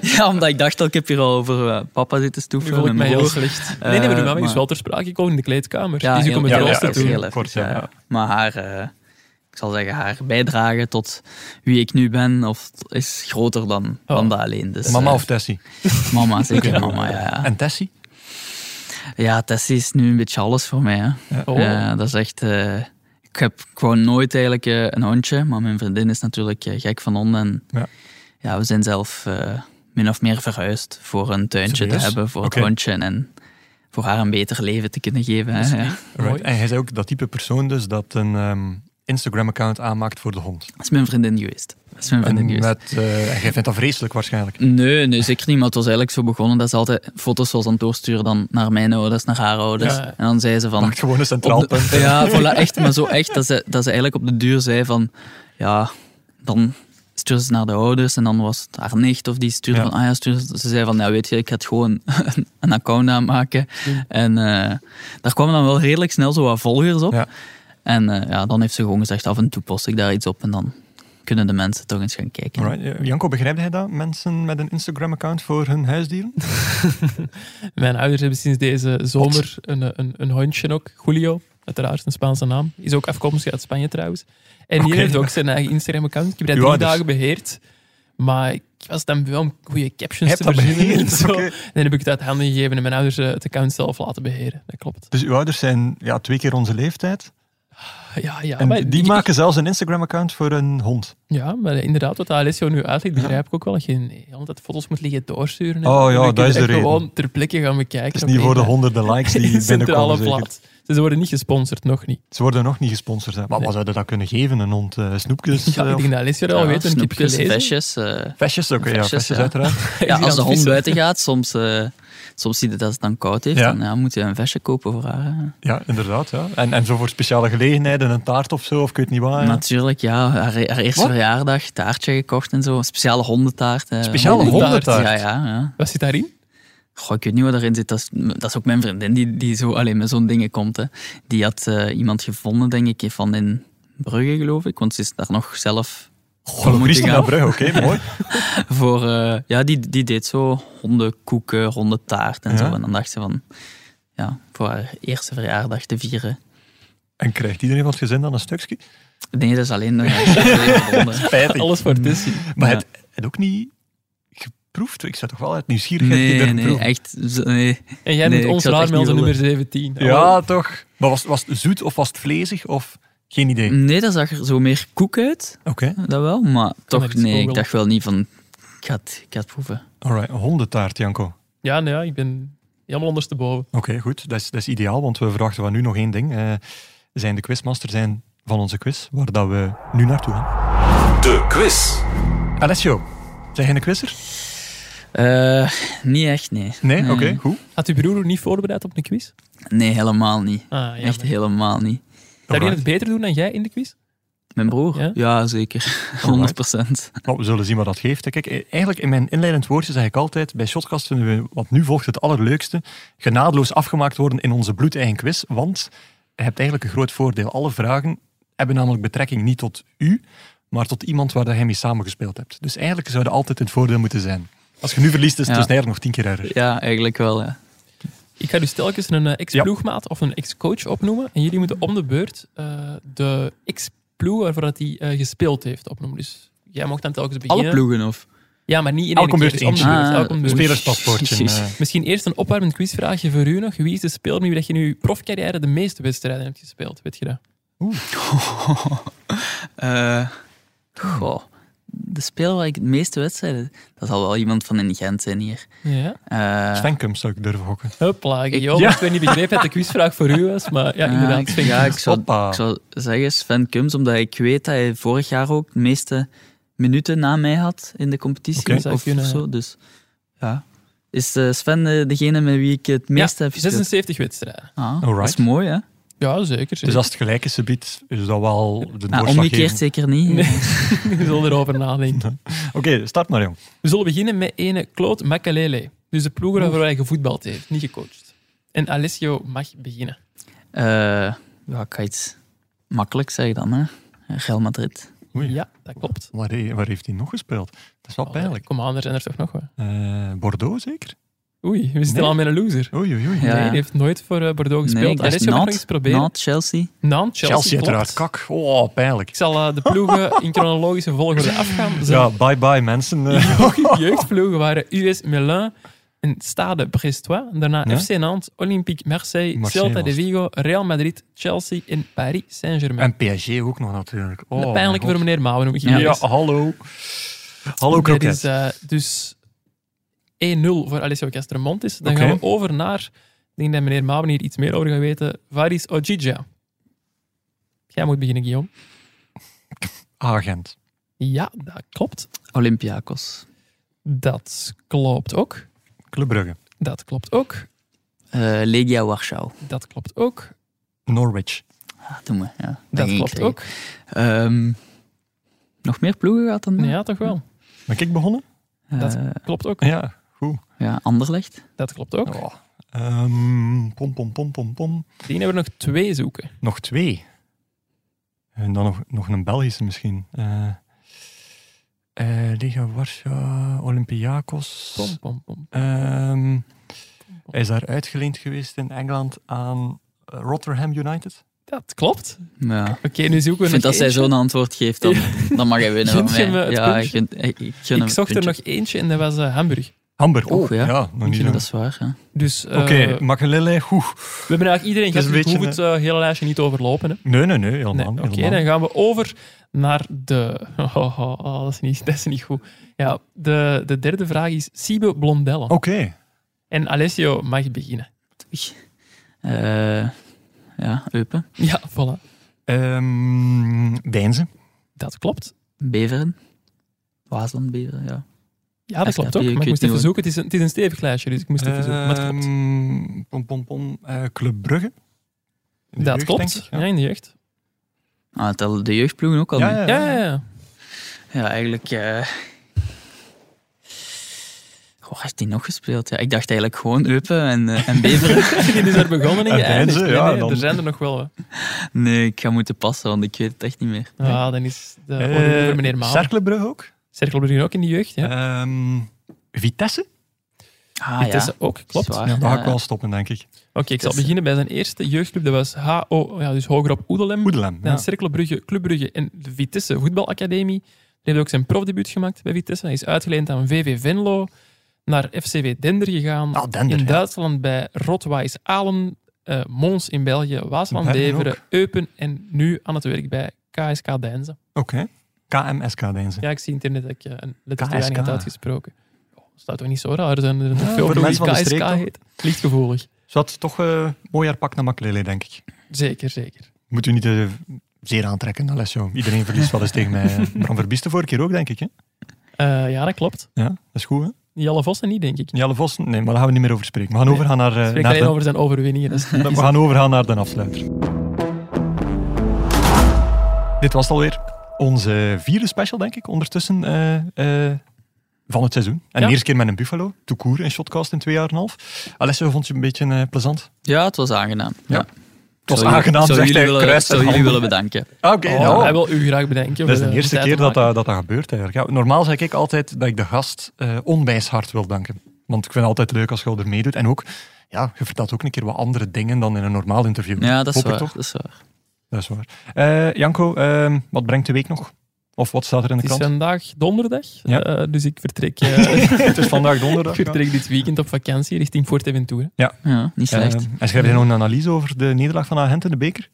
S4: ja, omdat ik dacht dat ik heb hier al over eh, papa zitten
S3: Nu
S4: stoeven.
S3: voel ik
S4: mijn
S3: mij heel
S4: broer.
S3: slecht. Nee, nee, maar uw
S4: Eh,
S3: mama is
S4: maar-
S3: wel ter sprake gekomen in de kleedkamer.
S4: Ja,
S3: die is ook
S4: heel-
S3: om het
S4: ja,
S1: ja,
S3: rooster
S1: ja,
S3: te doen.
S1: heel
S4: even,
S1: Kort, ja, ja.
S4: Maar haar, eh, ik zal zeggen, haar bijdrage tot wie ik nu ben of, is groter dan,
S3: Oh.
S4: dan dat alleen. Dus,
S1: Mama
S4: eh,
S1: of Tessie?
S4: Mama, zeker mama, ja. ja.
S1: En Tessie?
S4: Ja, Tessie is nu een beetje alles voor mij. Hè.
S3: Oh.
S4: Eh, dat is echt... eh, ik heb gewoon nooit eigenlijk eh, een hondje, maar mijn vriendin is natuurlijk eh, gek van honden. En,
S1: Ja.
S4: ja. we zijn zelf eh, min of meer verhuisd voor een tuintje
S1: Serieus?
S4: te hebben, voor
S1: Oké.
S4: het hondje en voor haar een beter leven te kunnen geven. Hè. Ja.
S1: Right.
S3: Mooi.
S1: En hij is ook dat type persoon dus dat een ehm, Instagram-account aanmaakt voor de hond.
S4: [laughs] Dat is mijn vriendin geweest. Ah, Dat is mijn vriendin
S1: En
S4: geweest.
S1: met, eh, en jij vindt dat vreselijk waarschijnlijk.
S4: Nee, nee, zeker niet. Maar het was eigenlijk zo begonnen dat ze altijd foto's was aan het doorsturen dan naar mijn ouders, naar haar ouders.
S3: Ja.
S4: En dan zei ze van...
S1: Maakt gewoon een
S4: Op
S1: centraal
S4: de-
S1: punt.
S4: [laughs] ja, voilà, echt, maar zo echt dat ze, dat ze eigenlijk op de duur zei van, ja, dan stuurde ze naar de ouders en dan was het haar nicht of die stuurde
S1: Ja.
S4: van, ah ja, stuurde, ze- ze zei van, ja, weet je, ik ga het gewoon [laughs] een- een account aanmaken. En eh, daar kwamen dan wel redelijk snel zo wat volgers op.
S1: Ja.
S4: En eh, ja, dan heeft ze gewoon gezegd, af en toe post ik daar iets op en dan kunnen de mensen toch eens gaan kijken.
S1: Alright. Eh, Janko, begrijp jij dat? Mensen met een Instagram-account voor hun huisdieren?
S3: Mijn ouders hebben sinds deze zomer een, eh, een, een hondje ook, Julio. Uiteraard een Spaanse naam. Is ook afkomstig uit Spanje trouwens. En die
S1: Oké.
S3: heeft ook zijn eigen Instagram-account. Ik heb dat
S1: Uw
S3: drie
S1: ouders?
S3: dagen beheerd. Maar ik was dan wel om goede captions
S1: Heb
S3: te
S1: dat
S3: verzinnen. en
S1: beheerd,
S3: zo.
S1: oké.
S3: En dan heb ik het uit handen gegeven en mijn ouders eh, het account zelf laten beheren. Dat klopt.
S1: Dus uw ouders zijn ja, twee keer onze leeftijd.
S3: Ja, ja.
S1: En
S3: maar
S1: die
S3: ik-
S1: maken zelfs een Instagram-account voor een hond.
S3: Ja, maar inderdaad, wat Alessio nu uitlegt, begrijp ik ook wel. Dat je altijd foto's moet liggen doorsturen. en
S1: Oh
S3: dan
S1: ja,
S3: kun je
S1: dat is de
S3: echt
S1: reden.
S3: Gewoon ter plekke gaan bekijken.
S1: Het is niet voor de honderden
S4: [laughs]
S1: likes
S3: In
S1: die
S3: [laughs] centrale
S1: binnenkomen. zeker.
S3: plaats. Dus ze worden niet gesponsord, nog niet.
S1: Ze worden nog niet gesponsord. Hè. Maar wat zouden dat kunnen geven? Een hond eh, snoepjes?
S3: Ja,
S1: eh,
S3: ik
S1: of-
S3: denk dat Alessio dat al weet, want ik heb
S4: snoepjes,
S3: gelezen.
S1: [laughs]
S4: vestjes, eh,
S1: Vestjes ook, ja.
S4: Vestjes,
S1: Vestjes
S4: ja.
S1: uiteraard.
S4: [laughs] Ja, als de
S3: aan het
S4: hond
S3: vissen.
S4: buiten gaat, soms, eh, soms zie je dat het dan koud heeft,
S1: Ja.
S4: dan ja, moet je een vestje kopen voor haar. eh. hè.
S1: Ja, inderdaad. Ja. En, en zo voor speciale gelegenheden, een taart of zo, of ik weet niet waar. ja.
S4: Natuurlijk, ja. Haar, haar eerste
S1: Wat?
S4: verjaardag, taartje gekocht en zo. Een Speciale hondentaart. eh.
S1: Speciale
S3: hondentaart?
S1: hondentaart?
S4: Ja, ja. ja.
S3: Wat zit daarin?
S4: Goh, ik weet niet wat erin zit. Dat is, dat is ook mijn vriendin die, die zo alleen met zo'n dingen komt. Hè. Die had eh, iemand gevonden, denk ik, van in Brugge, geloof ik. Want ze is daar nog zelf
S1: Van
S4: voor moeten
S1: Bristol naar
S4: gaan.
S1: Brugge,
S4: [laughs]
S1: oké, mooi.
S4: Voor, eh, ja, die, die deed zo hondenkoeken, hondentaart en
S1: Ja.
S4: zo. En dan dacht ze van, ja, voor haar eerste verjaardag te vieren.
S1: En krijgt iedereen van het gezin dan een stukje?
S4: Nee, dat is alleen
S1: [laughs]
S4: nog een
S1: Spijtig.
S3: Alles voor Tessie.
S1: Maar
S4: Mm. Ja.
S1: het, het ook niet geproefd. Ik zet toch wel uit nieuwsgierigheid die
S4: Nee,
S1: durf
S4: nee,
S1: proeven.
S4: echt. zo- Nee.
S3: En jij
S4: Nee,
S3: bent
S4: ik
S3: ons
S4: zou het
S3: raar met
S4: echt niet
S3: onze nummer
S4: willen.
S3: 17.
S1: Ja, toch. Maar was, was het zoet of was het vlezig? Of geen idee.
S4: nee, dat zag er zo meer koek uit,
S1: Oké,
S4: dat wel. Maar
S3: dat
S4: toch,
S3: is ook
S4: nee,
S3: wel.
S4: ik dacht wel niet van, ik ga het, ik ga het proeven.
S1: alright. Een Hondentaart, Janko. Oké,
S3: Ja, nee, ja, ik ben helemaal ondersteboven.
S1: goed. Dat is, dat is ideaal, want we verwachten van nu nog één ding. Eh, zijn de quizmaster zijn van onze quiz, waar dat we nu naartoe gaan.
S6: De quiz.
S1: Alessio, zijn jij een quizzer?
S4: Eh, niet echt, nee.
S1: Nee? Oké, goed.
S3: Had uw broer u niet voorbereid op een quiz?
S4: Nee, helemaal niet.
S3: Ah, ja.
S4: echt helemaal niet.
S3: Zou die
S1: Alright.
S3: het beter doen dan jij in de quiz?
S4: Mijn broer?
S3: Ja?
S4: Ja, zeker. [laughs] 100 procent.
S1: Maar Nou, we zullen zien wat dat geeft. hè. Kijk, eh, eigenlijk in mijn inleidend woordje zeg ik altijd, bij Shotcast vinden we wat nu volgt het allerleukste, genadeloos afgemaakt worden in onze bloedeigen quiz, want je hebt eigenlijk een groot voordeel. Alle vragen hebben namelijk betrekking niet tot u, maar tot iemand waar dat jij mee samengespeeld hebt. Dus eigenlijk zou dat altijd in het voordeel moeten zijn. Als je nu verliest, is het
S4: Ja.
S1: dus eigenlijk nog tien keer erger.
S4: Ja, eigenlijk wel. Ja.
S3: Ik ga dus telkens een eh, ex-ploegmaat of een ex-coach opnoemen. En jullie moeten om de beurt eh, de ex-ploeg waarvoor dat hij eh, gespeeld heeft opnoemen. Dus jij mag dan telkens beginnen.
S4: Alle ploegen of?
S3: Ja, maar niet in
S1: Elke
S3: één keer.
S1: beurt
S3: dus om de
S1: eentje.
S3: beurt,
S4: Ah,
S3: elke beurt.
S1: Spelerspaspoortje.
S4: [laughs] Precies.
S1: eh,
S3: Misschien eerst een opwarmend quizvraagje voor u nog. Wie is de speler met wie dat je in uw profcarrière de meeste wedstrijden hebt gespeeld? Weet je dat?
S4: Eh, goh. De speler waar ik het meeste wedstrijden... Dat zal wel iemand van in Gent zijn hier.
S3: Ja.
S4: Eh,
S1: Sven Kemp zou ik durven gokken.
S3: Hopla, Guillaume.
S1: ja.
S3: Ik weet niet begrepen dat de quizvraag voor u was, maar ja,
S4: ah,
S3: inderdaad.
S4: ik-
S3: Sven
S4: ja, ik
S3: Kums.
S4: zou,
S1: Hoppa.
S4: ik zou zeggen Sven Kums, omdat ik weet dat hij vorig jaar ook de meeste minuten na mij had in de competitie.
S1: Oké.
S4: Of,
S3: Zou kunnen,
S4: of zo, dus ja. Is eh, Sven eh, degene met wie ik het
S3: Ja,
S4: meeste heb gespeeld?
S3: 76 wedstrijden.
S4: Ah, dat
S1: Alright.
S4: is mooi, hè?
S3: Ja, zeker.
S1: Dus als het gelijk is, biedt, is dat wel de
S4: Ah,
S1: doorslaggevende.
S4: omgekeerd zeker niet.
S3: We zullen
S1: [laughs]
S3: erover nadenken.
S1: Oké, start maar, jong.
S3: We zullen beginnen met ene Claude Makalele. Dus de ploeg waarvoor hij gevoetbald heeft, niet gecoacht. En Alessio mag beginnen.
S4: Eh, ja, ik ga iets makkelijk zeggen dan, hè. Real Madrid.
S1: Oei.
S3: Ja, dat klopt.
S1: Waar, he- waar heeft hij nog gespeeld? Dat is wel
S4: Oh,
S1: pijnlijk.
S3: Kom aan, er zijn er toch nog wel.
S1: Eh, Bordeaux zeker?
S3: Oei, we zitten
S1: Nee.
S3: al met een loser.
S1: Oei, oei, oei.
S4: Ja.
S3: Nee, die heeft nooit voor eh, Bordeaux gespeeld.
S4: Nee, ik dacht
S3: Alessio mag nog eens
S4: Nantes,
S3: proberen.
S4: Nantes, Chelsea.
S3: Nantes, Chelsea,
S1: Chelsea
S3: klopt.
S1: uiteraard, kak. Oh, pijnlijk.
S3: Ik zal eh, de ploegen in chronologische volgorde afgaan.
S1: [laughs]
S3: Dus,
S1: Ja, bye bye mensen. Eh,
S3: De jeugdploegen waren US Melun en Stade Brestois. Daarna
S1: Ja.
S3: FC Nantes, Olympique Marseille,
S1: Marseille
S3: Celta de
S1: was het.
S3: Vigo, Real Madrid, Chelsea en Paris Saint-Germain.
S1: En PSG ook nog natuurlijk. Oh,
S3: Pijnlijk pijnlijke voor
S1: mijn
S3: meneer Mouwen. moet ik
S1: god.
S3: hier
S1: Ja,
S3: eens-
S1: hallo. Hallo
S3: Dit
S1: Kroket.
S3: is eh, dus 1-0 voor Alessio Castromontis. Dan
S1: Oké.
S3: gaan we over naar, ik denk dat meneer Mouwen hier iets meer over gaat weten, Varis Ojija. Jij moet beginnen, Guillaume.
S1: Agent.
S3: Ja, dat klopt.
S4: Olympiakos.
S3: Dat klopt ook.
S1: Club Brugge.
S3: Dat klopt ook.
S4: Eh, Legia Warschau.
S3: Dat klopt ook.
S1: Norwich.
S4: Ah, doe me. Ja,
S3: Dat
S4: ging ik
S3: klopt
S4: zeggen.
S3: ook.
S4: Ehm, nog meer ploegen gehad dan? dat?
S3: Ja, toch wel.
S1: Ben ik begonnen?
S4: Eh,
S3: dat- Klopt [laughs] ook.
S1: Ja, goed.
S4: ja, Anderlecht.
S3: Dat klopt ook.
S1: Oh. Ehm, pom, pom, pom, pom, pom.
S3: Die hebben we nog twee zoeken.
S1: Nog twee. En dan nog, nog een Belgische misschien. Eh eh Liga Warschau, Olympiakos.
S3: Pom, pom, pom.
S1: Ehm, hij is daar uitgeleend geweest in Engeland aan eh, Rotterdam United.
S3: Dat klopt.
S4: Ja.
S3: Oké, nu zoeken
S4: Ik
S3: we nog
S4: vind dat zij
S3: eentje.
S4: zo'n antwoord
S3: [laughs]
S4: geeft, dan, dan mag hij winnen.
S3: Gunt
S4: van
S3: je
S4: mij.
S3: me het
S4: ja,
S3: puntje?
S4: ik, gun- ik, ik gun hem
S3: Ik
S4: het
S3: zocht er
S4: puntje.
S3: nog eentje en dat was eh, Hamburg.
S1: Hamburg,
S4: Oeh,
S1: oh, ja.
S4: ja.
S1: nog niet. lang.
S4: Dat is waar, ja.
S3: Dus eh,
S1: Oké, uh,
S3: we hebben
S1: Dat
S3: eigenlijk iedereen gehad,
S1: is
S3: dus
S1: een
S3: ik hoef het
S1: beetje
S3: eh, hele lijstje niet te overlopen. Hè.
S1: Nee, nee, nee, helemaal,
S3: Nee,
S1: niet,
S3: Oké,
S1: helemaal
S3: dan
S1: niet.
S3: gaan we over naar de... [laughs] Oh, oh, oh, dat, is niet, dat is niet goed. Ja, de, de derde vraag is Sibe Blondelle.
S1: Oké,
S3: En Alessio mag beginnen.
S4: Eh, ja, Eupen.
S3: Ja, voilà.
S1: Ehm, Deinzen.
S3: Dat klopt.
S4: Beveren. Waasland, Beveren, ja.
S3: Ja, dat
S4: SKP,
S3: klopt ook.
S4: ik
S3: Maar ik moest
S4: weet niet
S3: even
S4: hoe-
S3: zoeken. Het is een, het is een stevig lijstje, dus ik moest
S1: Eh,
S3: even zoeken. Maar het klopt.
S1: Ehm, pom, pom, pom, eh, Club Brugge. In de
S3: Dat
S1: jeugd,
S3: klopt.
S1: denk ik,
S3: ja.
S1: ja.
S3: in de jeugd.
S4: Ah, tellen de jeugdploegen ook al
S1: Ja,
S4: mee?
S1: ja,
S3: Ja, ja, ja.
S4: Ja, eigenlijk... eh Goh, heeft hij nog gespeeld? Ja, ik dacht eigenlijk gewoon Eupen en, eh, en Beveren.
S3: Die is er begonnen in
S1: En
S3: geëindigd.
S1: mensen,
S3: Nee,
S1: ja,
S3: nee,
S1: dan-
S3: Er zijn er nog wel. hè.
S4: nee, ik ga moeten passen, want ik weet het echt niet meer.
S3: Ja, dan is de
S1: Eh,
S3: orde voor meneer Maal.
S1: Cercle Brugge ook.
S3: Cerkelbrugge ook in de jeugd, ja.
S1: Ehm, Vitesse.
S4: Ah,
S3: Vitesse
S4: ja.
S3: ook, klopt.
S4: Zwaar.
S3: Ja.
S4: Ja.
S3: Oké,
S1: Daar ga ik wel stoppen, denk ik.
S3: ik zal beginnen bij zijn eerste jeugdclub. Dat was HO, ja, dus hoger op Oedelem.
S1: Moedelem.
S3: Dan
S1: Ja.
S3: Cercle Brugge, Club Brugge en de Vitesse Voetbalacademie. Hij heeft ook zijn profdebuut gemaakt bij Vitesse. Hij is uitgeleend aan VV Venlo, naar FCW Dender gegaan.
S1: Ah, Dender,
S3: in
S1: ja.
S3: Duitsland bij Rotwijs Alen, eh, Mons in België, Waasland
S1: Beveren
S3: Beveren, Eupen en nu aan het werk bij KSK Deinzen.
S1: Oké. KMSK, denk ik.
S3: Ja, ik zie internet dat ik eh, een letter te weinig
S1: KSK.
S3: had uitgesproken. Oh, dat staat toch niet zo raar, er zijn er nog
S1: voor
S3: veel
S1: de
S3: ploegen
S1: mensen van de
S3: die
S1: streek
S3: KSK
S1: toch?
S3: heet. Ligt gevoelig.
S1: Zat toch eh, mooi haar pak naar Maklele, denk ik.
S3: Zeker, zeker.
S1: Moet u niet eh, zeer aantrekken, Alessio. Iedereen verliest wel eens tegen mij. [laughs] eh. Bram Verbiest de vorige keer ook, denk ik. Hè?
S3: Eh, ja, dat klopt.
S1: Ja, dat is goed, hè?
S3: Jelle Vossen niet, denk ik.
S1: Jelle Vos, nee, maar daar gaan we niet meer over spreken. We gaan
S3: Nee.
S1: overgaan naar, eh,
S3: Ik spreek
S1: naar,
S3: alleen
S1: de,
S3: over zijn overwinningen. dus
S1: we gaan overgaan naar de afsluiter. Dit was het alweer onze vierde special, denk ik, ondertussen eh, eh, van het seizoen. En
S3: Ja.
S1: de eerste keer met een Buffalo, Toekoer en Shotcast in twee jaar en een half. Alessio, vond je het een beetje eh, plezant?
S4: Ja, het was aangenaam. Ja.
S1: Ja. Het was
S4: Zou jullie-
S1: aangenaam,
S4: zou
S1: zegt hij,
S4: jullie willen,
S1: kruist
S4: zou
S1: zijn
S4: jullie
S1: handen.
S4: willen bedanken.
S1: Ah, Oké,
S3: Oh,
S1: ja.
S3: Hij wil u graag bedenken.
S1: Dat is
S3: voor
S1: de eerste
S3: tijd
S1: keer
S3: te
S1: dat
S3: maken.
S1: dat, dat dat gebeurt eigenlijk. Ja, normaal zeg ik altijd dat ik de gast eh, onwijs hard wil danken. Want ik vind het altijd leuk als je er meedoet. En ook, ja, je vertelt ook een keer wat andere dingen dan in een normaal interview.
S4: Ja, dat is,
S1: Hoop ik
S4: waar,
S1: toch?
S4: dat is waar.
S1: Dat is waar. Eh, Janko, ehm, wat brengt de week nog? Of wat staat er in de
S3: Het is
S1: krant?
S3: vandaag donderdag,
S1: Ja.
S3: eh, dus ik
S1: [laughs]
S3: vertrek, eh,
S1: het is vandaag donderdag.
S3: ik
S4: [laughs]
S1: ja.
S3: vertrek dit weekend op vakantie richting Fuerteventura.
S4: Ja, niet slecht.
S1: Ehm, en schrijf je nog een analyse over de nederlaag van Agent in de beker?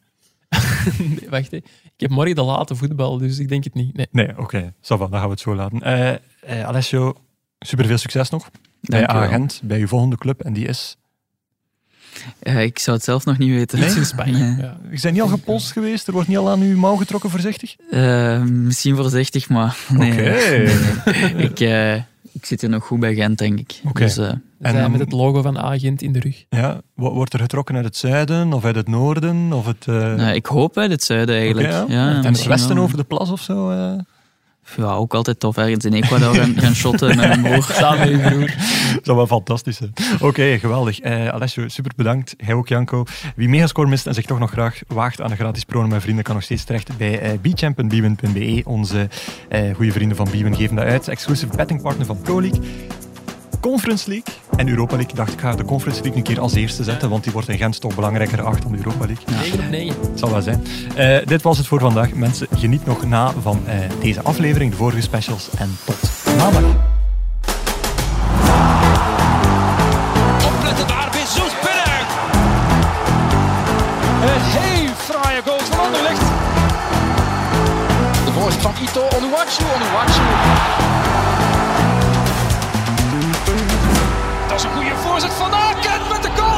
S3: [laughs] Nee, wacht, hè. ik heb morgen de late voetbal, dus ik denk het niet. Nee.
S1: Nee, oké. ça va, dan gaan we het zo laten. Eh eh, Alessio, superveel succes nog.
S4: Dank
S1: bij
S4: je wel.
S1: Agent, bij je volgende club. En die is...
S4: Eh, ik zou het zelf nog niet weten.
S3: Iets in Spanje.
S4: Nee.
S3: Ja.
S1: Ik zijn niet al gepolst geweest? Er wordt niet al aan uw mouw getrokken, voorzichtig?
S4: Eh, misschien voorzichtig, maar [laughs] nee.
S1: Oké.
S4: Ik, eh, ik zit hier nog goed bij Gent, denk ik.
S1: Oké.
S4: Dus, eh,
S3: Zij
S1: dan-
S3: met het logo van Agent in de rug.
S1: [laughs] Ja, wo- wordt er getrokken uit het zuiden of uit het noorden? Of het, eh,
S4: nou, ik hoop uit het zuiden eigenlijk.
S1: oké, ja.
S4: ja.
S1: en het
S4: misschien
S1: westen
S4: wel.
S1: over de plas of zo? eh?
S4: Ja, ook altijd tof. Ergens in Ecuador gaan, gaan shotten met mijn broer.
S1: [laughs]
S4: [laughs]
S3: Samen met je broer.
S1: Dat zou wel fantastisch zijn. Oké, geweldig. Eh, Alessio, super bedankt. Jij ook, Janko. Wie megascore mist en zich toch nog graag waagt aan de gratis prono, mijn vrienden, kan nog steeds terecht bij eh bchamp.bwin.be. Onze eh goede vrienden van Biewen geven dat uit. Exclusive bettingpartner van Pro League. Conference League en Europa League. Dacht ik ga de Conference League een keer als eerste zetten, want die wordt in Gent toch belangrijker geacht dan de Europa League.
S3: 9 op 9.
S1: Het zal wel zijn. Eh, dit was het voor vandaag. Mensen, geniet nog na van eh, deze aflevering, de vorige specials. En tot maandag.
S2: Opletten daar, Bezoet binnen! Een heel fraaie goal van Anderlecht. De voorzet van Ito Onuwachu, Onuwachu. Dat is een goede voorzet van Aken met de goal!